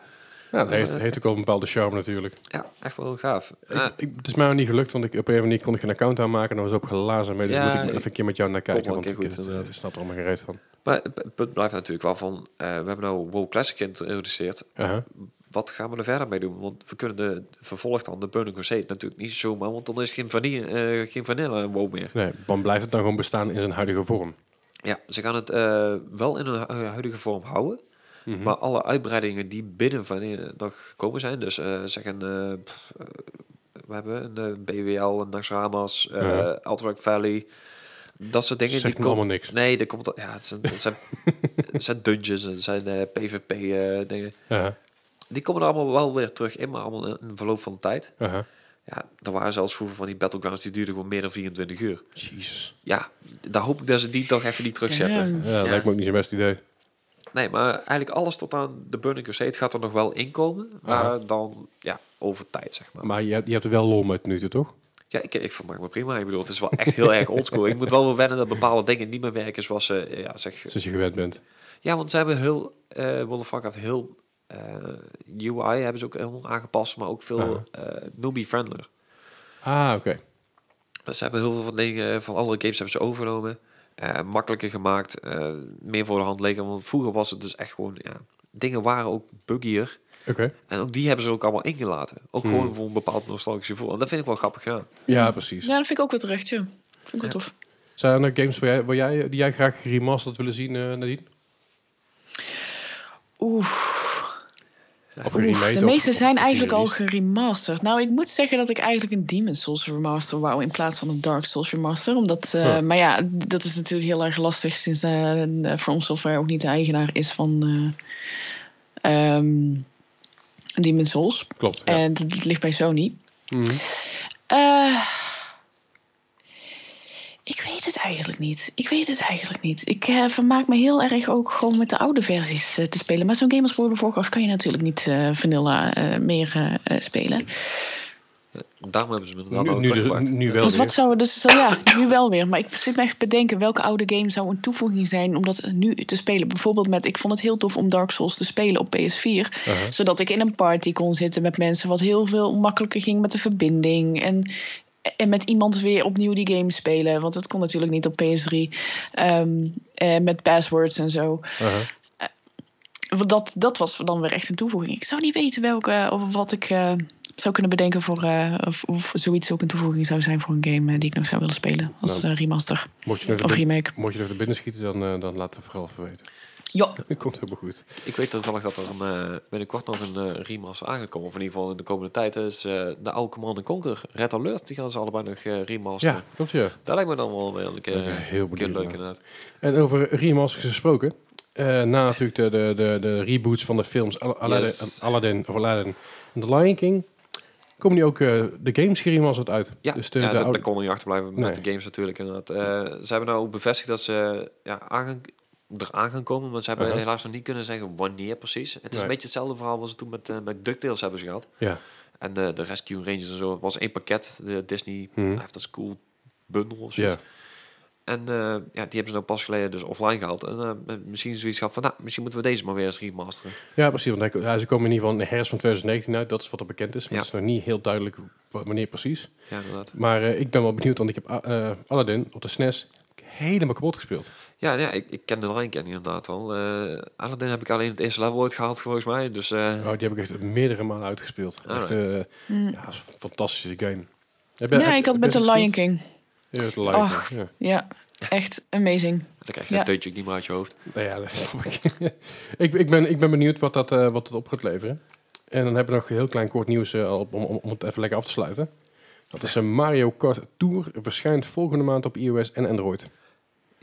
Speaker 1: Ja, dat heeft, heeft ook wel een bepaalde charme natuurlijk.
Speaker 2: ja, echt wel gaaf. Eh,
Speaker 1: Ik, ik- het is mij nog niet gelukt, want ik, op een of andere manier kon ik een account aanmaken en daar was op gelazen mee. Dus
Speaker 2: Ja,
Speaker 1: moet ik maar
Speaker 2: ik-
Speaker 1: even een keer met jou naar
Speaker 2: Komt
Speaker 1: kijken,
Speaker 2: wel een
Speaker 1: want ik,
Speaker 2: keer goed,
Speaker 1: het, eh,
Speaker 2: inderdaad.
Speaker 1: ik snap er allemaal geen reet van.
Speaker 2: maar het het punt blijft natuurlijk wel van... eh, we hebben nou WoW Classic geïntroduceerd.
Speaker 1: Aha.
Speaker 2: wat gaan we er verder mee doen? Want we kunnen de vervolg dan de Burning Crusade natuurlijk niet zomaar, want dan is het geen vanille, eh, geen vanille WoW meer.
Speaker 1: Nee, dan blijft het dan gewoon bestaan in zijn huidige vorm.
Speaker 2: Ja, ze gaan het eh, wel in hun hu- huidige vorm houden,
Speaker 1: Mhm.
Speaker 2: maar alle uitbreidingen die binnen vanille nog gekomen zijn, dus eh, zeg een, eh, pff, eh, we hebben een eh, BWL, een Naxxramas, eh
Speaker 1: Ja.
Speaker 2: Alterac Valley, dat soort dingen.
Speaker 1: Zegt me
Speaker 2: komen-
Speaker 1: allemaal niks.
Speaker 2: Nee, dat komt, al- ja, het zijn, het zijn, het zijn dungeons, het zijn PvP eh, dingen.
Speaker 1: Aha,
Speaker 2: Die komen er allemaal wel weer terug in, maar allemaal in een verloop van de tijd.
Speaker 1: aha.
Speaker 2: Ja, er waren zelfs vroeger van die battlegrounds die duurden gewoon meer dan 24 uur.
Speaker 1: Jezus.
Speaker 2: Ja, daar hoop ik dat ze die toch even niet
Speaker 1: Ja,
Speaker 2: terugzetten.
Speaker 1: dat
Speaker 2: Ja.
Speaker 1: lijkt me ook niet zijn best idee.
Speaker 2: Nee, maar eigenlijk alles tot aan de Burning Crusade gaat er nog wel inkomen. Maar
Speaker 1: Aha.
Speaker 2: dan, ja, over tijd, zeg maar.
Speaker 1: Maar je, hebt- je hebt er wel lol mee tot nu toe, toch?
Speaker 2: Ja, ik, ik vermaak me prima. Ik bedoel, het is wel echt heel erg oldschool. Ik moet wel wel wennen dat bepaalde dingen niet meer werken zoals ze, eh, ja, zeg...
Speaker 1: Sinds je gewend bent.
Speaker 2: Ja, want ze hebben heel, eh World of Warcraft heel... eh, UI hebben ze ook helemaal aangepast, maar ook veel eh newbie-friendler.
Speaker 1: Ah, oké.
Speaker 2: Dus Ze hebben heel veel van dingen van andere games hebben ze overgenomen. eh, makkelijker gemaakt. eh, meer voor de hand liggen. Want vroeger was het dus echt gewoon. Ja, dingen waren ook buggier.
Speaker 1: Oké.
Speaker 2: En ook die hebben ze ook allemaal ingelaten. Ook
Speaker 1: Hmm.
Speaker 2: gewoon voor een bepaald nostalgisch gevoel. En dat vind ik wel grappig gedaan.
Speaker 1: Ja, precies.
Speaker 3: Ja, dat vind ik ook wel terecht, ja. Vind ik wel tof.
Speaker 1: Zijn er nog games waar jij, waar jij, die jij graag geremasterd willen zien, eh Nadine?
Speaker 3: Oeh,
Speaker 1: Of
Speaker 3: oeh,
Speaker 1: remade,
Speaker 3: de
Speaker 1: of-
Speaker 3: meeste
Speaker 1: of
Speaker 3: zijn eigenlijk al
Speaker 1: gereleased?
Speaker 3: geremasterd. Nou, ik moet zeggen dat ik eigenlijk een Demon Souls remaster wou in plaats van een Dark Souls remaster. Omdat, eh,
Speaker 1: Huh.
Speaker 3: Maar ja, dat is natuurlijk heel erg lastig sinds eh, eh, From Software ook niet de eigenaar is van eh, ehm, Demon Souls.
Speaker 1: Klopt, ja.
Speaker 3: En dat, dat ligt bij Sony.
Speaker 1: Mhm.
Speaker 3: Eh, ik weet het eigenlijk niet. Ik weet het eigenlijk niet. Ik eh, vermaak me heel erg ook gewoon met de oude versies eh, te spelen. Maar zo'n game als World of Warcraft kan je natuurlijk niet eh, vanilla eh, meer eh, eh, spelen.
Speaker 2: Daarom hebben ze me inderdaad
Speaker 1: Nu,
Speaker 2: ook
Speaker 1: nu,
Speaker 2: teruggepakt.
Speaker 1: dus- nu wel
Speaker 3: Dus
Speaker 1: weer.
Speaker 3: wat zou dus zo- ja, nu wel weer. Maar ik zit me echt te bedenken welke oude game zou een toevoeging zijn om dat nu te spelen. Bijvoorbeeld met, ik vond het heel tof om Dark Souls te spelen op PS4.
Speaker 1: Aha.
Speaker 3: Zodat ik in een party kon zitten met mensen, wat heel veel makkelijker ging met de verbinding. En, en met iemand weer opnieuw die game spelen, want dat kon natuurlijk niet op PS3. ehm, eh, met passwords en zo.
Speaker 1: Aha.
Speaker 3: Want Dat, dat was dan weer echt een toevoeging. Ik zou niet weten welke of wat ik eh, zou kunnen bedenken voor. eh, of, of zoiets ook een toevoeging zou zijn voor een game eh, die ik nog zou willen spelen. Als
Speaker 1: Nou.
Speaker 3: eh, remaster
Speaker 1: Mocht je nog
Speaker 3: of
Speaker 1: er bin-
Speaker 3: remake.
Speaker 1: mocht je nog er binnen schieten, dan, eh, dan laat het vooral even weten.
Speaker 3: Ja,
Speaker 1: Dat komt helemaal goed.
Speaker 2: Ik weet toevallig dat er een, eh, binnenkort nog een eh, remaster aangekomen. Of in ieder geval in de komende tijd. is eh, de oude Command Conquer. Red Alert. Die gaan ze allebei nog eh remasteren.
Speaker 1: Ja, klopt ja.
Speaker 2: Dat lijkt me dan wel weer een keer,
Speaker 1: Ik ben heel
Speaker 2: een keer
Speaker 1: benieuwd
Speaker 2: leuk
Speaker 1: naar.
Speaker 2: inderdaad.
Speaker 1: En over remasters gesproken. eh, na natuurlijk de, de, de, de reboots van de films Al- Aladdin,
Speaker 2: Yes.
Speaker 1: Aladdin, of Aladdin en The Lion King, komen nu ook eh, de games geremasterd uit.
Speaker 2: Ja,
Speaker 1: dus de,
Speaker 2: ja
Speaker 1: de
Speaker 2: dat,
Speaker 1: oude-
Speaker 2: dat kon er niet achterblijven met
Speaker 1: Nee.
Speaker 2: de games natuurlijk. Inderdaad. Eh, ze hebben nou ook bevestigd dat ze ja, aan gaan, eraan gaan komen. Maar ze hebben
Speaker 1: Uh-huh.
Speaker 2: helaas nog niet kunnen zeggen wanneer precies. Het is
Speaker 1: Nee.
Speaker 2: een beetje hetzelfde verhaal als ze toen met, eh, met DuckTales hebben ze gehad.
Speaker 1: ja.
Speaker 2: En eh, de, de Rescue Rangers en zo. Het was één pakket. De Disney
Speaker 1: Mhm.
Speaker 2: After School bundel of zoiets.
Speaker 1: Ja.
Speaker 2: En eh, ja, die hebben ze nou pas geleden dus offline gehaald. En eh, misschien zoiets gehad van, nou, misschien moeten we deze maar weer eens remasteren.
Speaker 1: ja, precies. Want hij- ja, ze komen in ieder geval in de herfst van 2019 uit. Dat is wat er bekend is. Maar
Speaker 2: Ja.
Speaker 1: het is nog niet heel duidelijk wa- wanneer precies.
Speaker 2: Ja, inderdaad.
Speaker 1: Maar eh, ik ben wel benieuwd, want ik heb A- eh, Aladdin op de SNES helemaal kapot gespeeld.
Speaker 2: Ja, nou ja ik, ik ken de line ken inderdaad wel. Eh Aladdin heb ik alleen het eerste level ooit gehaald volgens mij. Dus eh,
Speaker 1: Oh, die heb ik echt meerdere malen uitgespeeld.
Speaker 2: Ah,
Speaker 1: echt, eh, ja, dat is een fantastische game. Heb jij-
Speaker 3: Mm. ja
Speaker 1: heb-
Speaker 3: ik had
Speaker 1: heb
Speaker 3: met
Speaker 1: jij
Speaker 3: de
Speaker 1: ze
Speaker 3: Lion
Speaker 1: gespeeld?
Speaker 3: King. Oh.
Speaker 1: Ja, met de Lion
Speaker 3: Ach.
Speaker 1: King, ja.
Speaker 3: Ja, echt amazing.
Speaker 2: dan krijg je
Speaker 3: Ja.
Speaker 2: dat deutje ook niet meer uit je hoofd.
Speaker 1: Nou ja, dat snap ik. ik, ik, ben, ik ben benieuwd wat dat, eh, wat dat op gaat leveren. En dan hebben we nog heel klein kort nieuws eh, al om, om, om het even lekker af te sluiten. Dat is een Mario Kart Tour, verschijnt volgende maand op iOS en Android.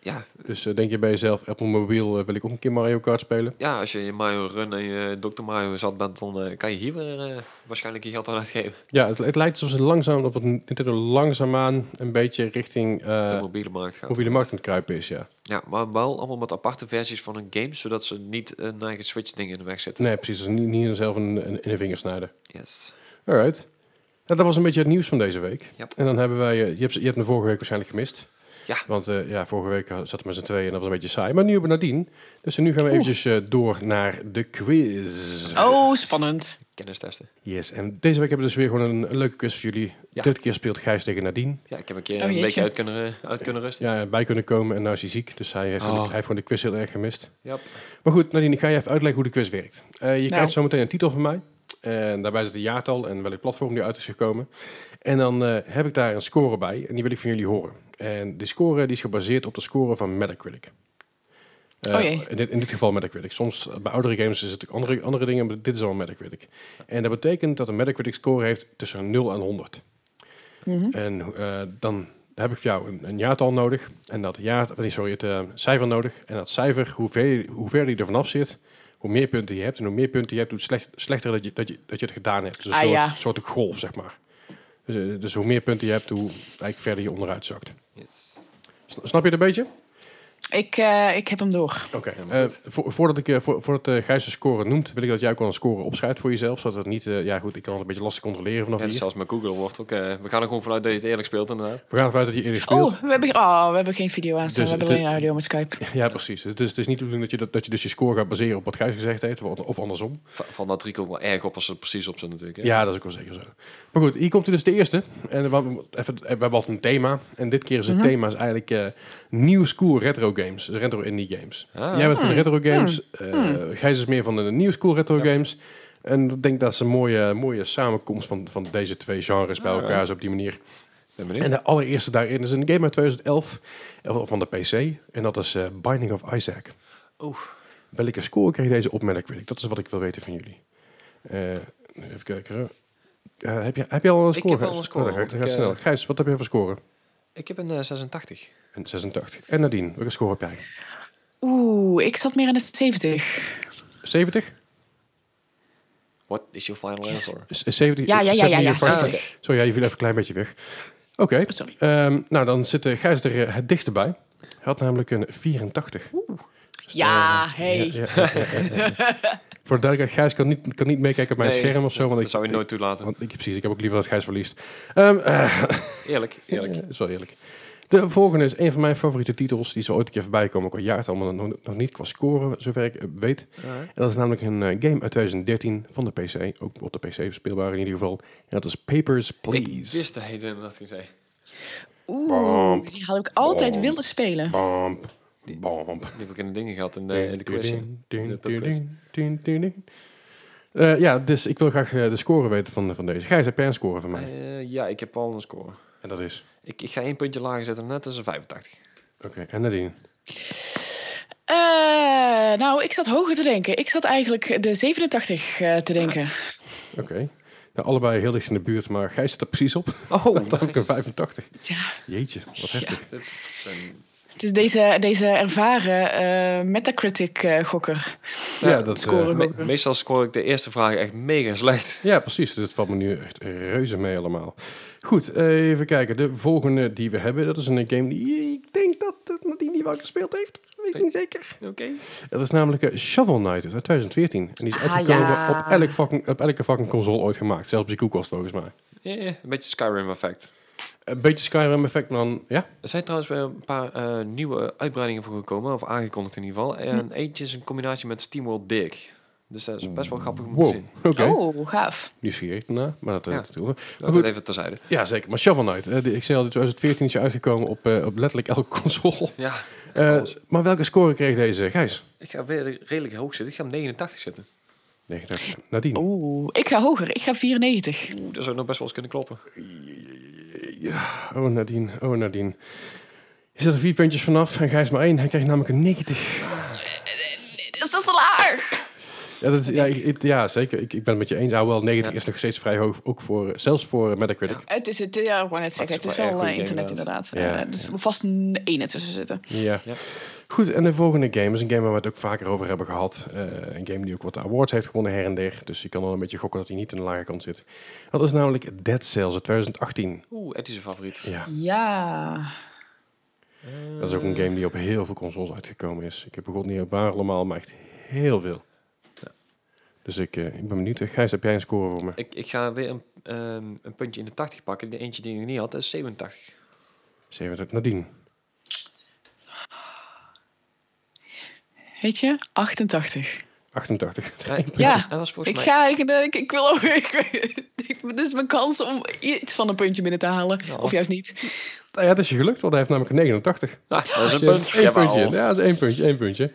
Speaker 2: Ja,
Speaker 1: Dus eh, denk je bij jezelf, Apple Mobiel eh, wil ik ook een keer Mario Kart spelen?
Speaker 2: ja, als je in Mario Run en je Dr. Mario zat bent, dan eh, kan je hier weer eh, waarschijnlijk je geld aan uitgeven.
Speaker 1: Ja, het, het lijkt alsof ze langzaam, of het Nintendo langzaamaan een beetje richting eh,
Speaker 2: de mobiele markt gaat.
Speaker 1: mobiele markt aan het kruipen is, ja.
Speaker 2: Ja, maar wel allemaal met aparte versies van hun games, zodat ze niet een eigen Switch ding in de weg zitten.
Speaker 1: Nee, precies. Dus niet, niet zelf een, een, in de vingers snijden.
Speaker 2: Yes.
Speaker 1: Alright. Nou, dat was een beetje het nieuws van deze week.
Speaker 2: Ja.
Speaker 1: En dan hebben wij... eh, je, hebt, je hebt me vorige week waarschijnlijk gemist.
Speaker 2: Ja.
Speaker 1: Want eh, ja, vorige week eh, zaten we met z'n tweeën en dat was een beetje saai. Maar nu hebben we nadien. Dus nu gaan we eventjes eh, door naar de quiz.
Speaker 3: Oh, spannend.
Speaker 2: Kennis testen.
Speaker 1: Yes, en deze week hebben we dus weer gewoon een, een leuke quiz voor jullie.
Speaker 2: Ja.
Speaker 1: Dit keer speelt Gijs tegen Nadine.
Speaker 2: Ja, ik heb een keer
Speaker 3: Oh,
Speaker 2: een
Speaker 3: jeetje.
Speaker 2: beetje uit kunnen, eh, uit kunnen rusten.
Speaker 1: Ja, bij kunnen komen en nou is hij ziek. Dus hij heeft,
Speaker 2: Oh.
Speaker 1: hij heeft gewoon de quiz heel erg gemist.
Speaker 2: Ja.
Speaker 1: Maar goed, Nadine, ik ga je even uitleggen hoe de quiz werkt. Eh, je
Speaker 3: Nou.
Speaker 1: krijgt zo meteen een titel van mij. En daarbij zit een jaartal en welk platform die uit is gekomen. En dan eh, heb ik daar een score bij. En die wil ik van jullie horen. En die score die is gebaseerd op de score van Metacritic. Eh,
Speaker 3: Oh jee.
Speaker 1: in, dit, in dit geval Metacritic. Soms eh, bij oudere games is het natuurlijk andere, andere dingen, maar dit is al Metacritic. En dat betekent dat een Metacritic score heeft tussen 0 en 100.
Speaker 3: Mhm.
Speaker 1: En eh, dan heb ik voor jou een, een jaartal nodig. En dat jaar, nee, sorry, het eh, cijfer nodig. En dat cijfer, hoe ver, hoe verder je er vanaf zit, hoe meer punten je hebt. En hoe meer punten je hebt, hoe slecht, slechter dat je, dat, je, dat je het gedaan hebt. Dus een
Speaker 3: Ah,
Speaker 1: soort,
Speaker 3: ja.
Speaker 1: soort golf, zeg maar. Dus, eh, dus hoe meer punten je hebt, hoe eigenlijk verder je onderuit zakt.
Speaker 2: Yes.
Speaker 1: Sna- Snap je het een beetje?
Speaker 3: Ik, eh, ik heb hem door.
Speaker 1: Oké.
Speaker 2: Helemaal
Speaker 1: eh, vo- voordat ik, eh, vo- voordat eh, Gijs de score noemt, wil ik dat jij ook al een score opschrijft voor jezelf. Zodat het niet, eh, ja goed, ik kan het een beetje lastig controleren vanaf
Speaker 2: Ja, dus
Speaker 1: hier.
Speaker 2: zelfs met Google wordt ook... eh, we gaan er gewoon vanuit dat je het eerlijk speelt, inderdaad.
Speaker 1: We gaan ervan uit dat je eerlijk speelt.
Speaker 3: Oh we, hebben, oh, we hebben geen video aanstaan.
Speaker 1: Dus
Speaker 3: we hebben
Speaker 1: het-
Speaker 3: alleen audio met Skype.
Speaker 1: Ja, precies. Het is, het is niet de bedoeling dat je, dat, dat je dus je score gaat baseren op wat Gijs gezegd heeft, of of andersom.
Speaker 2: Va- Van dat Rico wel erg op als ze er precies op zijn natuurlijk.
Speaker 1: Ja.
Speaker 2: hè.
Speaker 1: dat is ook wel zeker zo. Maar goed, hier komt dus de eerste. En we, hebben- even, we hebben altijd een thema. En dit keer is het thema is eigenlijk eh new school retro games. Dus retro indie games.
Speaker 2: Ah.
Speaker 1: Jij bent van de retro games. eh, Gijs is meer van de new school retro games. En ik denk dat is een mooie, mooie samenkomst van, van deze twee genres bij elkaar is op die manier.
Speaker 2: Ben benieuwd.
Speaker 1: En de allereerste daarin is een game uit 2011 eh, van de PC. En dat is eh, Binding of Isaac.
Speaker 2: Oeh.
Speaker 1: Welke score kreeg deze op Metacritic? Dat is wat ik wil weten van jullie. Eh, even kijken. hoor. Eh, heb, je, heb je al een
Speaker 2: Ik
Speaker 1: score?
Speaker 2: heb al
Speaker 1: Gijs?
Speaker 2: een score,
Speaker 1: Oh, dat gaat- dat
Speaker 2: want
Speaker 1: gaat
Speaker 2: ik,
Speaker 1: snel.
Speaker 2: eh,
Speaker 1: Gijs, wat heb je voor score?
Speaker 2: Ik heb een eh, 86.
Speaker 1: Een 86. En Nadine, welke score heb jij?
Speaker 3: Oeh, ik zat meer aan de 70.
Speaker 1: 70?
Speaker 2: What is your final
Speaker 3: Yes.
Speaker 2: answer?
Speaker 1: Is- is 70
Speaker 3: Ja, ja,
Speaker 1: is
Speaker 3: ja, ja,
Speaker 1: 70
Speaker 3: ja,
Speaker 1: je vraag?
Speaker 2: Ah,
Speaker 3: 70.
Speaker 1: Sorry, ja, je viel even een klein beetje weg. Oké,
Speaker 3: Sorry.
Speaker 1: ehm, nou dan zit eh, Gijs er eh, het dichtst bij. Hij had namelijk een 84. Dus,
Speaker 3: Ja,
Speaker 1: eh,
Speaker 3: hey.
Speaker 1: ja, ja, ja, ja, ja. Voor de duidelijkheid, Gijs kan niet, kan niet meekijken op mijn
Speaker 2: Nee,
Speaker 1: scherm of zo. Want
Speaker 2: Dat
Speaker 1: ik,
Speaker 2: zou je nooit toelaten.
Speaker 1: Want ik, precies, ik heb ook liever dat Gijs verliest. Ehm eh,
Speaker 2: Eerlijk, eerlijk.
Speaker 1: dat is wel eerlijk. De volgende is een van mijn favoriete titels. Die zal ooit een keer voorbij komen. Qua jaartal, maar nog, nog niet qua scoren, zover ik eh, weet. En dat is namelijk een eh, game uit 2013 van de PC. Ook op de PC speelbaar in ieder geval. En dat is Papers,
Speaker 2: Ik
Speaker 1: Please.
Speaker 2: wist dat hij het inderdaad ging zeggen.
Speaker 1: Bam.
Speaker 3: Oeh, die had ik altijd
Speaker 1: Bam.
Speaker 3: willen spelen.
Speaker 1: Bamp, bamp.
Speaker 2: Die heb ik in de dingen gehad in de, in de quiz. ja.
Speaker 1: Ding, ding,
Speaker 2: De
Speaker 1: ding,
Speaker 2: pubquiz.
Speaker 1: ding, ding, ding. Eh, ja, dus ik wil graag eh, de score weten van, van deze. Gijs, heb jij een score van mij?
Speaker 2: Eh, ja, ik heb al een score.
Speaker 1: En dat is...
Speaker 2: Ik, ik ga één puntje lager zetten, net als een 85.
Speaker 1: Oké, en Nadine?
Speaker 3: Eh, nou, ik zat hoger te denken. Ik zat eigenlijk de 87 eh, te denken.
Speaker 1: Oké. Nou, allebei heel dicht in de buurt, maar Gijs zit er precies op.
Speaker 2: Oh,
Speaker 1: Dat heb ik een 85.
Speaker 3: Ja,
Speaker 1: Jeetje, wat
Speaker 3: Ja.
Speaker 1: heftig.
Speaker 2: Dat is een-
Speaker 3: dus deze, deze ervaren eh, Metacritic-gokker.
Speaker 1: Ja,
Speaker 2: Ja,
Speaker 1: dat,
Speaker 3: scoren
Speaker 1: eh,
Speaker 3: we.
Speaker 2: Me- meestal score ik de eerste vraag echt mega slecht.
Speaker 1: ja, precies. Dus het valt me nu echt reuze mee allemaal. Goed, eh, even kijken. De volgende die we hebben, dat is een game die ik denk dat eh, Nadine die wel gespeeld heeft. Weet ik niet zeker.
Speaker 2: Oké.
Speaker 1: Dat is namelijk eh, Shovel Knight uit 2014. En die is
Speaker 3: Ah,
Speaker 1: uitgekomen
Speaker 3: ja.
Speaker 1: op, elk fucking, op elke fucking console ooit gemaakt. Zelfs op de koelkast volgens mij.
Speaker 2: Eh, een beetje Skyrim effect.
Speaker 1: Een beetje Skyrim effect, maar dan... Ja?
Speaker 2: Er zijn trouwens weer een paar eh, nieuwe uitbreidingen voor gekomen, of aangekondigd in ieder geval.
Speaker 1: Hm.
Speaker 2: En eentje is een combinatie met SteamWorld Dig. Dus dat is best wel gaaf om te
Speaker 1: Hm. Wow,
Speaker 2: zien.
Speaker 1: oké.
Speaker 3: Oh, gaaf.
Speaker 1: Nieuwsgierig daarna, maar dat... eh,
Speaker 2: Ja.
Speaker 1: dat doen we.
Speaker 2: Dat
Speaker 1: goed.
Speaker 2: even terzijde.
Speaker 1: Ja, zeker. Maar Shovel Knight. eh, die- ik zei al, in 2014 is je uitgekomen op, eh, op letterlijk elke console.
Speaker 2: Ja,
Speaker 1: Eh,
Speaker 2: alles.
Speaker 1: maar welke score kreeg deze? Gijs?
Speaker 2: ik ga weer redelijk hoog zitten. Ik ga hem 89 zetten.
Speaker 1: 89. Nadine?
Speaker 3: Oeh, ik ga hoger. Ik ga 94.
Speaker 2: Oeh, dat zou nog best wel eens kunnen kloppen.
Speaker 1: Ja, oh Nadine, oh Nadine. Je zit er vier puntjes vanaf en Gijs maar één. Hij kreeg namelijk een 90.
Speaker 3: Dus dat is te laag.
Speaker 1: Ja, Ja, dat is, ja, ik- ik- ja zeker. Ik, ik ben het met je eens. Ah, wel, 90
Speaker 2: Ja.
Speaker 1: is nog steeds vrij hoog, ook voor, eh, zelfs voor eh, Metacritic.
Speaker 3: Het is het, ja, ik wou net zeggen,
Speaker 2: het
Speaker 3: het
Speaker 2: is
Speaker 3: is
Speaker 2: wel een
Speaker 3: wel
Speaker 2: goede
Speaker 3: eh, internet
Speaker 2: game,
Speaker 3: inderdaad.
Speaker 1: Ja,
Speaker 3: Eh, dus er moet vast een ene tussen zitten.
Speaker 1: Ja.
Speaker 2: Ja.
Speaker 1: Goed, en de volgende game is een game waar we het ook vaker over hebben gehad. Eh, een game die ook wat awards heeft gewonnen her en der. Dus je kan al een beetje gokken dat hij niet aan de lage kant zit. Dat is namelijk Dead Cells uit 2018.
Speaker 2: Oeh, het is een favoriet.
Speaker 1: Ja,
Speaker 3: Ja.
Speaker 1: dat is ook een game die op heel veel consoles uitgekomen is. Ik heb begon niet op waar allemaal, maar echt heel veel. Dus ik, eh, ik ben benieuwd. Gijs, heb jij een score voor me?
Speaker 2: Ik, ik ga weer een, ehm, een puntje in de 80 pakken. De eentje die ik nog niet had, dat is 87.
Speaker 1: 70 Nadine.
Speaker 3: Weet je? 88.
Speaker 1: 88.
Speaker 2: Nee,
Speaker 3: Ja.
Speaker 2: dat was volgens
Speaker 3: Ik
Speaker 2: mij...
Speaker 3: ga, ik, ik, ik wil ook. Ik, ik- dit is mijn kans om iets van een puntje binnen te halen.
Speaker 2: Nou.
Speaker 3: Of juist niet.
Speaker 1: Nou ja, het is je gelukt, want hij heeft namelijk een 89.
Speaker 2: Ah, dat is een
Speaker 1: Ja,
Speaker 2: punt.
Speaker 1: één
Speaker 2: Jawel.
Speaker 1: puntje. Ja, dat is één puntje, één puntje.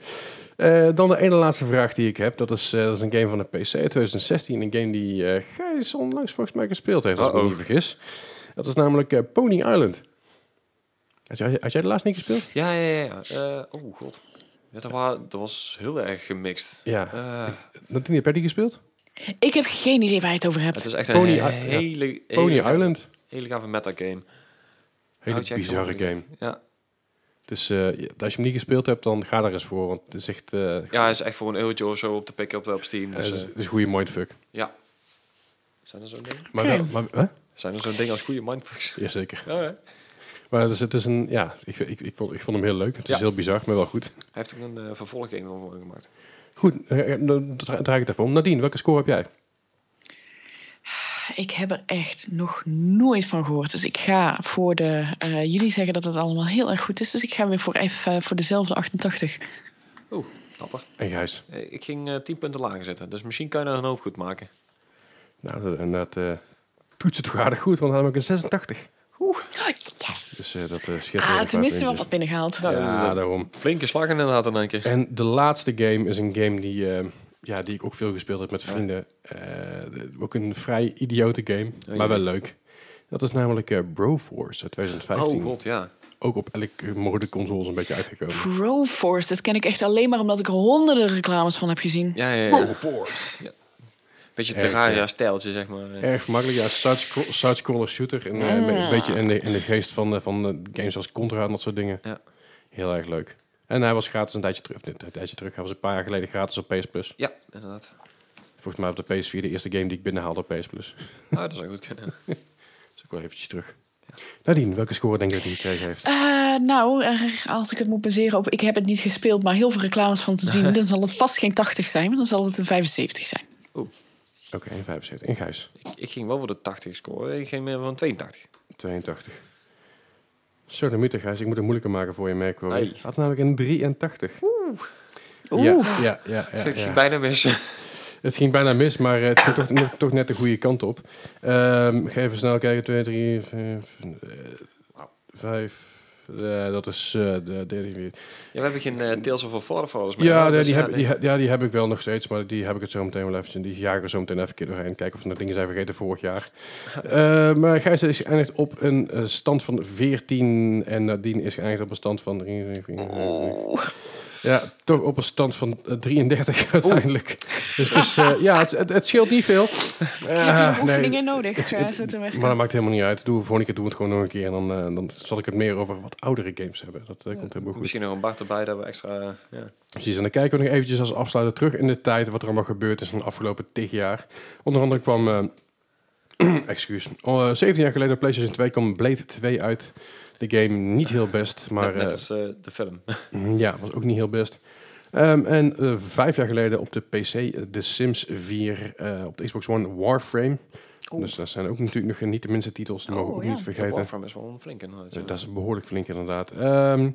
Speaker 1: Eh, dan de ene laatste vraag die ik heb. Dat is, eh, dat is een game van de PC 2016. Een game die eh Gijs onlangs volgens mij gespeeld heeft, als ik me
Speaker 2: Uh-oh.
Speaker 1: niet vergis. Dat is namelijk eh, Pony Island. Had jij, had jij de laatst niet gespeeld?
Speaker 2: Ja, ja, ja. ja. Eh, oh, god. Ja, dat, wa- dat was heel erg gemixt.
Speaker 1: Ja.
Speaker 2: Eh,
Speaker 1: Nadine, heb jij die gespeeld?
Speaker 3: Ik heb geen idee waar je het over hebt.
Speaker 2: het is echt een
Speaker 1: Pony I-
Speaker 2: hele,
Speaker 1: ja.
Speaker 2: hele,
Speaker 1: Pony
Speaker 2: hele,
Speaker 1: Island.
Speaker 2: hele gave metagame.
Speaker 1: Hele
Speaker 2: Houd jij het
Speaker 1: bizarre
Speaker 2: gewoon
Speaker 1: game.
Speaker 2: Ja.
Speaker 1: Dus eh, ja, als je hem niet gespeeld hebt, dan ga daar eens voor. Want het is echt eh,
Speaker 2: ja, het is echt voor een eurotje of zo op te pikken op, op Steam. Dus,
Speaker 1: het is,
Speaker 2: eh,
Speaker 1: het is een goede mindfuck.
Speaker 2: ja. Zijn er zo'n dingen?
Speaker 1: Maar,
Speaker 3: Oké.
Speaker 1: wel, maar hè?
Speaker 2: Zijn er zo'n dingen als goede mindfucks?
Speaker 1: Jazeker.
Speaker 2: Oh, Ja, hè?
Speaker 1: Maar dus het is, het is een, ja, ik, ik, ik, vond, ik vond hem heel leuk. Het
Speaker 2: Ja.
Speaker 1: is heel bizar, maar wel goed.
Speaker 2: Hij heeft ook een eh, vervolggame voor gemaakt.
Speaker 1: Goed, eh, eh, dan dra- draai ik het even om. Nadine, welke score heb jij?
Speaker 3: Ik heb er echt nog nooit van gehoord. Dus ik ga voor de. eh, jullie zeggen dat het allemaal heel erg goed is. Dus ik ga weer voor, even, eh, voor dezelfde 88.
Speaker 2: Oeh, dapper.
Speaker 1: En Gijs.
Speaker 2: Eh, Ik ging eh 10 punten lager zitten, dus misschien kan je daar een hoop goed maken.
Speaker 1: Nou, dat- en dat eh toetsen toch aardig goed, want dan heb ik een 86.
Speaker 3: Yes!
Speaker 1: Dus eh, dat eh scheelt wel een
Speaker 3: Ah,
Speaker 1: paar
Speaker 3: tenminste wel
Speaker 1: puntjes.
Speaker 3: wat binnengehaald.
Speaker 2: Nou,
Speaker 1: Ja,
Speaker 2: dat-
Speaker 1: daarom.
Speaker 2: Flinke slag inderdaad in één keer.
Speaker 1: En de laatste game is een game die, eh, ja, die ik ook veel gespeeld heb met vrienden. Eh, ook een vrij idiote game,
Speaker 2: Oh,
Speaker 1: maar wel
Speaker 2: jee.
Speaker 1: leuk. Dat is namelijk eh, Broforce uit 2015.
Speaker 2: Oh god, ja.
Speaker 1: Ook op elke mogelijke console een beetje uitgekomen.
Speaker 3: Broforce, dat ken ik echt alleen maar omdat ik er honderden reclames van heb gezien.
Speaker 2: Ja, ja, ja.
Speaker 1: Broforce!
Speaker 2: Beetje
Speaker 1: Erg, ja.
Speaker 2: Terraria-stijltje, zeg maar.
Speaker 1: Erg makkelijk, ja. side-scro- Side-scroller shooter. En, eh,
Speaker 3: Ah.
Speaker 1: Een beetje in de, in de geest van, eh, van eh, games als Contra en dat soort dingen.
Speaker 2: Ja.
Speaker 1: Heel erg leuk. En hij was gratis een tijdje terug. Een tijdje terug. Hij was een paar jaar geleden gratis op PS Plus.
Speaker 2: Ja, inderdaad.
Speaker 1: Volgens mij op de PS4 de eerste game die ik binnenhaalde op PS Plus.
Speaker 2: Nou, dat zou goed kunnen.
Speaker 1: Dus ik wel eventjes terug. Nadine, welke score denk je dat hij gekregen heeft?
Speaker 3: Eh, nou, eh, als ik het moet baseren op... Ik heb het niet gespeeld, maar heel veel reclames van te zien. Dan zal het vast geen 80 zijn, maar dan zal het een 75 zijn.
Speaker 1: Oké, een 75. In Gijs,
Speaker 2: ik, ik ging wel voor de 80 scoren, ik ging meer voor een 82.
Speaker 1: 82. Zo, de mythe, Gijs. Ik moet het moeilijker maken voor je, merk ik wel.
Speaker 2: Hey.
Speaker 1: Het had namelijk een 83.
Speaker 3: Oeh,
Speaker 1: Ja, ja, ja, ja,
Speaker 2: ik ging
Speaker 1: ja.
Speaker 2: bijna mis.
Speaker 1: Het ging bijna mis, maar eh, het ging toch, nog- toch net de goede kant op. Ehm, ik ga even snel kijken. 2, 3, 5, 5. dat is eh, de derde weer.
Speaker 2: ja, we hebben geen eh, Tales of Fall Fathers meer.
Speaker 1: Ja,
Speaker 2: hè,
Speaker 1: nee,
Speaker 2: dus
Speaker 1: die
Speaker 2: ja,
Speaker 1: heb, die,
Speaker 2: nee.
Speaker 1: he- ja, die heb ik wel nog steeds, maar die heb ik het zo meteen wel eventjes. Die jagen we zo meteen even een keer doorheen. Kijken of we nog dingen zijn vergeten vorig jaar. Eh, maar Gijs is geëindigd op een eh, stand van 14. En Nadine is geëindigd op een stand van 3.
Speaker 3: Oeh.
Speaker 1: Ja, toch op een stand van eh, 33 uiteindelijk. Dus, het is, eh, ja, het, het, het scheelt niet veel.
Speaker 3: Je hebt
Speaker 1: Eh,
Speaker 3: hier
Speaker 1: nee,
Speaker 3: oefeningen nodig,
Speaker 1: het-
Speaker 3: eh,
Speaker 1: het-
Speaker 3: zo te werken.
Speaker 1: maar dat maakt helemaal niet uit. Doe, volgende keer doen we het gewoon nog een keer. En dan, eh, dan zal ik het meer over wat oudere games hebben. Dat eh, komt helemaal goed.
Speaker 2: Misschien nog een Bart erbij, dat we extra... eh, ja.
Speaker 1: Precies, en dan kijken we nog eventjes als afsluiter terug in de tijd... wat er allemaal gebeurd is in de afgelopen 10 jaar. Onder andere kwam... eh, excuus. Oh, eh, 17 jaar geleden op PlayStation 2 kwam Blade 2 uit. De game niet heel best, maar...
Speaker 2: net, net
Speaker 1: eh, mm,
Speaker 2: als eh, de film.
Speaker 1: ja, was ook niet heel best. Ehm, en eh, vijf jaar geleden op de PC, eh, The Sims 4, eh, op de Xbox One Warframe.
Speaker 2: Oeh.
Speaker 1: Dus dat zijn ook natuurlijk nog niet de minste titels, dat
Speaker 3: Oh,
Speaker 1: mogen we ook
Speaker 3: ja.
Speaker 1: niet vergeten.
Speaker 2: Warframe is wel een flinke. inderdaad, ja.
Speaker 1: Dat is behoorlijk flink inderdaad. Ehm,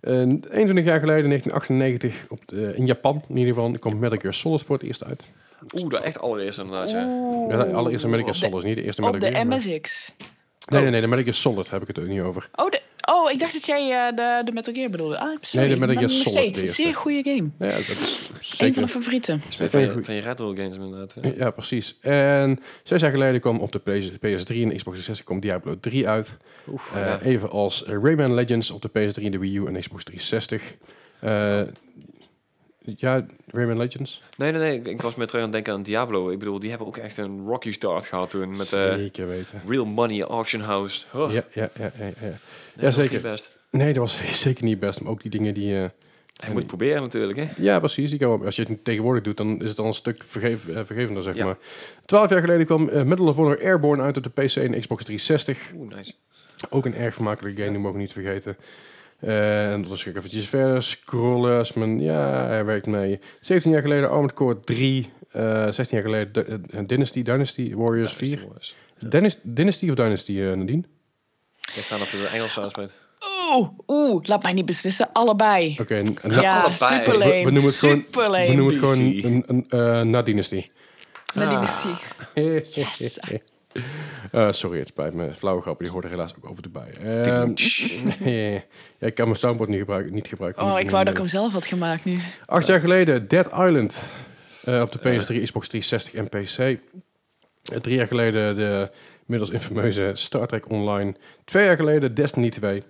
Speaker 1: eh, 21 jaar geleden, 1998, op de- in Japan in ieder geval, kwam Metal Gear Solid voor het eerst uit.
Speaker 2: Oeh, dat echt allereerst inderdaad, ja.
Speaker 3: Oeh.
Speaker 1: Ja, de allereerste Metal Gear
Speaker 3: Op de-
Speaker 1: Solid, niet de eerste
Speaker 3: Op
Speaker 1: Metal
Speaker 3: de
Speaker 1: Gear. maar-
Speaker 3: MSX.
Speaker 1: Nee, nee, nee, de Metal Gear Solid heb ik het ook niet over.
Speaker 3: Oh, de, oh, ik dacht dat jij eh, de, de Metal Gear bedoelde. Ah, sorry.
Speaker 1: Nee, de Metal Gear
Speaker 3: Maar nog
Speaker 1: Solid,
Speaker 3: steeds
Speaker 1: de
Speaker 3: Een
Speaker 1: eerste.
Speaker 3: zeer goede game.
Speaker 1: Ja, dat is
Speaker 3: Een van
Speaker 1: zeker
Speaker 3: de favorieten.
Speaker 2: Dat is meer
Speaker 1: Ja,
Speaker 2: van,
Speaker 1: goed.
Speaker 2: je, van je retro games inderdaad. ja.
Speaker 1: Ja, precies. En zes jaar geleden kwam op de PS- PS3 en Xbox 360 kwam Diablo 3 uit.
Speaker 3: Oh,
Speaker 2: Oef,
Speaker 1: Eh,
Speaker 2: ja.
Speaker 1: Evenals eh, Rayman Legends op de PS3, de Wii U en Xbox 360. Eh, Ja, Rayman Legends.
Speaker 2: Nee, nee, nee. Ik, ik was meer terug aan het denken aan Diablo. Ik bedoel, die hebben ook echt een rocky start gehad toen. Met eh,
Speaker 1: Zeker weten.
Speaker 2: Real Money Auction House. Oh,
Speaker 1: Ja, ja, ja, ja, ja.
Speaker 2: dat was
Speaker 1: zeker.
Speaker 2: niet Best.
Speaker 1: Nee, dat was zeker niet best. Maar ook die dingen die... eh,
Speaker 2: Hij moet het proberen natuurlijk, hè.
Speaker 1: Ja, precies. Ik hou- als je het nu tegenwoordig doet, dan is het al een stuk vergeef, eh, vergevender, zeg
Speaker 2: Ja.
Speaker 1: maar. Twaalf jaar geleden kwam eh, Medal of Honor Airborne uit op de PC en Xbox 360.
Speaker 2: Oeh, nice.
Speaker 1: Ook een erg vermakelijke game, die mogen we niet vergeten. Eh, en dat is even eventjes verder. Scrollen, is mijn- ja, hij werkt mee. 17 jaar geleden Armored Core 3. eh 16 jaar geleden D- eh, Dynasty, Dynasty Warriors 4. Dennis, Dynasty of Dynasty, eh, Nadine?
Speaker 2: Ik sta nog voor de Engelse aanspreekt.
Speaker 3: Oeh, oeh, laat mij niet beslissen. Allebei.
Speaker 1: Oké, en- en-
Speaker 3: Ja,
Speaker 2: allebei.
Speaker 3: super lame.
Speaker 1: We- we noemen het gewoon-
Speaker 3: super
Speaker 1: we noemen het gewoon
Speaker 2: DC.
Speaker 1: een, een, eh, Nadynasty.
Speaker 3: Nadine
Speaker 2: Ah.
Speaker 3: is die. Yes.
Speaker 1: Eh, sorry, het spijt me. Flauwe grappen, die hoorden helaas ook over de bij. Ehm, ja, ik kan mijn soundboard niet gebruiken. Niet gebruiken
Speaker 3: Oh, ik wou dat ik hem
Speaker 1: hem...
Speaker 3: zelf had gemaakt nu.
Speaker 1: Acht jaar geleden, Dead Island. eh, op de PS3, Xbox 360 en PC. Eh, drie jaar geleden de middels infameuze Star Trek Online. Twee jaar geleden Destiny 2.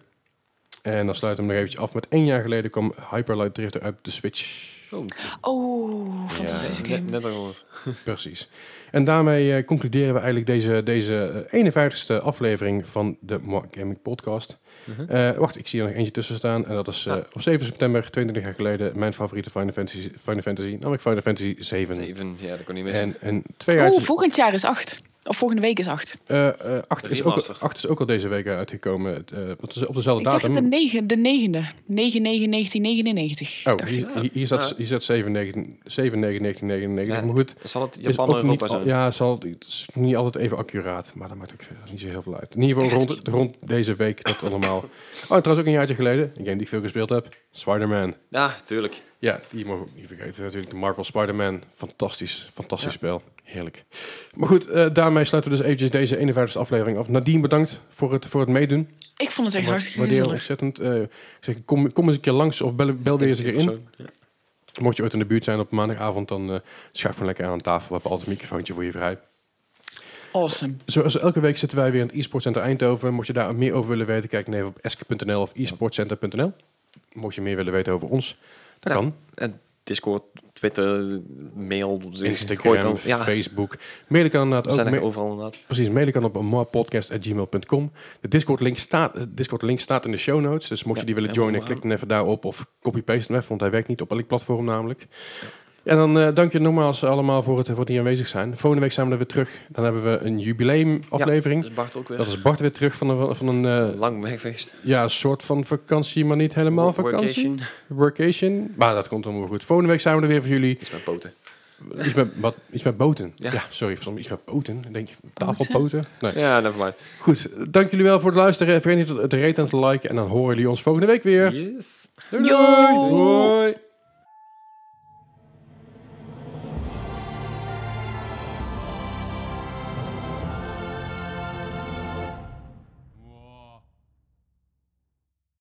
Speaker 1: En dan sluiten we hem nog eventjes af. Met één jaar geleden kwam Hyper Light Drifter uit de Switch.
Speaker 2: Oh,
Speaker 3: Oh, fantastische
Speaker 2: eh, net,
Speaker 3: game.
Speaker 2: net al gehoord.
Speaker 1: Precies. En daarmee eh, concluderen we eigenlijk deze, deze eh, 51ste aflevering van de Mark Gaming Podcast.
Speaker 2: Mhm.
Speaker 1: Eh, wacht, ik zie er nog eentje tussen staan. En dat is eh,
Speaker 2: Ah.
Speaker 1: op 7 september, 22 jaar geleden, mijn favoriete Final Fantasy, Final Fantasy namelijk Final Fantasy 7.
Speaker 2: Zeven, ja, dat kon niet missen.
Speaker 1: En, en twee jaar
Speaker 3: Oeh, Oh, volgend jaar is acht. Of volgende week is acht.
Speaker 1: eh, eh, acht
Speaker 2: De
Speaker 1: is, ook, al-
Speaker 2: remaster.
Speaker 1: acht is ook al deze week uitgekomen. eh, want het is op dezelfde
Speaker 3: Ik dacht
Speaker 1: datum.
Speaker 3: de, negen, de negende. 9, 9, 1999.
Speaker 1: Oh,
Speaker 3: dacht ik.
Speaker 1: hier, hier- hier staat,
Speaker 2: Ah.
Speaker 1: hier staat 7, 9, 7, 9, 1999.
Speaker 2: Ja.
Speaker 1: Maar goed,
Speaker 2: Zal het
Speaker 1: Is
Speaker 2: Japan en
Speaker 1: Dus ook niet
Speaker 2: Europa
Speaker 1: al-
Speaker 2: zijn?
Speaker 1: Ja, het zal, het is niet altijd even accuraat, maar dat maakt ook verder niet zo heel veel uit. In ieder
Speaker 3: Ja,
Speaker 1: geval
Speaker 3: dat
Speaker 1: rond, rond deze week dat allemaal. Oh, trouwens ook een jaartje geleden, een game die ik veel gespeeld heb, Spider-Man.
Speaker 2: Ja, tuurlijk.
Speaker 1: Ja, die mogen we ook niet vergeten natuurlijk. De Marvel Spider-Man, fantastisch, fantastisch
Speaker 2: Ja.
Speaker 1: spel. Heerlijk. Maar goed, eh, daarmee sluiten we dus eventjes deze 51e aflevering af. Nadine, bedankt voor het, voor het meedoen.
Speaker 3: Ik vond het echt
Speaker 1: Wa-
Speaker 3: hartstikke
Speaker 1: Waardeer
Speaker 3: gezellig.
Speaker 1: ontzettend. Eh, ik zeg, kom, kom eens een keer langs of bel, bel weer eens een keer in.
Speaker 2: Persoon, ja.
Speaker 1: Mocht je ooit in de buurt zijn op maandagavond, dan eh schuif gewoon lekker aan aan tafel. We hebben altijd een microfoontje voor je vrij.
Speaker 3: Awesome.
Speaker 1: Zoals elke week zitten wij weer in het e-sportcenter Eindhoven. Mocht je daar meer over willen weten, kijk dan even op esk.nl of e-sportcenter.nl. Mocht je meer willen weten over ons, dat
Speaker 2: Ja.
Speaker 1: kan.
Speaker 2: En Discord, Twitter, mail, gooi het
Speaker 1: Instagram,
Speaker 2: dan- Ja,
Speaker 1: Facebook. Mailen kan inderdaad
Speaker 2: we
Speaker 1: ook.
Speaker 2: zijn echt
Speaker 1: Me-
Speaker 2: overal inderdaad.
Speaker 1: precies, mailen kan op marpodcast.gmail.com. De Discord-link staat, eh, Discord-link staat in de show notes. Dus mocht
Speaker 2: Ja,
Speaker 1: je die willen
Speaker 2: ja,
Speaker 1: joinen,
Speaker 2: maar-
Speaker 1: klik dan even daarop of copy-paste hem even, want hij werkt niet op elk platform namelijk. En dan eh, dank je nogmaals allemaal voor het, voor het hier aanwezig zijn. Volgende week zijn we er weer terug. Dan hebben we een jubileumaflevering.
Speaker 2: Dus Bart ook weer.
Speaker 1: Dat is Bart weer terug van een, van een eh,
Speaker 2: lang weg geweest.
Speaker 1: Ja, een soort van vakantie, maar niet helemaal vakantie. Workation.
Speaker 2: Workation.
Speaker 1: Maar dat komt allemaal goed. Volgende week zijn we er weer voor jullie.
Speaker 2: Iets met poten.
Speaker 1: Iets met, wat, iets met boten. Ja,
Speaker 2: Ja.
Speaker 1: sorry, soms iets met poten. Dan Denk je, tafelpoten? Nee.
Speaker 2: Ja, nevermind.
Speaker 1: Goed, dank jullie wel voor het luisteren. Vergeet niet te raten en te liken. En dan horen jullie ons volgende week weer.
Speaker 2: Yes.
Speaker 1: Doei, doei.
Speaker 3: Yo.
Speaker 1: Doei.